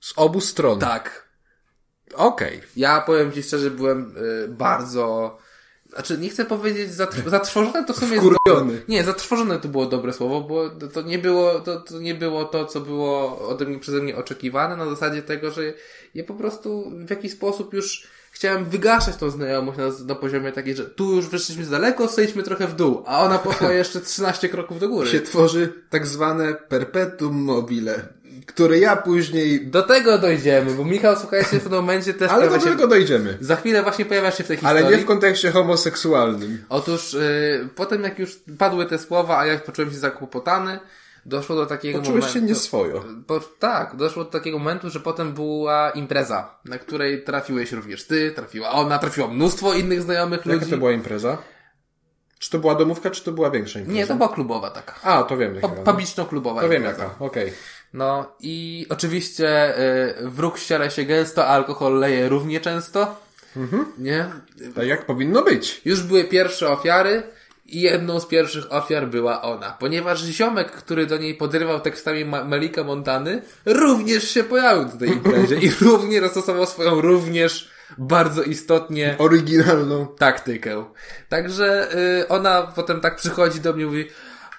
[SPEAKER 1] Z obu stron.
[SPEAKER 2] Tak.
[SPEAKER 1] Okej.
[SPEAKER 2] Ja powiem Ci szczerze, byłem y, bardzo. Znaczy, nie chcę powiedzieć zatr- zatrwożony, to w sumie. jest
[SPEAKER 1] Wkurwiony.
[SPEAKER 2] Nie, zatrwożone to było dobre słowo, bo to- to nie było to, to, nie było to co było ode mnie, przeze mnie oczekiwane, na zasadzie tego, że ja po prostu w jakiś sposób już chciałem wygaszać tą znajomość na, na poziomie takiej, że tu już wyszliśmy z daleko, zejdźmy trochę w dół, a
[SPEAKER 1] [LAUGHS]
[SPEAKER 2] ona poszła jeszcze 13 kroków do góry.
[SPEAKER 1] Się tworzy tak zwane perpetuum mobile, które ja później...
[SPEAKER 2] Do tego dojdziemy, bo Michał, słuchajcie, w tym momencie też
[SPEAKER 1] Ale do
[SPEAKER 2] pojawia się...
[SPEAKER 1] tego dojdziemy.
[SPEAKER 2] Za chwilę właśnie pojawia się w tej historii.
[SPEAKER 1] Ale nie w kontekście homoseksualnym.
[SPEAKER 2] Otóż y, potem jak już padły te słowa, a ja poczułem się zakłopotany, doszło do takiego
[SPEAKER 1] No Czułeś się
[SPEAKER 2] momentu.
[SPEAKER 1] nieswojo.
[SPEAKER 2] Bo, tak, doszło do takiego momentu, że potem była impreza, na której trafiłeś również ty, trafiła ona, trafiło mnóstwo innych znajomych
[SPEAKER 1] Jaka
[SPEAKER 2] ludzi.
[SPEAKER 1] to była impreza? Czy to była domówka, czy to była większa impreza?
[SPEAKER 2] Nie, to była klubowa taka.
[SPEAKER 1] A, to wiem jaka.
[SPEAKER 2] Pa- Publiczno-klubowa.
[SPEAKER 1] To wiem
[SPEAKER 2] impreza.
[SPEAKER 1] jaka, okej.
[SPEAKER 2] No i oczywiście y, wróg ściera się gęsto, a alkohol leje równie często.
[SPEAKER 1] Mhm.
[SPEAKER 2] Nie?
[SPEAKER 1] Tak jak powinno być.
[SPEAKER 2] Już były pierwsze ofiary i jedną z pierwszych ofiar była ona, ponieważ ziomek, który do niej podrywał tekstami Ma- Melika Montany, również się pojawił na tej imprezie i [LAUGHS] również zastosował swoją również bardzo istotnie
[SPEAKER 1] Oryginalną. [LAUGHS]
[SPEAKER 2] taktykę. Także y, ona potem tak przychodzi do mnie i mówi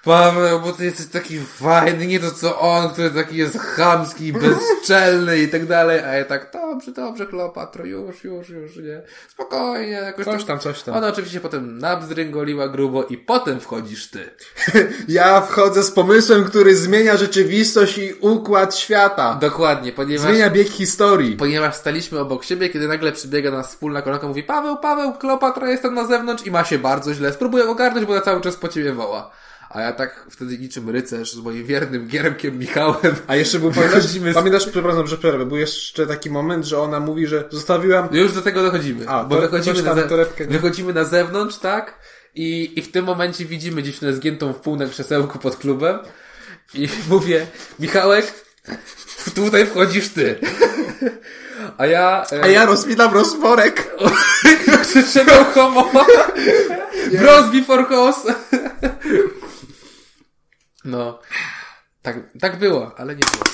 [SPEAKER 2] Paweł, bo ty jesteś taki fajny, nie to co on, który taki jest chamski, bezczelny i tak dalej, a ja tak, dobrze, dobrze, Kleopatro, już, już, już, nie, spokojnie, jakoś
[SPEAKER 1] Coś tam, coś tam.
[SPEAKER 2] Ona oczywiście potem nabzdryngoliła grubo i potem wchodzisz ty.
[SPEAKER 1] Ja wchodzę z pomysłem, który zmienia rzeczywistość i układ świata.
[SPEAKER 2] Dokładnie, ponieważ...
[SPEAKER 1] Zmienia bieg historii.
[SPEAKER 2] Ponieważ staliśmy obok siebie, kiedy nagle przybiega nas wspólna koleżanka mówi Paweł, Paweł, Kleopatra, jestem na zewnątrz i ma się bardzo źle. Spróbuję ogarnąć, bo na cały czas po ciebie woła. A ja tak wtedy niczym rycerz z moim wiernym giermkiem Michałem.
[SPEAKER 1] A jeszcze był, pamiętasz,
[SPEAKER 2] Wychodzimy z-
[SPEAKER 1] pamiętasz, przepraszam, że przerwę, był jeszcze taki moment, że ona mówi, że zostawiłam...
[SPEAKER 2] no Już do tego dochodzimy.
[SPEAKER 1] A,
[SPEAKER 2] bo
[SPEAKER 1] to-
[SPEAKER 2] wychodzimy
[SPEAKER 1] coś
[SPEAKER 2] na,
[SPEAKER 1] tam,
[SPEAKER 2] ze-
[SPEAKER 1] torebkę.
[SPEAKER 2] wychodzimy na zewnątrz, tak? I, I w tym momencie widzimy dziewczynę zgiętą w pół na krzesełku pod klubem. I [LAUGHS] mówię, Michałek, tutaj wchodzisz ty. A ja... e,
[SPEAKER 1] A ja rozpinam rozporek.
[SPEAKER 2] Krzyczał homo. Bros before hoes. No. Tak, tak było, ale nie było.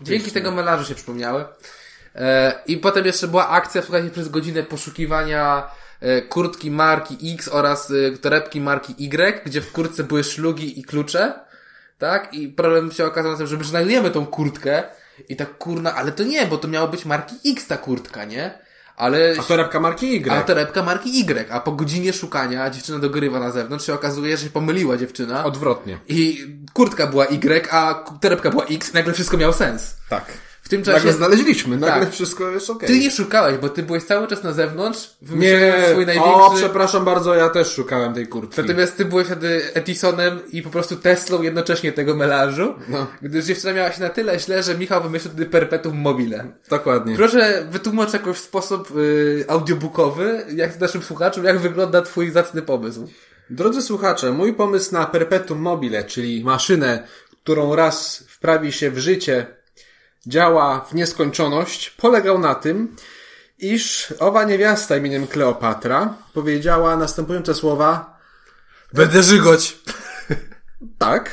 [SPEAKER 2] Dzięki tego melanżu się przypomniały. E, I potem jeszcze była akcja, słuchajcie, przez godzinę poszukiwania e, kurtki marki X oraz e, torebki marki Y, gdzie w kurtce były szlugi i klucze. Tak? I problem się okazał na tym, że my znajdujemy tą kurtkę i tak kurna, ale to nie, bo to miało być marki X ta kurtka, nie? Ale
[SPEAKER 1] A torebka marki Y.
[SPEAKER 2] a torebka marki Y, a po godzinie szukania dziewczyna dogrywa na zewnątrz się okazuje, że się pomyliła dziewczyna
[SPEAKER 1] Odwrotnie.
[SPEAKER 2] i kurtka była Y, a k- torebka była X, nagle wszystko miało sens.
[SPEAKER 1] Tak.
[SPEAKER 2] W tym
[SPEAKER 1] Nagle
[SPEAKER 2] czasie
[SPEAKER 1] znaleźliśmy, nagle
[SPEAKER 2] Tak.
[SPEAKER 1] wszystko jest okej.
[SPEAKER 2] ty nie szukałeś, bo ty byłeś cały czas na zewnątrz, wymyślając
[SPEAKER 1] Nie,
[SPEAKER 2] swój
[SPEAKER 1] o
[SPEAKER 2] największy...
[SPEAKER 1] przepraszam bardzo, ja też szukałem tej kurtki.
[SPEAKER 2] Natomiast ty byłeś wtedy Edisonem i po prostu Teslą jednocześnie tego melanżu,
[SPEAKER 1] No.
[SPEAKER 2] gdyż dziewczyna miała się na tyle źle, że Michał wymyślił wtedy perpetuum mobile.
[SPEAKER 1] Dokładnie.
[SPEAKER 2] Proszę wytłumacz jakoś w sposób y, audiobookowy, jak naszym słuchaczom, jak wygląda twój zacny pomysł.
[SPEAKER 1] Drodzy słuchacze, mój pomysł na perpetuum mobile, czyli maszynę, którą raz wprawi się w życie, działa w nieskończoność, polegał na tym, iż owa niewiasta imieniem Kleopatra powiedziała następujące słowa
[SPEAKER 2] Będę żygać.
[SPEAKER 1] tak,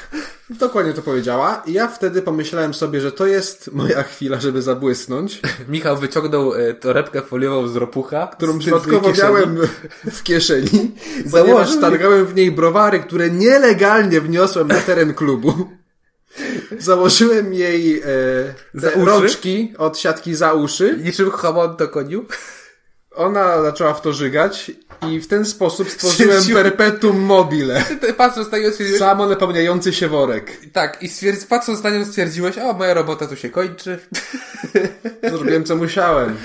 [SPEAKER 1] dokładnie to powiedziała i ja wtedy pomyślałem sobie, że to jest moja chwila, żeby zabłysnąć,
[SPEAKER 2] Michał wyciągnął e, torebkę foliową z ropucha,
[SPEAKER 1] którą
[SPEAKER 2] z
[SPEAKER 1] przypadkowo
[SPEAKER 2] tylnej kieszeni.
[SPEAKER 1] miałem [LAUGHS] w kieszeni, ponieważ
[SPEAKER 2] Założył-
[SPEAKER 1] targałem w niej browary, które nielegalnie wniosłem na teren klubu. Założyłem jej e,
[SPEAKER 2] Za
[SPEAKER 1] te
[SPEAKER 2] uszy?
[SPEAKER 1] rączki od siatki za uszy.
[SPEAKER 2] Niczym hamon do koniu.
[SPEAKER 1] Ona zaczęła w to żygać i w ten sposób stworzyłem
[SPEAKER 2] Siu-
[SPEAKER 1] perpetuum mobile.
[SPEAKER 2] Ty, ty patrząc na nią stwierdziłeś,
[SPEAKER 1] Samo napełniający się worek.
[SPEAKER 2] tak, i stwierdz, patrząc na nią stwierdziłeś, o, moja robota tu się kończy. [LAUGHS]
[SPEAKER 1] Zrobiłem co musiałem.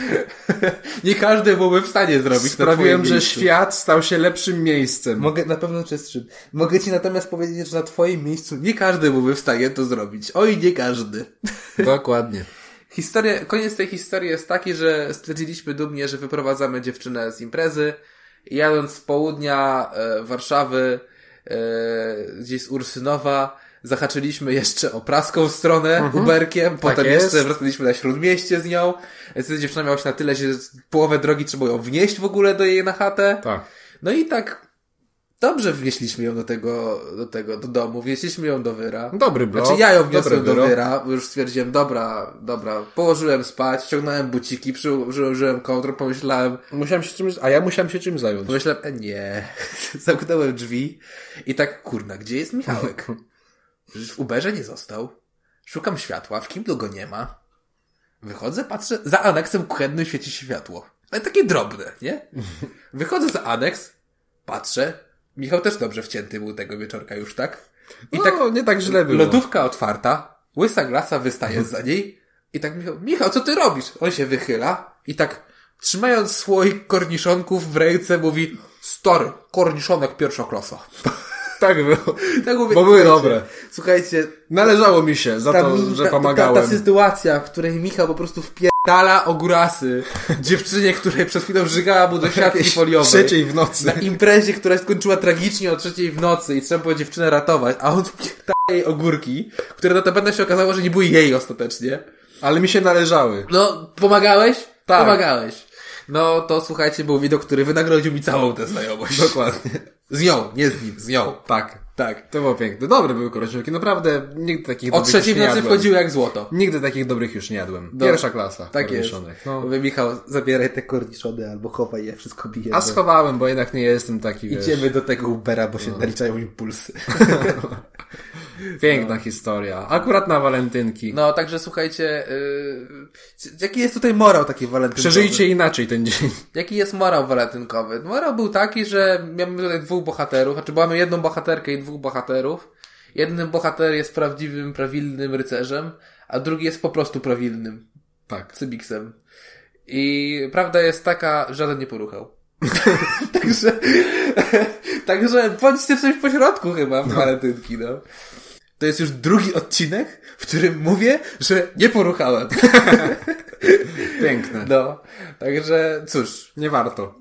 [SPEAKER 2] Nie każdy byłby w stanie zrobić
[SPEAKER 1] Sprawiłem,
[SPEAKER 2] na
[SPEAKER 1] że
[SPEAKER 2] twoim miejscu.
[SPEAKER 1] świat stał się lepszym miejscem.
[SPEAKER 2] Mogę, na pewno czystszym. Mogę ci natomiast powiedzieć, że na twoim miejscu nie każdy byłby w stanie to zrobić. Oj, nie każdy. [LAUGHS]
[SPEAKER 1] Dokładnie.
[SPEAKER 2] Historia, koniec tej historii jest taki, że stwierdziliśmy dumnie, że wyprowadzamy dziewczynę z imprezy. I Jadąc z południa e, Warszawy, e, gdzieś z Ursynowa, zahaczyliśmy jeszcze o praską stronę Uberkiem, potem
[SPEAKER 1] Mhm. Tak jest.
[SPEAKER 2] jeszcze wracaliśmy na Śródmieście z nią. Wtedy dziewczyna miała się na tyle, że połowę drogi trzeba ją wnieść w ogóle do jej na chatę.
[SPEAKER 1] Tak.
[SPEAKER 2] No i tak dobrze wnieśliśmy ją do tego, do tego, do domu, wnieśliśmy ją do wyra.
[SPEAKER 1] Dobry blok.
[SPEAKER 2] Znaczy ja ją
[SPEAKER 1] dobre
[SPEAKER 2] wniosłem do
[SPEAKER 1] wyro.
[SPEAKER 2] wyra, bo już stwierdziłem, dobra, dobra, położyłem spać, ściągnąłem buciki, przyłożyłem kołdrą, pomyślałem,
[SPEAKER 1] Musiałem się czymś, a ja musiałem się czym zająć.
[SPEAKER 2] pomyślałem, e, nie, [LAUGHS] zamknąłem drzwi i tak, kurna, gdzie jest Michałek? Przecież w Uberze nie został. Szukam światła, w Kindle go nie ma. Wychodzę, patrzę, za aneksem kuchennym świeci się światło. Ale takie drobne, nie?
[SPEAKER 1] [LAUGHS]
[SPEAKER 2] Wychodzę za aneks, patrzę, Michał też dobrze wcięty był tego wieczorka już, tak? I
[SPEAKER 1] No,
[SPEAKER 2] tak
[SPEAKER 1] nie tak źle było.
[SPEAKER 2] Lodówka otwarta, łysa glasa wystaje za niej i tak Michał, Michał, co ty robisz? On się wychyla i tak trzymając słoik korniszonków w ręce mówi, stary, korniszonek pierwsza [LAUGHS] klasa.
[SPEAKER 1] Tak było.
[SPEAKER 2] Tak mówię,
[SPEAKER 1] Bo były
[SPEAKER 2] słuchajcie,
[SPEAKER 1] dobre.
[SPEAKER 2] Słuchajcie,
[SPEAKER 1] Należało mi się za
[SPEAKER 2] ta,
[SPEAKER 1] to,
[SPEAKER 2] mi-
[SPEAKER 1] że
[SPEAKER 2] ta, ta, ta,
[SPEAKER 1] pomagałem.
[SPEAKER 2] ta sytuacja, w której Michał po prostu wpierdala o górasy [LAUGHS] dziewczynie, której przed chwilą żygała
[SPEAKER 1] [LAUGHS]
[SPEAKER 2] mu do siatki
[SPEAKER 1] Jakieś
[SPEAKER 2] foliowej.
[SPEAKER 1] trzeciej w nocy.
[SPEAKER 2] Na imprezie, która skończyła tragicznie o trzeciej w nocy i trzeba było dziewczynę ratować, a on wpierdala jej ogórki, które notabene się okazało, że nie były jej ostatecznie.
[SPEAKER 1] Ale mi się należały.
[SPEAKER 2] No, pomagałeś?
[SPEAKER 1] Tak.
[SPEAKER 2] Pomagałeś. No, to słuchajcie, był widok, który wynagrodził mi całą tę znajomość.
[SPEAKER 1] Dokładnie.
[SPEAKER 2] Z nią, nie z nim, z nią.
[SPEAKER 1] Tak.
[SPEAKER 2] Tak.
[SPEAKER 1] To było piękne. Dobre były koleżanki. Naprawdę nigdy takich
[SPEAKER 2] O
[SPEAKER 1] dobrych
[SPEAKER 2] trzeciej w
[SPEAKER 1] już nie
[SPEAKER 2] nocy
[SPEAKER 1] jadłem.
[SPEAKER 2] wchodziły jak złoto.
[SPEAKER 1] Nigdy takich dobrych już nie jadłem. Pierwsza klasa.
[SPEAKER 2] Tak jest.
[SPEAKER 1] podwieszonych. No.
[SPEAKER 2] Mówię, Michał, zabieraj te korniszony albo chowaj je, wszystko bijemy.
[SPEAKER 1] A schowałem, bo jednak nie jestem taki, wiesz.
[SPEAKER 2] Idziemy do tego Ubera, bo się naliczają impulsy.
[SPEAKER 1] Piękna historia. Akurat na walentynki.
[SPEAKER 2] No, także słuchajcie, yy, jaki jest tutaj morał taki walentynkowy?
[SPEAKER 1] Przeżyjcie inaczej ten dzień. [LAUGHS]
[SPEAKER 2] Jaki jest morał walentynkowy? Morał był taki, że miałem tutaj dwóch bohaterów, znaczy bo mamy jedną bohaterkę i dwóch bohaterów. Jeden bohater jest prawdziwym, prawilnym rycerzem, a drugi jest po prostu prawilnym,
[SPEAKER 1] Tak.
[SPEAKER 2] cybiksem. I prawda jest taka, żaden nie poruchał. [LAUGHS] także, [LAUGHS] także bądźcie coś w pośrodku chyba w walentynki, no. To jest już drugi odcinek, w którym mówię, że nie poruchałem. [LAUGHS]
[SPEAKER 1] Piękne.
[SPEAKER 2] No, także cóż,
[SPEAKER 1] Nie warto.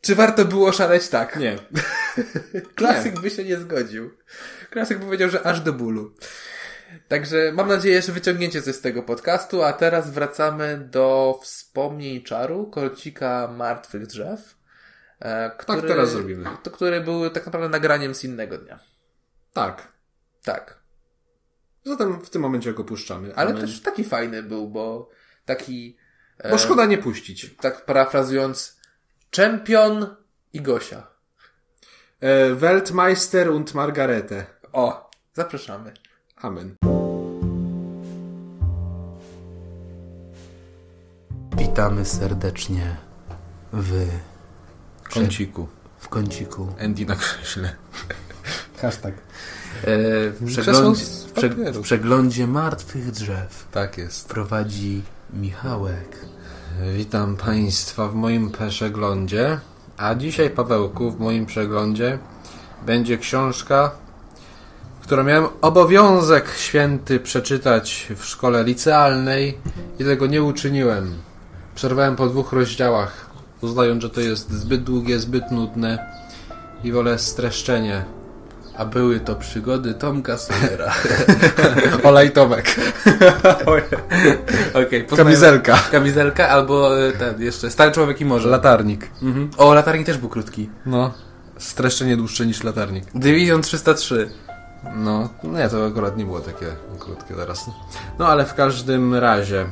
[SPEAKER 2] czy warto było szaleć tak?
[SPEAKER 1] Nie.
[SPEAKER 2] Klasyk by się nie zgodził. Klasyk powiedział, że aż do bólu. Także mam nadzieję, że wyciągniecie coś z tego podcastu, a teraz wracamy do wspomnień czaru, korcika martwych drzew. e, Który,
[SPEAKER 1] Tak, teraz zrobimy.
[SPEAKER 2] To, który był tak naprawdę nagraniem z innego dnia.
[SPEAKER 1] Tak.
[SPEAKER 2] Tak.
[SPEAKER 1] Zatem w tym momencie go puszczamy.
[SPEAKER 2] Ale
[SPEAKER 1] Amen.
[SPEAKER 2] też taki fajny był, bo taki,
[SPEAKER 1] Bo
[SPEAKER 2] e,
[SPEAKER 1] szkoda nie puścić.
[SPEAKER 2] tak parafrazując, czempion i Gosia.
[SPEAKER 1] E, Weltmeister und Margarete.
[SPEAKER 2] O, zapraszamy.
[SPEAKER 1] Amen.
[SPEAKER 2] Witamy serdecznie w,
[SPEAKER 1] Kąciku.
[SPEAKER 2] w kąciku.
[SPEAKER 1] Andy na krześle. [LAUGHS]
[SPEAKER 2] Hashtag. E, w,
[SPEAKER 1] Krzesło
[SPEAKER 2] przeglądzie,
[SPEAKER 1] z
[SPEAKER 2] w prze-
[SPEAKER 1] papieru.
[SPEAKER 2] w przeglądzie martwych drzew
[SPEAKER 1] Tak jest.
[SPEAKER 2] prowadzi Michałek.
[SPEAKER 1] Witam Państwa w moim przeglądzie. A dzisiaj, Pawełku, w moim przeglądzie będzie książka, którą miałem obowiązek święty przeczytać w szkole licealnej i tego nie uczyniłem. Przerwałem po dwóch rozdziałach, uznając, że to jest zbyt długie, zbyt nudne i wolę [LAUGHS] streszczenie.
[SPEAKER 2] A były to przygody Tomka
[SPEAKER 1] [LAUGHS]
[SPEAKER 2] Sawyera.
[SPEAKER 1] Olej Tomek.
[SPEAKER 2] Okej, poznajemy-
[SPEAKER 1] Kamizelka.
[SPEAKER 2] Kamizelka albo e, ten jeszcze Stary Człowiek i Morze. Mhm.
[SPEAKER 1] Latarnik.
[SPEAKER 2] O, latarnik też był krótki.
[SPEAKER 1] No. Streszczenie dłuższe niż latarnik.
[SPEAKER 2] Division 303.
[SPEAKER 1] No, nie, to akurat nie było takie krótkie teraz. No, ale w każdym razie.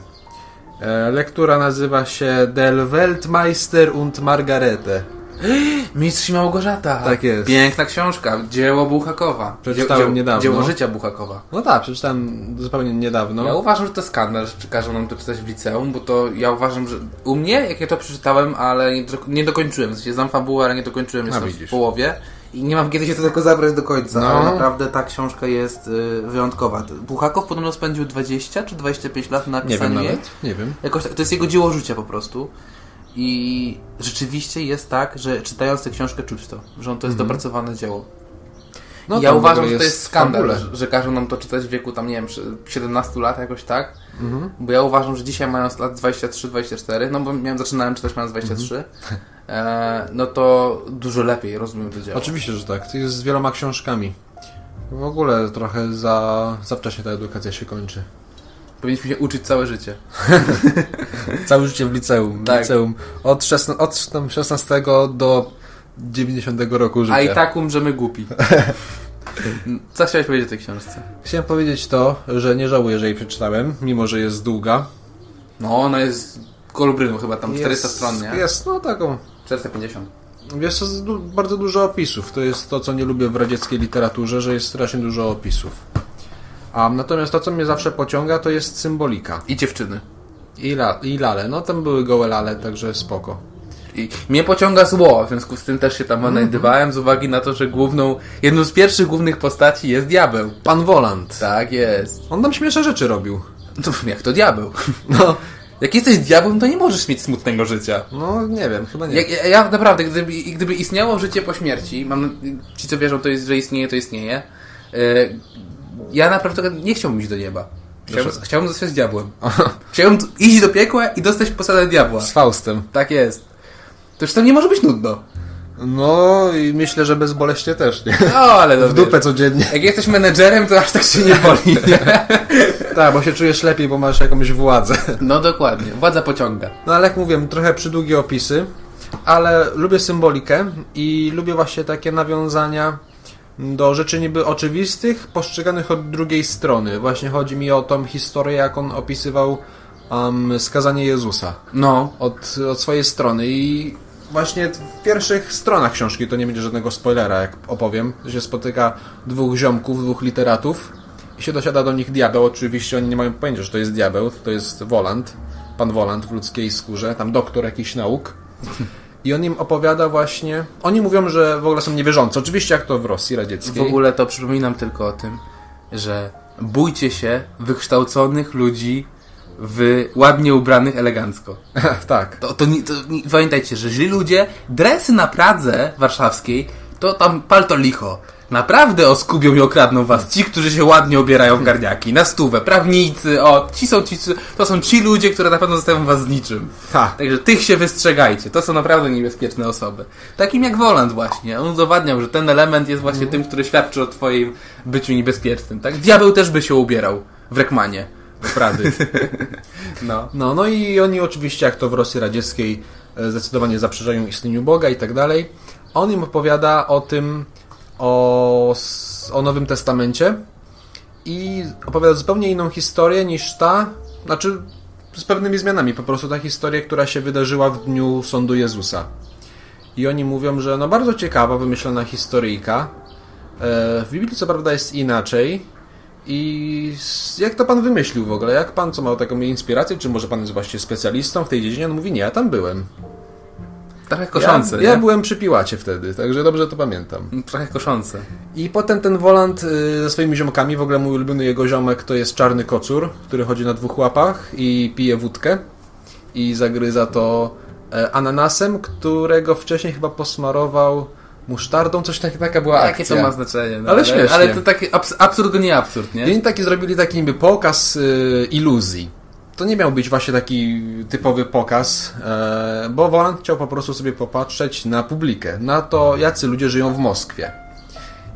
[SPEAKER 1] E, lektura nazywa się Del Weltmeister und Margarete.
[SPEAKER 2] Mistrz i Małgorzata.
[SPEAKER 1] Tak jest.
[SPEAKER 2] Piękna książka. Dzieło Buchakowa.
[SPEAKER 1] Przeczytałem
[SPEAKER 2] Dzieło-
[SPEAKER 1] niedawno.
[SPEAKER 2] Dzieło życia Buchakowa.
[SPEAKER 1] No tak, przeczytałem zupełnie niedawno.
[SPEAKER 2] Ja uważam, że to skandal, że każą nam to czytać w liceum, bo to ja uważam, że u mnie, jak ja to przeczytałem, ale nie, do- nie dokończyłem, w sensie znam fabułę, ale nie dokończyłem, jestem
[SPEAKER 1] No, widzisz.
[SPEAKER 2] w połowie i nie mam kiedy się to tylko zabrać do końca,
[SPEAKER 1] No.
[SPEAKER 2] ale naprawdę ta książka jest y, wyjątkowa. Buchakow podobno spędził 20 czy 25 lat na
[SPEAKER 1] nie wiem
[SPEAKER 2] pisaniu jej.
[SPEAKER 1] nawet. Nie wiem.
[SPEAKER 2] Jakoś tak, to jest jego dzieło życia po prostu. I rzeczywiście jest tak, że czytając tę książkę czuć to, że on to jest
[SPEAKER 1] Mhm.
[SPEAKER 2] dopracowane dzieło.
[SPEAKER 1] No
[SPEAKER 2] ja
[SPEAKER 1] tam w
[SPEAKER 2] uważam,
[SPEAKER 1] ogóle
[SPEAKER 2] że to
[SPEAKER 1] jest
[SPEAKER 2] jest skandal,
[SPEAKER 1] fabule.
[SPEAKER 2] że, że każą nam to czytać w wieku tam, nie wiem, przy- 17 lat jakoś tak.
[SPEAKER 1] Mhm. Mhm.
[SPEAKER 2] Bo ja uważam, że dzisiaj mając lat 23-24, no bo miałem, zaczynałem czytać mając 23, e, no to dużo lepiej, rozumiem, to działa.
[SPEAKER 1] Oczywiście, że tak. To jest z wieloma książkami. W ogóle trochę za, za wcześnie ta edukacja się kończy.
[SPEAKER 2] Powinniśmy się uczyć całe życie.
[SPEAKER 1] Całe życie w liceum.
[SPEAKER 2] Tak.
[SPEAKER 1] liceum. Od, 16, od tam 16 do 90 roku życia.
[SPEAKER 2] A i tak
[SPEAKER 1] [LAUGHS]
[SPEAKER 2] umrzemy głupi. Co chciałeś powiedzieć o tej książce?
[SPEAKER 1] Chciałem powiedzieć to, że nie żałuję, że jej przeczytałem, mimo że jest długa.
[SPEAKER 2] No, ona jest kolubryną chyba, tam 400
[SPEAKER 1] Jest-
[SPEAKER 2] stron, nie?
[SPEAKER 1] Jest, no taką.
[SPEAKER 2] 450.
[SPEAKER 1] Jest to z- du- bardzo dużo opisów. To jest to, co nie lubię w radzieckiej literaturze, że jest strasznie dużo opisów. A natomiast to, co mnie zawsze pociąga, to jest symbolika.
[SPEAKER 2] I dziewczyny.
[SPEAKER 1] I, la, i lale. No tam były gołe lale, także spoko.
[SPEAKER 2] I mnie pociąga zło, w związku z tym też się tam odnajdywałem, z uwagi na to, że główną, jedną z pierwszych głównych postaci jest diabeł.
[SPEAKER 1] Pan Woland.
[SPEAKER 2] Tak jest.
[SPEAKER 1] On tam śmieszne rzeczy robił.
[SPEAKER 2] No, jak to diabeł? [LAUGHS] No, jak jesteś diabłem, to nie możesz mieć smutnego życia.
[SPEAKER 1] No nie wiem, chyba nie.
[SPEAKER 2] Ja, ja, ja naprawdę, gdyby, i gdyby istniało życie po śmierci, mam, ci co wierzą, to jest, że istnieje, to istnieje, e, ja naprawdę nie chciałbym iść do nieba. Chciałbym, chciałbym zostać diabłem. Chciałbym t- iść do piekła i dostać posadę diabła.
[SPEAKER 1] Z Faustem.
[SPEAKER 2] Tak jest. To już tam nie może być nudno.
[SPEAKER 1] No i myślę, że bezboleśnie też, nie?
[SPEAKER 2] [LAUGHS] No, ale no,
[SPEAKER 1] W
[SPEAKER 2] wiesz.
[SPEAKER 1] dupę codziennie.
[SPEAKER 2] Jak jesteś menedżerem, to aż tak się [LAUGHS] nie boli. nie?
[SPEAKER 1] [LAUGHS] Tak, bo się czujesz lepiej, bo masz jakąś władzę.
[SPEAKER 2] [LAUGHS] No dokładnie, władza pociąga.
[SPEAKER 1] No ale jak mówię, trochę przydługie opisy, ale lubię symbolikę i lubię właśnie takie nawiązania do rzeczy niby oczywistych, postrzeganych od drugiej strony. Właśnie chodzi mi o tą historię, jak on opisywał um, skazanie Jezusa
[SPEAKER 2] No.
[SPEAKER 1] od, od swojej strony i właśnie w pierwszych stronach książki, to nie będzie żadnego spoilera, jak opowiem, się spotyka dwóch ziomków, dwóch literatów i się dosiada do nich diabeł. Oczywiście oni nie mają pojęcia, że to jest diabeł, to jest Woland, pan Woland w ludzkiej skórze, tam doktor jakichś nauk. I on im opowiada właśnie... Oni mówią, że w ogóle są niewierzący. Oczywiście jak to w Rosji
[SPEAKER 2] W
[SPEAKER 1] radzieckiej.
[SPEAKER 2] ogóle to przypominam tylko o tym, że bójcie się wykształconych ludzi w ładnie ubranych elegancko.
[SPEAKER 1] [LAUGHS] tak.
[SPEAKER 2] To, to, nie- to nie- pamiętajcie, że źli ludzie, dresy na Pradze warszawskiej, to tam palto licho. Naprawdę oskubią i okradną was ci, którzy się ładnie obierają w garniaki, na stówę, prawnicy, o, ci są ci, to są ci ludzie, które na pewno zostawią was z niczym.
[SPEAKER 1] Ha.
[SPEAKER 2] Także tych się wystrzegajcie. To są naprawdę niebezpieczne osoby. Takim jak Woland właśnie. On udowadniał, że ten element jest właśnie
[SPEAKER 1] Mhm.
[SPEAKER 2] tym, który świadczy o twoim byciu niebezpiecznym. Tak? Diabeł też by się ubierał w rekmanie.
[SPEAKER 1] Prady.
[SPEAKER 2] No.
[SPEAKER 1] No, no i oni oczywiście, jak to w Rosji Radzieckiej, e, zdecydowanie zaprzeczają istnieniu Boga i tak dalej. On im opowiada o tym, o, s- o Nowym Testamencie i opowiada zupełnie inną historię niż ta, znaczy z pewnymi zmianami, po prostu ta historia, która się wydarzyła w dniu sądu Jezusa. I oni mówią, że no bardzo ciekawa, wymyślona historyjka. E, W Biblii co prawda jest inaczej. I s- jak to pan wymyślił w ogóle? Jak pan co ma taką inspirację? Czy może pan jest właśnie specjalistą w tej dziedzinie? On mówi, nie, ja tam byłem.
[SPEAKER 2] Trochę koszące.
[SPEAKER 1] ja, ja
[SPEAKER 2] nie?
[SPEAKER 1] byłem przy Piłacie wtedy, także dobrze to pamiętam.
[SPEAKER 2] Trochę koszące.
[SPEAKER 1] I potem ten Woland y, ze swoimi ziomkami, w ogóle mój ulubiony jego ziomek to jest czarny kocur, który chodzi na dwóch łapach i pije wódkę i zagryza to e, ananasem, którego wcześniej chyba posmarował musztardą, coś takiego, taka była
[SPEAKER 2] Jakie
[SPEAKER 1] akcja.
[SPEAKER 2] to ma znaczenie? No,
[SPEAKER 1] Ale śmiesznie.
[SPEAKER 2] Ale to taki abs- absurd, to nie absurd, nie?
[SPEAKER 1] I oni taki zrobili taki niby pokaz y, iluzji. To nie miał być właśnie taki typowy pokaz, e, bo Woland chciał po prostu sobie popatrzeć na publikę, na to, jacy ludzie żyją w Moskwie.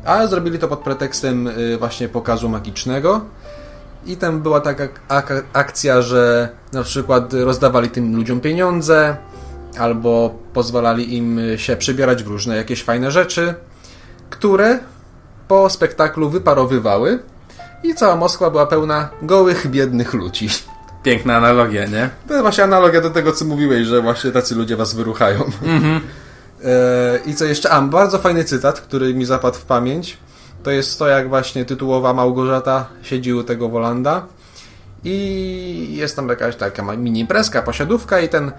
[SPEAKER 1] Ale zrobili to pod pretekstem y, właśnie pokazu magicznego. I tam była taka ak- akcja, że na przykład rozdawali tym ludziom pieniądze, albo pozwalali im się przebierać w różne jakieś fajne rzeczy, które po spektaklu wyparowywały i cała Moskwa była pełna gołych, biednych ludzi.
[SPEAKER 2] Piękna analogia, nie?
[SPEAKER 1] To jest właśnie analogia do tego, co mówiłeś, że właśnie tacy ludzie was wyruchają. E, I co jeszcze? A, bardzo fajny cytat, który mi zapadł w pamięć. To jest to, jak właśnie tytułowa Małgorzata siedzi u tego Wolanda. I jest tam jakaś taka ma- mini imprezka, posiadówka i ten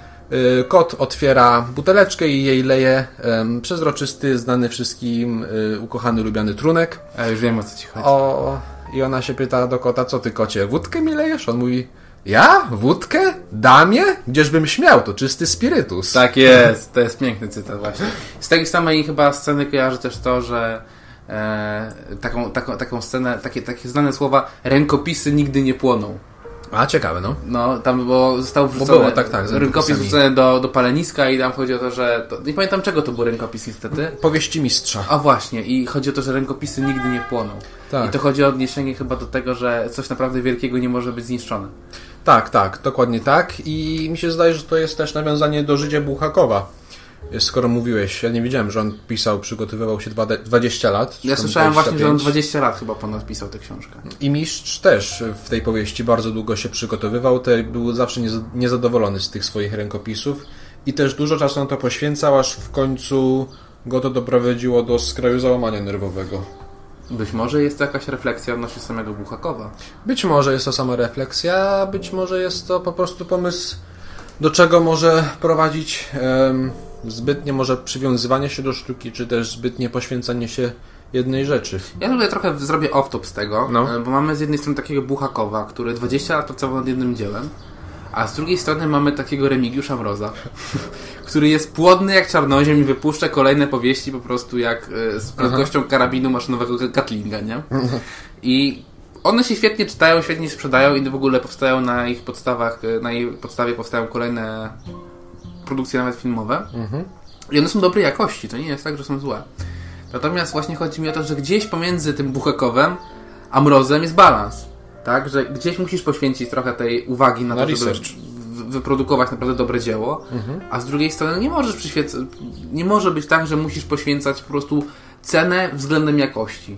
[SPEAKER 1] y, kot otwiera buteleczkę i jej leje em, przezroczysty, znany wszystkim, y, ukochany, lubiany trunek.
[SPEAKER 2] A już wiem o co ci chodzi.
[SPEAKER 1] O, i ona się pyta do kota, co ty kocie, wódkę mi lejesz? On mówi, ja? Wódkę? Damie? Gdzieżbym śmiał, to czysty spirytus.
[SPEAKER 2] Tak jest, to jest piękny cytat właśnie. Z tej samej chyba sceny kojarzy też to, że e, taką, taką, taką scenę, takie, takie znane słowa rękopisy nigdy nie płoną.
[SPEAKER 1] A, ciekawe, no.
[SPEAKER 2] No, tam bo został wrzucony,
[SPEAKER 1] było, tak, tak, z
[SPEAKER 2] rękopis
[SPEAKER 1] rękopisami.
[SPEAKER 2] wrzucony do, do paleniska i tam chodzi o to, że... To, nie pamiętam czego to był rękopis niestety.
[SPEAKER 1] Powieści mistrza.
[SPEAKER 2] A właśnie, i chodzi o to, że rękopisy nigdy nie płoną.
[SPEAKER 1] Tak.
[SPEAKER 2] I to chodzi o odniesienie chyba do tego, że coś naprawdę wielkiego nie może być zniszczone.
[SPEAKER 1] Tak, tak, dokładnie tak. I mi się zdaje, że to jest też nawiązanie do życia Buchakowa. Skoro mówiłeś, ja nie wiedziałem, że on pisał, przygotowywał się 20 lat. czy
[SPEAKER 2] Ja
[SPEAKER 1] tam
[SPEAKER 2] słyszałem właśnie, że on
[SPEAKER 1] 25.
[SPEAKER 2] 20 lat chyba ponad pisał tę książkę.
[SPEAKER 1] I mistrz też w tej powieści bardzo długo się przygotowywał, te, był zawsze nieza- niezadowolony z tych swoich rękopisów i też dużo czasu na to poświęcał, aż w końcu go to doprowadziło do skraju załamania nerwowego.
[SPEAKER 2] Być może jest to jakaś refleksja odnośnie samego Buchakowa.
[SPEAKER 1] Być może jest to sama refleksja, być może jest to po prostu pomysł, do czego może prowadzić em, zbytnie może przywiązywanie się do sztuki, czy też zbytnie poświęcanie się jednej rzeczy.
[SPEAKER 2] Ja tutaj trochę zrobię off-top z tego,
[SPEAKER 1] No.
[SPEAKER 2] e, bo mamy z jednej strony takiego Buchakowa, który 20 lat pracował nad jednym dziełem, a z drugiej strony mamy takiego Remigiusza Mroza, [LAUGHS] który jest płodny jak czarnoziem i wypuszcza kolejne powieści po prostu jak e, z prędkością karabinu maszynowego Gat- Gatlinga, nie? I one się świetnie czytają, świetnie się sprzedają i w ogóle powstają na ich podstawach, e, na jej podstawie powstają kolejne produkcje nawet filmowe.
[SPEAKER 1] Mhm.
[SPEAKER 2] I one są dobrej jakości, to nie jest tak, że są złe. Natomiast właśnie chodzi mi o to, że gdzieś pomiędzy tym buchekowem a mrozem jest balans. Tak, że gdzieś musisz poświęcić trochę tej uwagi na,
[SPEAKER 1] Na
[SPEAKER 2] to, żeby
[SPEAKER 1] research. Mhm.
[SPEAKER 2] w- wyprodukować naprawdę dobre dzieło, a z drugiej strony nie możesz przyświecać, nie może być tak, że musisz poświęcać po prostu cenę względem jakości.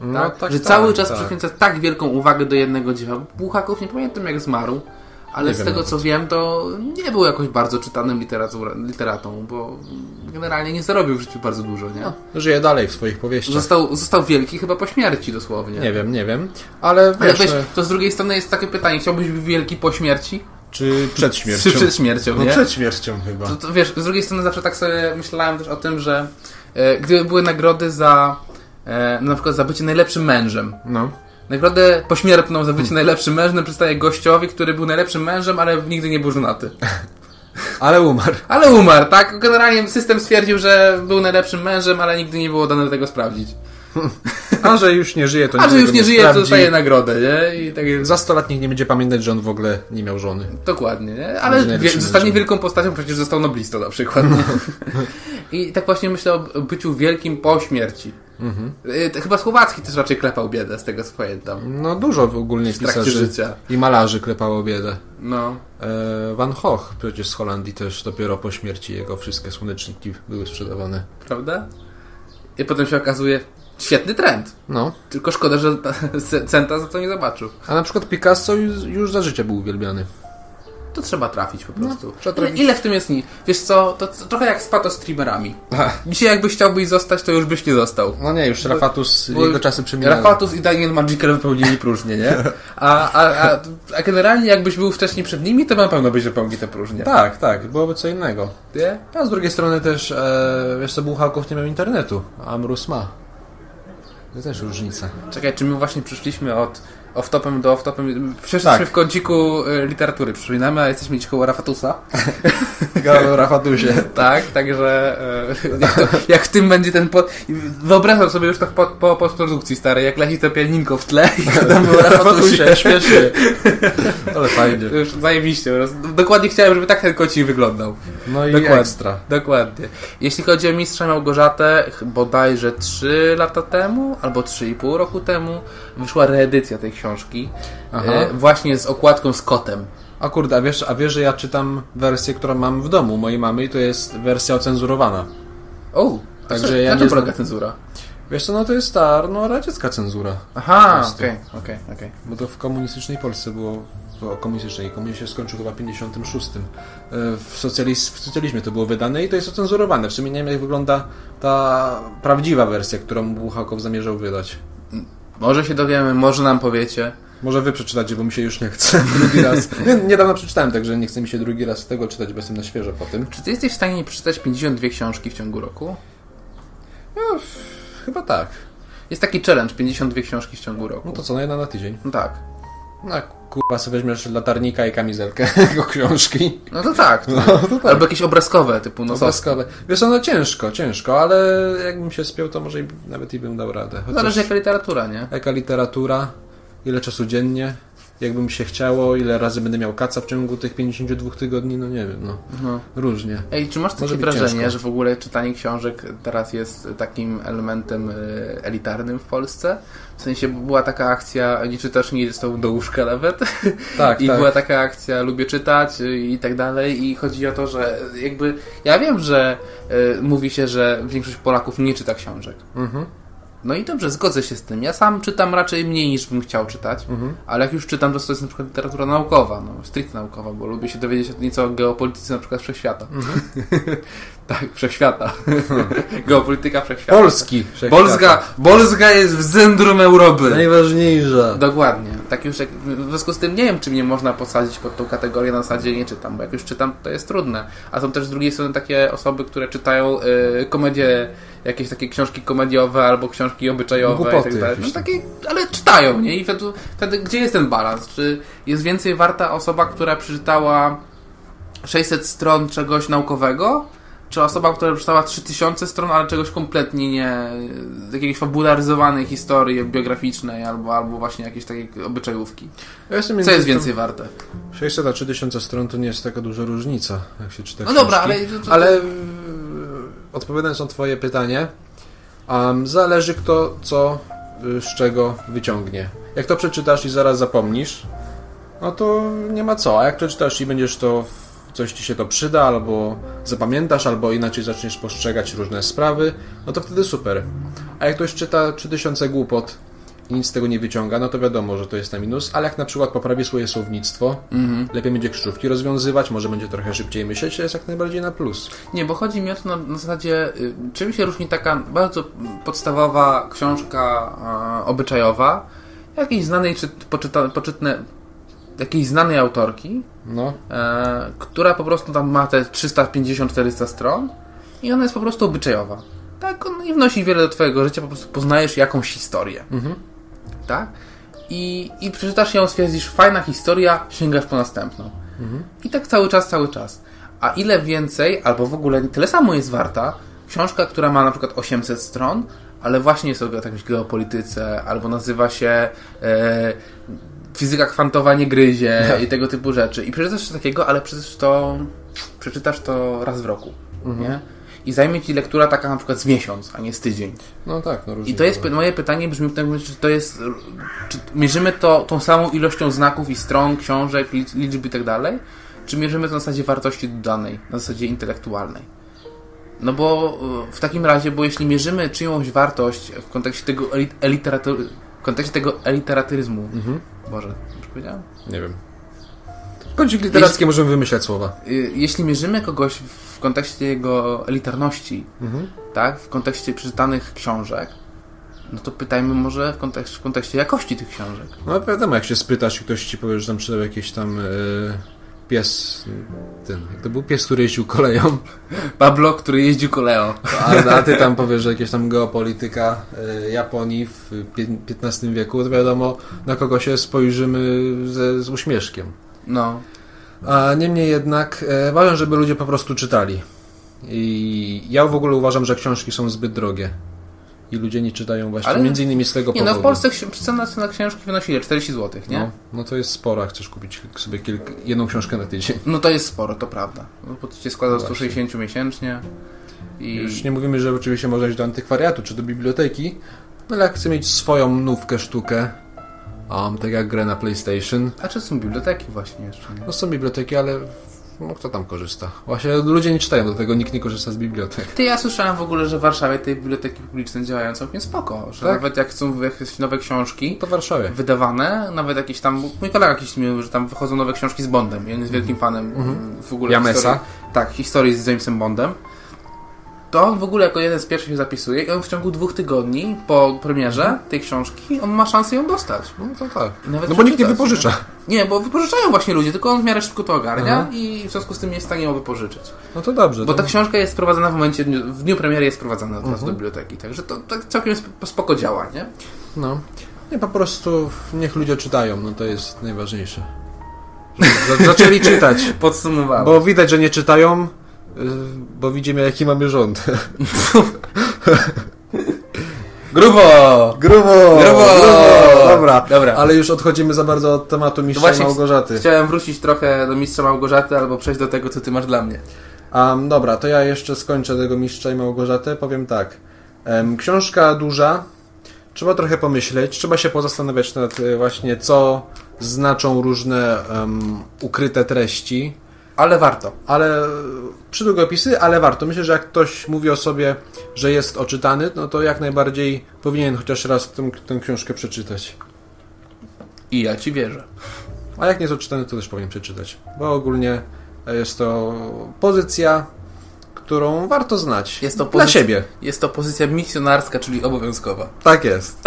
[SPEAKER 1] No,
[SPEAKER 2] Tak? że cały czas przyświęca tak wielką uwagę do jednego dzieła. Buchaków nie pamiętam jak zmarł, ale
[SPEAKER 1] Nie
[SPEAKER 2] z
[SPEAKER 1] wiem
[SPEAKER 2] tego
[SPEAKER 1] nawet.
[SPEAKER 2] co wiem, to nie był jakoś bardzo czytanym literatur- literatą, bo generalnie nie zarobił w życiu bardzo dużo,
[SPEAKER 1] No,
[SPEAKER 2] nie?
[SPEAKER 1] Żyje dalej w swoich powieściach.
[SPEAKER 2] Został, został wielki chyba po śmierci dosłownie.
[SPEAKER 1] Nie wiem, nie wiem, ale
[SPEAKER 2] Ale
[SPEAKER 1] wiesz,
[SPEAKER 2] wiesz,
[SPEAKER 1] e,
[SPEAKER 2] to z drugiej strony jest takie pytanie, chciałbyś być wielki po śmierci?
[SPEAKER 1] czy przed
[SPEAKER 2] Czy przed
[SPEAKER 1] No
[SPEAKER 2] śmiercią, nie? No
[SPEAKER 1] śmiercią chyba.
[SPEAKER 2] To, to wiesz, z drugiej strony zawsze tak sobie myślałem też o tym, że e, gdyby były nagrody za e, na przykład za bycie najlepszym mężem,
[SPEAKER 1] No.
[SPEAKER 2] Nagrodę pośmiertną za bycie najlepszym mężem no, przystaje gościowi, który był najlepszym mężem, ale nigdy nie był żonaty.
[SPEAKER 1] Ale umarł.
[SPEAKER 2] Ale umarł, tak? Generalnie system stwierdził, że był najlepszym mężem, ale nigdy nie było dane tego sprawdzić.
[SPEAKER 1] [LAUGHS] A że już nie żyje, to
[SPEAKER 2] A
[SPEAKER 1] nikt
[SPEAKER 2] że już
[SPEAKER 1] tego
[SPEAKER 2] nie żyje, to
[SPEAKER 1] sprawdzi.
[SPEAKER 2] dostaje nagrodę, nie? I tak jest.
[SPEAKER 1] Za 100 lat nikt nie będzie pamiętać, że on w ogóle nie miał żony.
[SPEAKER 2] Dokładnie, nie?
[SPEAKER 1] Będzie
[SPEAKER 2] Ale wie,
[SPEAKER 1] najlepszym
[SPEAKER 2] zostanie
[SPEAKER 1] mężem.
[SPEAKER 2] wielką postacią, przecież został noblistą na przykład. nie? I tak właśnie myślę o byciu wielkim po śmierci. Y, to Chyba Słowacki też raczej klepał biedę, z tego co pamiętam.
[SPEAKER 1] No dużo ogólnie
[SPEAKER 2] W trakcie
[SPEAKER 1] pisarzy
[SPEAKER 2] życia.
[SPEAKER 1] i malarzy klepało biedę.
[SPEAKER 2] No.
[SPEAKER 1] E, Van Gogh przecież z Holandii też dopiero po śmierci jego wszystkie słoneczniki były sprzedawane.
[SPEAKER 2] prawda? I potem się okazuje świetny trend.
[SPEAKER 1] No,
[SPEAKER 2] Tylko szkoda, że ta- ce- centa za to nie zobaczył.
[SPEAKER 1] a na przykład Picasso już, już za życia był uwielbiany.
[SPEAKER 2] To trzeba trafić po prostu.
[SPEAKER 1] No. trzeba
[SPEAKER 2] ile,
[SPEAKER 1] trafić.
[SPEAKER 2] ile w tym jest ni? Wiesz co, to c- trochę jak z pato streamerami. Dzisiaj jakbyś chciałbyś zostać, to już byś nie został.
[SPEAKER 1] No nie, już Rafatus,
[SPEAKER 2] Bo
[SPEAKER 1] jego czasy przeminęły.
[SPEAKER 2] Rafatus i Daniel Magical wypełnili próżnię, nie? A, a, a, a generalnie jakbyś był wcześniej przed nimi, to na pewno byś wypełnił te próżnie.
[SPEAKER 1] Tak, tak, byłoby co innego.
[SPEAKER 2] Nie?
[SPEAKER 1] A z drugiej strony też, e, wiesz co, Buchałków nie miał internetu, a Mróz ma. To też [LAUGHS] różnica.
[SPEAKER 2] Czekaj, czy my właśnie przyszliśmy od off-topem do off-topem? Przeszliśmy
[SPEAKER 1] Tak.
[SPEAKER 2] w kąciku y, literatury, przypominamy, a jesteśmy dzisiaj koło Rafatusa.
[SPEAKER 1] Gadał o Rafatusie.
[SPEAKER 2] Tak, także e, [LAUGHS] jak, to, jak w tym będzie ten. Po... Wyobrażam sobie już tak po, po postprodukcji starej, jak leci to pianinko w tle i
[SPEAKER 1] [LAUGHS]
[SPEAKER 2] gadamy o Rafatusie.
[SPEAKER 1] śmiesznie. Ale fajnie. [LAUGHS]
[SPEAKER 2] Już zajebiście. po prostu. Dokładnie chciałem, żeby tak ten kocik wyglądał.
[SPEAKER 1] No i
[SPEAKER 2] Dokładnie.
[SPEAKER 1] ekstra.
[SPEAKER 2] Dokładnie. Jeśli chodzi o mistrza Małgorzatę, ch- bodajże 3 lata temu, albo 3,5 roku temu, wyszła reedycja tej książki.
[SPEAKER 1] Aha.
[SPEAKER 2] E, właśnie z okładką z kotem.
[SPEAKER 1] A kurde, a wiesz, a wiesz, że ja czytam wersję, którą mam w domu mojej mamy i to jest wersja ocenzurowana.
[SPEAKER 2] O,
[SPEAKER 1] Także
[SPEAKER 2] także
[SPEAKER 1] ja
[SPEAKER 2] ja. Na
[SPEAKER 1] nie
[SPEAKER 2] czym
[SPEAKER 1] znam-
[SPEAKER 2] polega cenzura?
[SPEAKER 1] Wiesz co, no to jest ta no, radziecka cenzura. Po
[SPEAKER 2] Aha,
[SPEAKER 1] prostu.
[SPEAKER 2] okej, okej, okej.
[SPEAKER 1] Bo to w komunistycznej Polsce było, w komunistycznej, komunizm się skończył chyba w 56. E, W, socjaliz, w socjalizmie to było wydane i to jest ocenzurowane. W sumie nie wiem, jak wygląda ta prawdziwa wersja, którą Buchakow zamierzał wydać.
[SPEAKER 2] Może się dowiemy, może nam powiecie.
[SPEAKER 1] Może wy przeczytacie, bo mi się już nie chce [LAUGHS] drugi raz. Nie- Niedawno przeczytałem, także nie chce mi się drugi raz tego czytać, bo jestem na świeżo po tym.
[SPEAKER 2] Czy ty jesteś w stanie przeczytać 52 książki w ciągu roku?
[SPEAKER 1] Chyba tak.
[SPEAKER 2] Jest taki challenge 52 książki w ciągu roku.
[SPEAKER 1] No to co, no jedna na tydzień.
[SPEAKER 2] No tak.
[SPEAKER 1] No kurwa, sobie weźmiesz latarnika i kamizelkę [LAUGHS] do książki.
[SPEAKER 2] No to tak. Albo jakieś obrazkowe typu no co?
[SPEAKER 1] Obaskowe. Wiesz, co, no ciężko, ciężko, ale jakbym się spiął, to może i, nawet i bym dał radę. Chociaż
[SPEAKER 2] Zależy jaka literatura, nie?
[SPEAKER 1] jaka literatura, ile czasu dziennie. jakby mi się chciało, ile razy będę miał kaca w ciągu tych 52 tygodni, no nie wiem, no.
[SPEAKER 2] No.
[SPEAKER 1] Różnie.
[SPEAKER 2] Ej, czy masz takie
[SPEAKER 1] Może być
[SPEAKER 2] wrażenie,
[SPEAKER 1] ciężko.
[SPEAKER 2] że w ogóle czytanie książek teraz jest takim elementem e, elitarnym w Polsce? W sensie była taka akcja, nie czytasz, nie idziesz z tobą do łóżka nawet.
[SPEAKER 1] Tak,
[SPEAKER 2] I
[SPEAKER 1] tak.
[SPEAKER 2] była taka akcja, lubię czytać y, i tak dalej. I chodzi o to, że y, jakby. Ja wiem, że y, mówi się, że większość Polaków nie czyta książek.
[SPEAKER 1] Mhm.
[SPEAKER 2] No i dobrze, zgodzę się z tym. Ja sam czytam raczej mniej niż bym chciał czytać,
[SPEAKER 1] Mhm.
[SPEAKER 2] ale jak już czytam, to to jest na przykład literatura naukowa, no, stricte naukowa, bo lubię się dowiedzieć nieco o geopolityce na przykład wszechświata.
[SPEAKER 1] Mhm.
[SPEAKER 2] [LAUGHS] tak,
[SPEAKER 1] [LAUGHS]
[SPEAKER 2] wszechświata. Geopolityka wszechświata.
[SPEAKER 1] Polski.
[SPEAKER 2] Polska, Polska jest w centrum Europy.
[SPEAKER 1] Najważniejsza.
[SPEAKER 2] Dokładnie. Tak już jak, w związku z tym nie wiem, czy mnie można posadzić pod tą kategorię na zasadzie nie czytam, bo jak już czytam, to jest trudne. A są też z drugiej strony takie osoby, które czytają y, komedie, jakieś takie książki komediowe albo książki obyczajowe
[SPEAKER 1] Głupoty
[SPEAKER 2] i tak dalej. No
[SPEAKER 1] jakieś tam.
[SPEAKER 2] takie, ale czytają, nie? I wtedy, wtedy gdzie jest ten balans? Czy jest więcej warta osoba, która przeczytała 600 stron czegoś naukowego? Czy osoba, która przeczytała 3000 stron, ale czegoś kompletnie nie. z jakiejś fabularyzowanej historii biograficznej albo, albo właśnie jakiejś takiej obyczajówki.
[SPEAKER 1] Ja jestem
[SPEAKER 2] Co
[SPEAKER 1] między
[SPEAKER 2] jest
[SPEAKER 1] tym-
[SPEAKER 2] więcej warte?
[SPEAKER 1] 600 a 3000 stron to nie jest taka duża różnica, jak się czyta
[SPEAKER 2] No dobra, ale.
[SPEAKER 1] książki. Ale yy, odpowiadając na Twoje pytanie, em, zależy kto co y, z czego wyciągnie. Jak to przeczytasz i zaraz zapomnisz, no to nie ma co. A jak przeczytasz i będziesz to, w- coś ci się to przyda, albo zapamiętasz, albo inaczej zaczniesz postrzegać różne sprawy, no to wtedy super. A jak ktoś czyta 3000 głupot i nic z tego nie wyciąga, no to wiadomo, że to jest na minus, ale jak na przykład poprawi swoje słownictwo, lepiej będzie krzyżówki rozwiązywać, może będzie trochę szybciej myśleć, to jest jak najbardziej na plus.
[SPEAKER 2] Nie, bo chodzi mi o to na, na zasadzie, y, czym się różni taka bardzo podstawowa książka e, obyczajowa jakiejś znanej, czy poczyta, poczytne, jakiejś znanej autorki,
[SPEAKER 1] No,
[SPEAKER 2] e, która po prostu tam ma te 350-400 stron i ona jest po prostu obyczajowa. Tak, on nie wnosi wiele do twojego życia, po prostu poznajesz jakąś historię. Tak? I, I przeczytasz ją, stwierdzisz, fajna historia, sięgasz po następną. I tak cały czas, cały czas. A ile więcej, albo w ogóle tyle samo jest warta, książka, która ma na przykład 800 stron, ale właśnie jest o jakiejś geopolityce, albo nazywa się e, fizyka kwantowa nie gryzie i tego typu rzeczy. I przeczytasz coś takiego, ale przecież to przeczytasz to raz w roku, nie? I zajmie ci lektura taka na przykład z miesiąc, a nie z tydzień.
[SPEAKER 1] no tak, no różnie.
[SPEAKER 2] I to jest
[SPEAKER 1] bywa.
[SPEAKER 2] py- moje pytanie brzmi w tym momencie, czy to jest. Czy mierzymy to tą samą ilością znaków i stron, książek, lic- liczb i tak dalej? Czy mierzymy to na zasadzie wartości dodanej, na zasadzie intelektualnej? No bo y, w takim razie, bo jeśli mierzymy czyjąś wartość w kontekście tego elit- eliteratur- w kontekście tego eliteratyryzmu, Boże, już powiedziałem?
[SPEAKER 1] Nie wiem. Kącik literacki możemy wymyślać słowa.
[SPEAKER 2] Y, jeśli mierzymy kogoś w kontekście jego elitarności,
[SPEAKER 1] Mhm.
[SPEAKER 2] tak, w kontekście przeczytanych książek, no to pytajmy może w kontekście, w kontekście jakości tych książek.
[SPEAKER 1] No wiadomo, jak się spytasz i ktoś ci powie, że tam przydał jakiś tam yy, pies, ten, jak to był pies, który jeździł koleją,
[SPEAKER 2] Pablo, który jeździł koleją.
[SPEAKER 1] a, a ty tam powiesz, że jakieś tam geopolityka yy, Japonii w pię- XV wieku, to wiadomo, na kogo się spojrzymy ze, z uśmieszkiem.
[SPEAKER 2] No.
[SPEAKER 1] A niemniej jednak e, ważne, żeby ludzie po prostu czytali. I ja w ogóle uważam, że książki są zbyt drogie. I ludzie nie czytają właśnie
[SPEAKER 2] Ale-
[SPEAKER 1] między innymi z tego
[SPEAKER 2] Nie,
[SPEAKER 1] powodu.
[SPEAKER 2] no w Polsce ksi- cena, cena książki wynosi ile? 40 zł, nie?
[SPEAKER 1] No,
[SPEAKER 2] No.
[SPEAKER 1] no to jest sporo, jak chcesz kupić sobie kilk, jedną książkę na tydzień.
[SPEAKER 2] No to jest sporo, to prawda. No bo to się składa z
[SPEAKER 1] Właśnie.
[SPEAKER 2] 160 miesięcznie. I
[SPEAKER 1] Już nie mówimy, że oczywiście można iść do antykwariatu czy do biblioteki, no ale jak chcę mieć swoją nówkę sztukę, um, tak jak grę na PlayStation,
[SPEAKER 2] A czy są biblioteki właśnie jeszcze? Nie?
[SPEAKER 1] no są biblioteki, ale no, kto tam korzysta? Właśnie ludzie nie czytają, dlatego nikt nie korzysta z bibliotek.
[SPEAKER 2] Ty, ja słyszałem w ogóle, że w Warszawie tej biblioteki publiczne działają całkiem spoko. Że
[SPEAKER 1] Tak?
[SPEAKER 2] nawet jak są jakieś nowe książki,
[SPEAKER 1] To w Warszawie.
[SPEAKER 2] wydawane, nawet jakieś tam, mój kolega jakiś mi mówił, że tam wychodzą nowe książki z Bondem i on jest wielkim fanem mm, w ogóle
[SPEAKER 1] Mhm. Jamesa.
[SPEAKER 2] historii, tak, historii z Jamesem Bondem, to on w ogóle jako jeden z pierwszych się zapisuje i on w ciągu dwóch tygodni po premierze tej książki, on ma szansę ją dostać.
[SPEAKER 1] No to tak.
[SPEAKER 2] I nawet
[SPEAKER 1] No bo nikt nie
[SPEAKER 2] przeczytać,
[SPEAKER 1] wypożycza.
[SPEAKER 2] Nie, bo wypożyczają właśnie ludzie, tylko on w miarę szybko to ogarnia
[SPEAKER 1] Aha.
[SPEAKER 2] i w związku z tym nie jest w stanie ją wypożyczyć.
[SPEAKER 1] No to dobrze.
[SPEAKER 2] Bo
[SPEAKER 1] to...
[SPEAKER 2] ta książka jest sprowadzana w momencie, w dniu- w dniu premiery jest sprowadzana od razu
[SPEAKER 1] Mhm.
[SPEAKER 2] do biblioteki, także to, to całkiem sp- spoko działa, nie?
[SPEAKER 1] No. Nie, po prostu niech ludzie czytają, no to jest najważniejsze. Żeby za- [LAUGHS] Zaczęli czytać,
[SPEAKER 2] Podsumowałem.
[SPEAKER 1] bo widać, że nie czytają, y, bo widzimy jaki mamy rząd.
[SPEAKER 2] Grubo!
[SPEAKER 1] [LAUGHS] Grubo!
[SPEAKER 2] Grubo!
[SPEAKER 3] Dobra,
[SPEAKER 2] Dobra.
[SPEAKER 3] ale już odchodzimy za bardzo od tematu mistrza
[SPEAKER 2] właśnie
[SPEAKER 3] Małgorzaty.
[SPEAKER 2] Chciałem wrócić trochę do mistrza Małgorzaty albo przejść do tego, co ty masz dla mnie.
[SPEAKER 3] Um, dobra, to ja jeszcze skończę tego mistrza i Małgorzatę. Powiem tak. Em, książka duża. Trzeba trochę pomyśleć, trzeba się pozastanawiać nad y, właśnie co znaczą różne em, ukryte treści,
[SPEAKER 2] Ale warto.
[SPEAKER 3] ale y, przy długopisy, ale warto. Myślę, że jak ktoś mówi o sobie, że jest oczytany, no to jak najbardziej powinien chociaż raz tę, tę książkę przeczytać.
[SPEAKER 2] I ja ci wierzę.
[SPEAKER 3] A jak nie jest odczytany, to też powinien przeczytać, bo ogólnie jest to pozycja, którą warto znać
[SPEAKER 2] Jest to
[SPEAKER 3] dla
[SPEAKER 2] pozycja-
[SPEAKER 3] siebie.
[SPEAKER 2] Jest to pozycja misjonarska, czyli obowiązkowa.
[SPEAKER 3] Tak jest.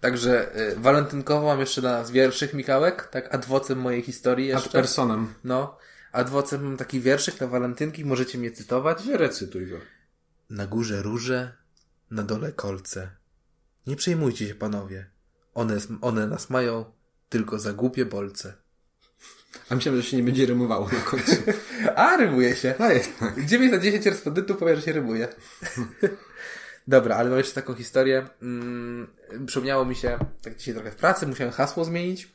[SPEAKER 2] Także y, walentynkowo mam jeszcze dla nas wierszyk, Mikołek, tak adwocem mojej historii
[SPEAKER 3] Ad
[SPEAKER 2] jeszcze.
[SPEAKER 3] personem.
[SPEAKER 2] No, adwocem mam taki wierszyk na walentynki, możecie mnie cytować.
[SPEAKER 1] Nie recytuj go.
[SPEAKER 2] Na górze róże, na dole kolce. Nie przejmujcie się, panowie. One, one nas mają, tylko za głupie bolce.
[SPEAKER 1] A myślałem, że się nie będzie rymowało na końcu.
[SPEAKER 2] A, rymuje się.
[SPEAKER 1] [LAUGHS] A jednak.
[SPEAKER 2] 9 na 10 respondentów powie, że się rymuje. [LAUGHS] Dobra, ale mam jeszcze taką historię. Mm, przypomniało mi się, tak dzisiaj trochę w pracy, musiałem hasło zmienić.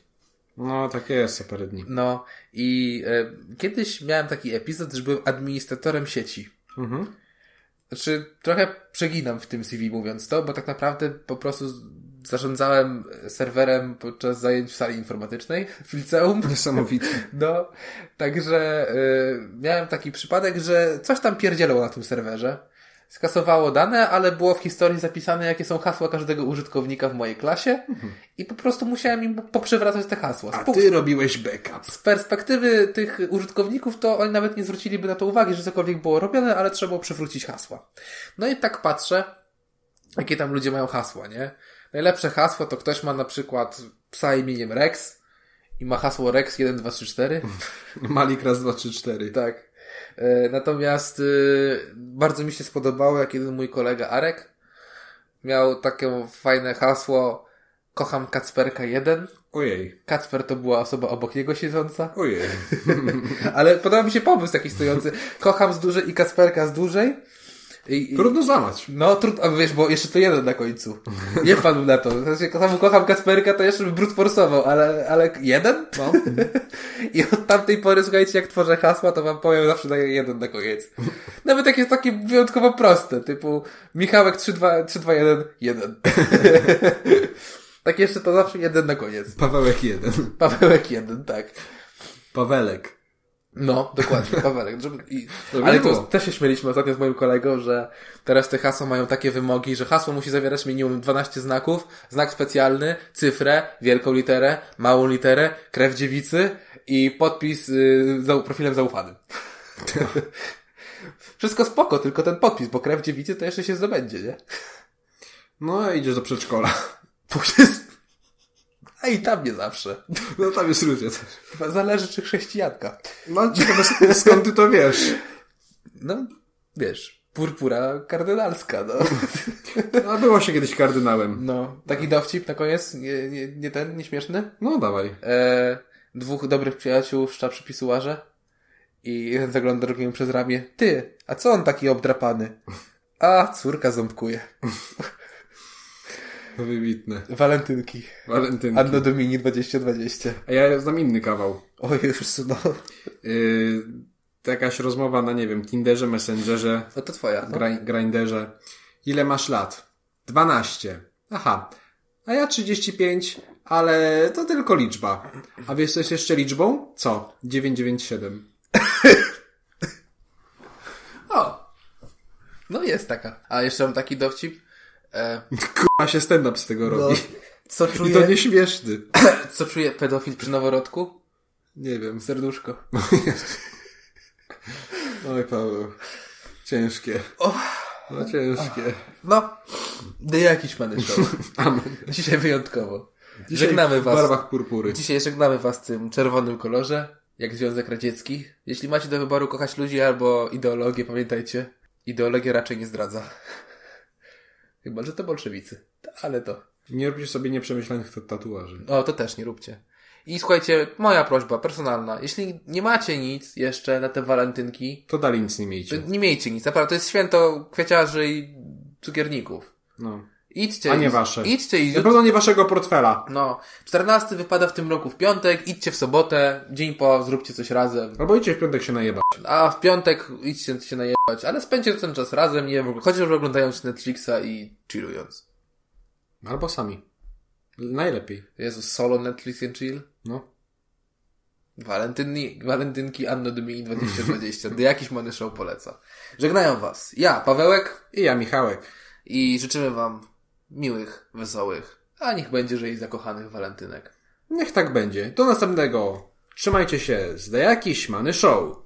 [SPEAKER 1] No, tak jest, za parę dni.
[SPEAKER 2] No i e, kiedyś miałem taki epizod, że byłem administratorem sieci.
[SPEAKER 1] Mhm.
[SPEAKER 2] Znaczy, trochę przeginam w tym CV mówiąc to, bo tak naprawdę po prostu z- zarządzałem serwerem podczas zajęć w sali informatycznej w liceum.
[SPEAKER 1] Niesamowite.
[SPEAKER 2] No, także y, miałem taki przypadek, że coś tam pierdzielało na tym serwerze. Skasowało dane, ale było w historii zapisane, jakie są hasła każdego użytkownika w mojej klasie i po prostu musiałem im poprzewracać te hasła.
[SPEAKER 1] Mhm. A
[SPEAKER 2] Spół-
[SPEAKER 1] ty robiłeś backup.
[SPEAKER 2] z perspektywy tych użytkowników, to oni nawet nie zwróciliby na to uwagi, że cokolwiek było robione, ale trzeba było przywrócić hasła. No i tak patrzę, jakie tam ludzie mają hasła, nie? Najlepsze hasło to ktoś ma na przykład psa imieniem Rex i ma hasło Rex 1234.
[SPEAKER 1] Malik raz, dwa, trzy, cztery.
[SPEAKER 2] Tak. E, Natomiast y, bardzo mi się spodobało, jak jeden mój kolega Arek miał takie fajne hasło Kocham Kacperka 1.
[SPEAKER 1] Ojej,
[SPEAKER 2] Kacper to była osoba obok
[SPEAKER 1] [LAUGHS]
[SPEAKER 2] niego siedząca.
[SPEAKER 1] ojej.
[SPEAKER 2] Ale podoba mi się pomysł taki stojący. Kocham z dużej i Kasperka z dużej. I, i,
[SPEAKER 1] Trudno złamać.
[SPEAKER 2] no trudno, a wiesz, bo jeszcze to jeden na końcu. Nie wpadł na to. Znaczy, sam kocham Kasperka, to jeszcze bym brutforsował, ale, ale jeden? No. I od tamtej pory, słuchajcie, jak tworzę hasła, to wam powiem, zawsze daję jeden na koniec. Nawet jak jest takie wyjątkowo proste, typu Michałek 321, jeden. [LAUGHS] Tak jeszcze to zawsze jeden na koniec.
[SPEAKER 1] Pawełek jeden.
[SPEAKER 2] Pawełek jeden, tak.
[SPEAKER 1] Pawelek.
[SPEAKER 2] No, dokładnie, Pawełek. Żeby... I...
[SPEAKER 1] To by
[SPEAKER 2] Ale
[SPEAKER 1] nie
[SPEAKER 2] to
[SPEAKER 1] było.
[SPEAKER 2] też się śmieliśmy ostatnio z moim kolegą, że teraz te hasła mają takie wymogi, że hasło musi zawierać minimum 12 znaków, znak specjalny, cyfrę, wielką literę, małą literę, krew dziewicy i podpis y, za, profilem zaufanym. [LAUGHS] Wszystko spoko, tylko ten podpis, bo krew dziewicy to jeszcze się zdobędzie, nie?
[SPEAKER 1] No, idziesz do przedszkola.
[SPEAKER 2] Bo jest... A i tam nie zawsze.
[SPEAKER 1] No, tam jest ludzie też.
[SPEAKER 2] Chyba zależy, czy chrześcijanka.
[SPEAKER 1] No, ciekawe sk- skąd ty to wiesz?
[SPEAKER 2] No, wiesz, purpura kardynalska, no.
[SPEAKER 1] No, było się kiedyś kardynałem.
[SPEAKER 2] No, taki dowcip na koniec, nie, nie, nie ten, nieśmieszny.
[SPEAKER 1] No, dawaj.
[SPEAKER 2] E, dwóch dobrych przyjaciół wszcza przy pisuarze i jeden zagląda drugiemu przez ramię. Ty, a co on taki obdrapany? A, córka ząbkuje.
[SPEAKER 1] Wybitne.
[SPEAKER 2] Walentynki.
[SPEAKER 1] Walentynki.
[SPEAKER 2] Anno Domini 2020.
[SPEAKER 1] A ja znam inny kawał.
[SPEAKER 2] Oj, już no.
[SPEAKER 1] Yy, jakaś rozmowa na, nie wiem, Tinderze, Messengerze,
[SPEAKER 2] No to twoja. No.
[SPEAKER 1] gri- Grinderze. Ile masz lat? 12. Aha. A ja 35, ale to tylko liczba. A wiesz, co jest jeszcze liczbą? Co? 997.
[SPEAKER 2] O! No jest taka. A jeszcze mam taki dowcip. E,
[SPEAKER 1] K***a się stand-up z
[SPEAKER 2] No,
[SPEAKER 1] tego robi.
[SPEAKER 2] co,
[SPEAKER 1] I to
[SPEAKER 2] czuje,
[SPEAKER 1] nie śmieszny.
[SPEAKER 2] co czuje pedofil przy noworodku?
[SPEAKER 1] Nie wiem.
[SPEAKER 2] Serduszko.
[SPEAKER 1] Oj, Paweł. Ciężkie. No ciężkie.
[SPEAKER 2] No, The jakiś Money Show. Dzisiaj wyjątkowo.
[SPEAKER 1] Dzisiaj
[SPEAKER 2] żegnamy
[SPEAKER 1] w
[SPEAKER 2] was.
[SPEAKER 1] barwach purpury.
[SPEAKER 2] Dzisiaj żegnamy was w tym czerwonym kolorze, jak Związek Radziecki. Jeśli macie do wyboru kochać ludzi albo ideologię, pamiętajcie, ideologia raczej nie zdradza. [LAUGHS] Chyba, że to bolszewicy. Ale to.
[SPEAKER 1] Nie róbcie sobie nieprzemyślanych ta- tatuaży.
[SPEAKER 2] O, to też nie róbcie. I słuchajcie, moja prośba personalna. Jeśli nie macie nic jeszcze na te walentynki,
[SPEAKER 1] To dalej nic nie
[SPEAKER 2] to
[SPEAKER 1] miejcie.
[SPEAKER 2] nie miejcie nic. Naprawdę, to jest święto kwieciarzy i cukierników.
[SPEAKER 1] No.
[SPEAKER 2] Idźcie.
[SPEAKER 1] A nie
[SPEAKER 2] i-
[SPEAKER 1] wasze.
[SPEAKER 2] Idźcie i
[SPEAKER 1] Na pewno nie waszego portfela.
[SPEAKER 2] No, 14 wypada w tym roku w piątek, idźcie w sobotę, dzień po, zróbcie coś razem.
[SPEAKER 1] Albo idźcie w piątek się najebać.
[SPEAKER 2] A w piątek idźcie się najebać, ale spędźcie ten czas razem, nie wiem, chociaż oglądając Netflixa i chillując.
[SPEAKER 1] Albo sami. Najlepiej.
[SPEAKER 2] Jezus, solo Netflix and chill?
[SPEAKER 1] No.
[SPEAKER 2] Walentynki, walentynki Anno Domini 2020. The Jakiś Money Show poleca. Żegnają Was. Ja, Pawełek
[SPEAKER 1] I ja, Michałek.
[SPEAKER 2] i życzymy Wam miłych, wesołych, a niech będzie, że i zakochanych walentynek.
[SPEAKER 1] Niech tak będzie. Do następnego. Trzymajcie się. Zda jakiś many show.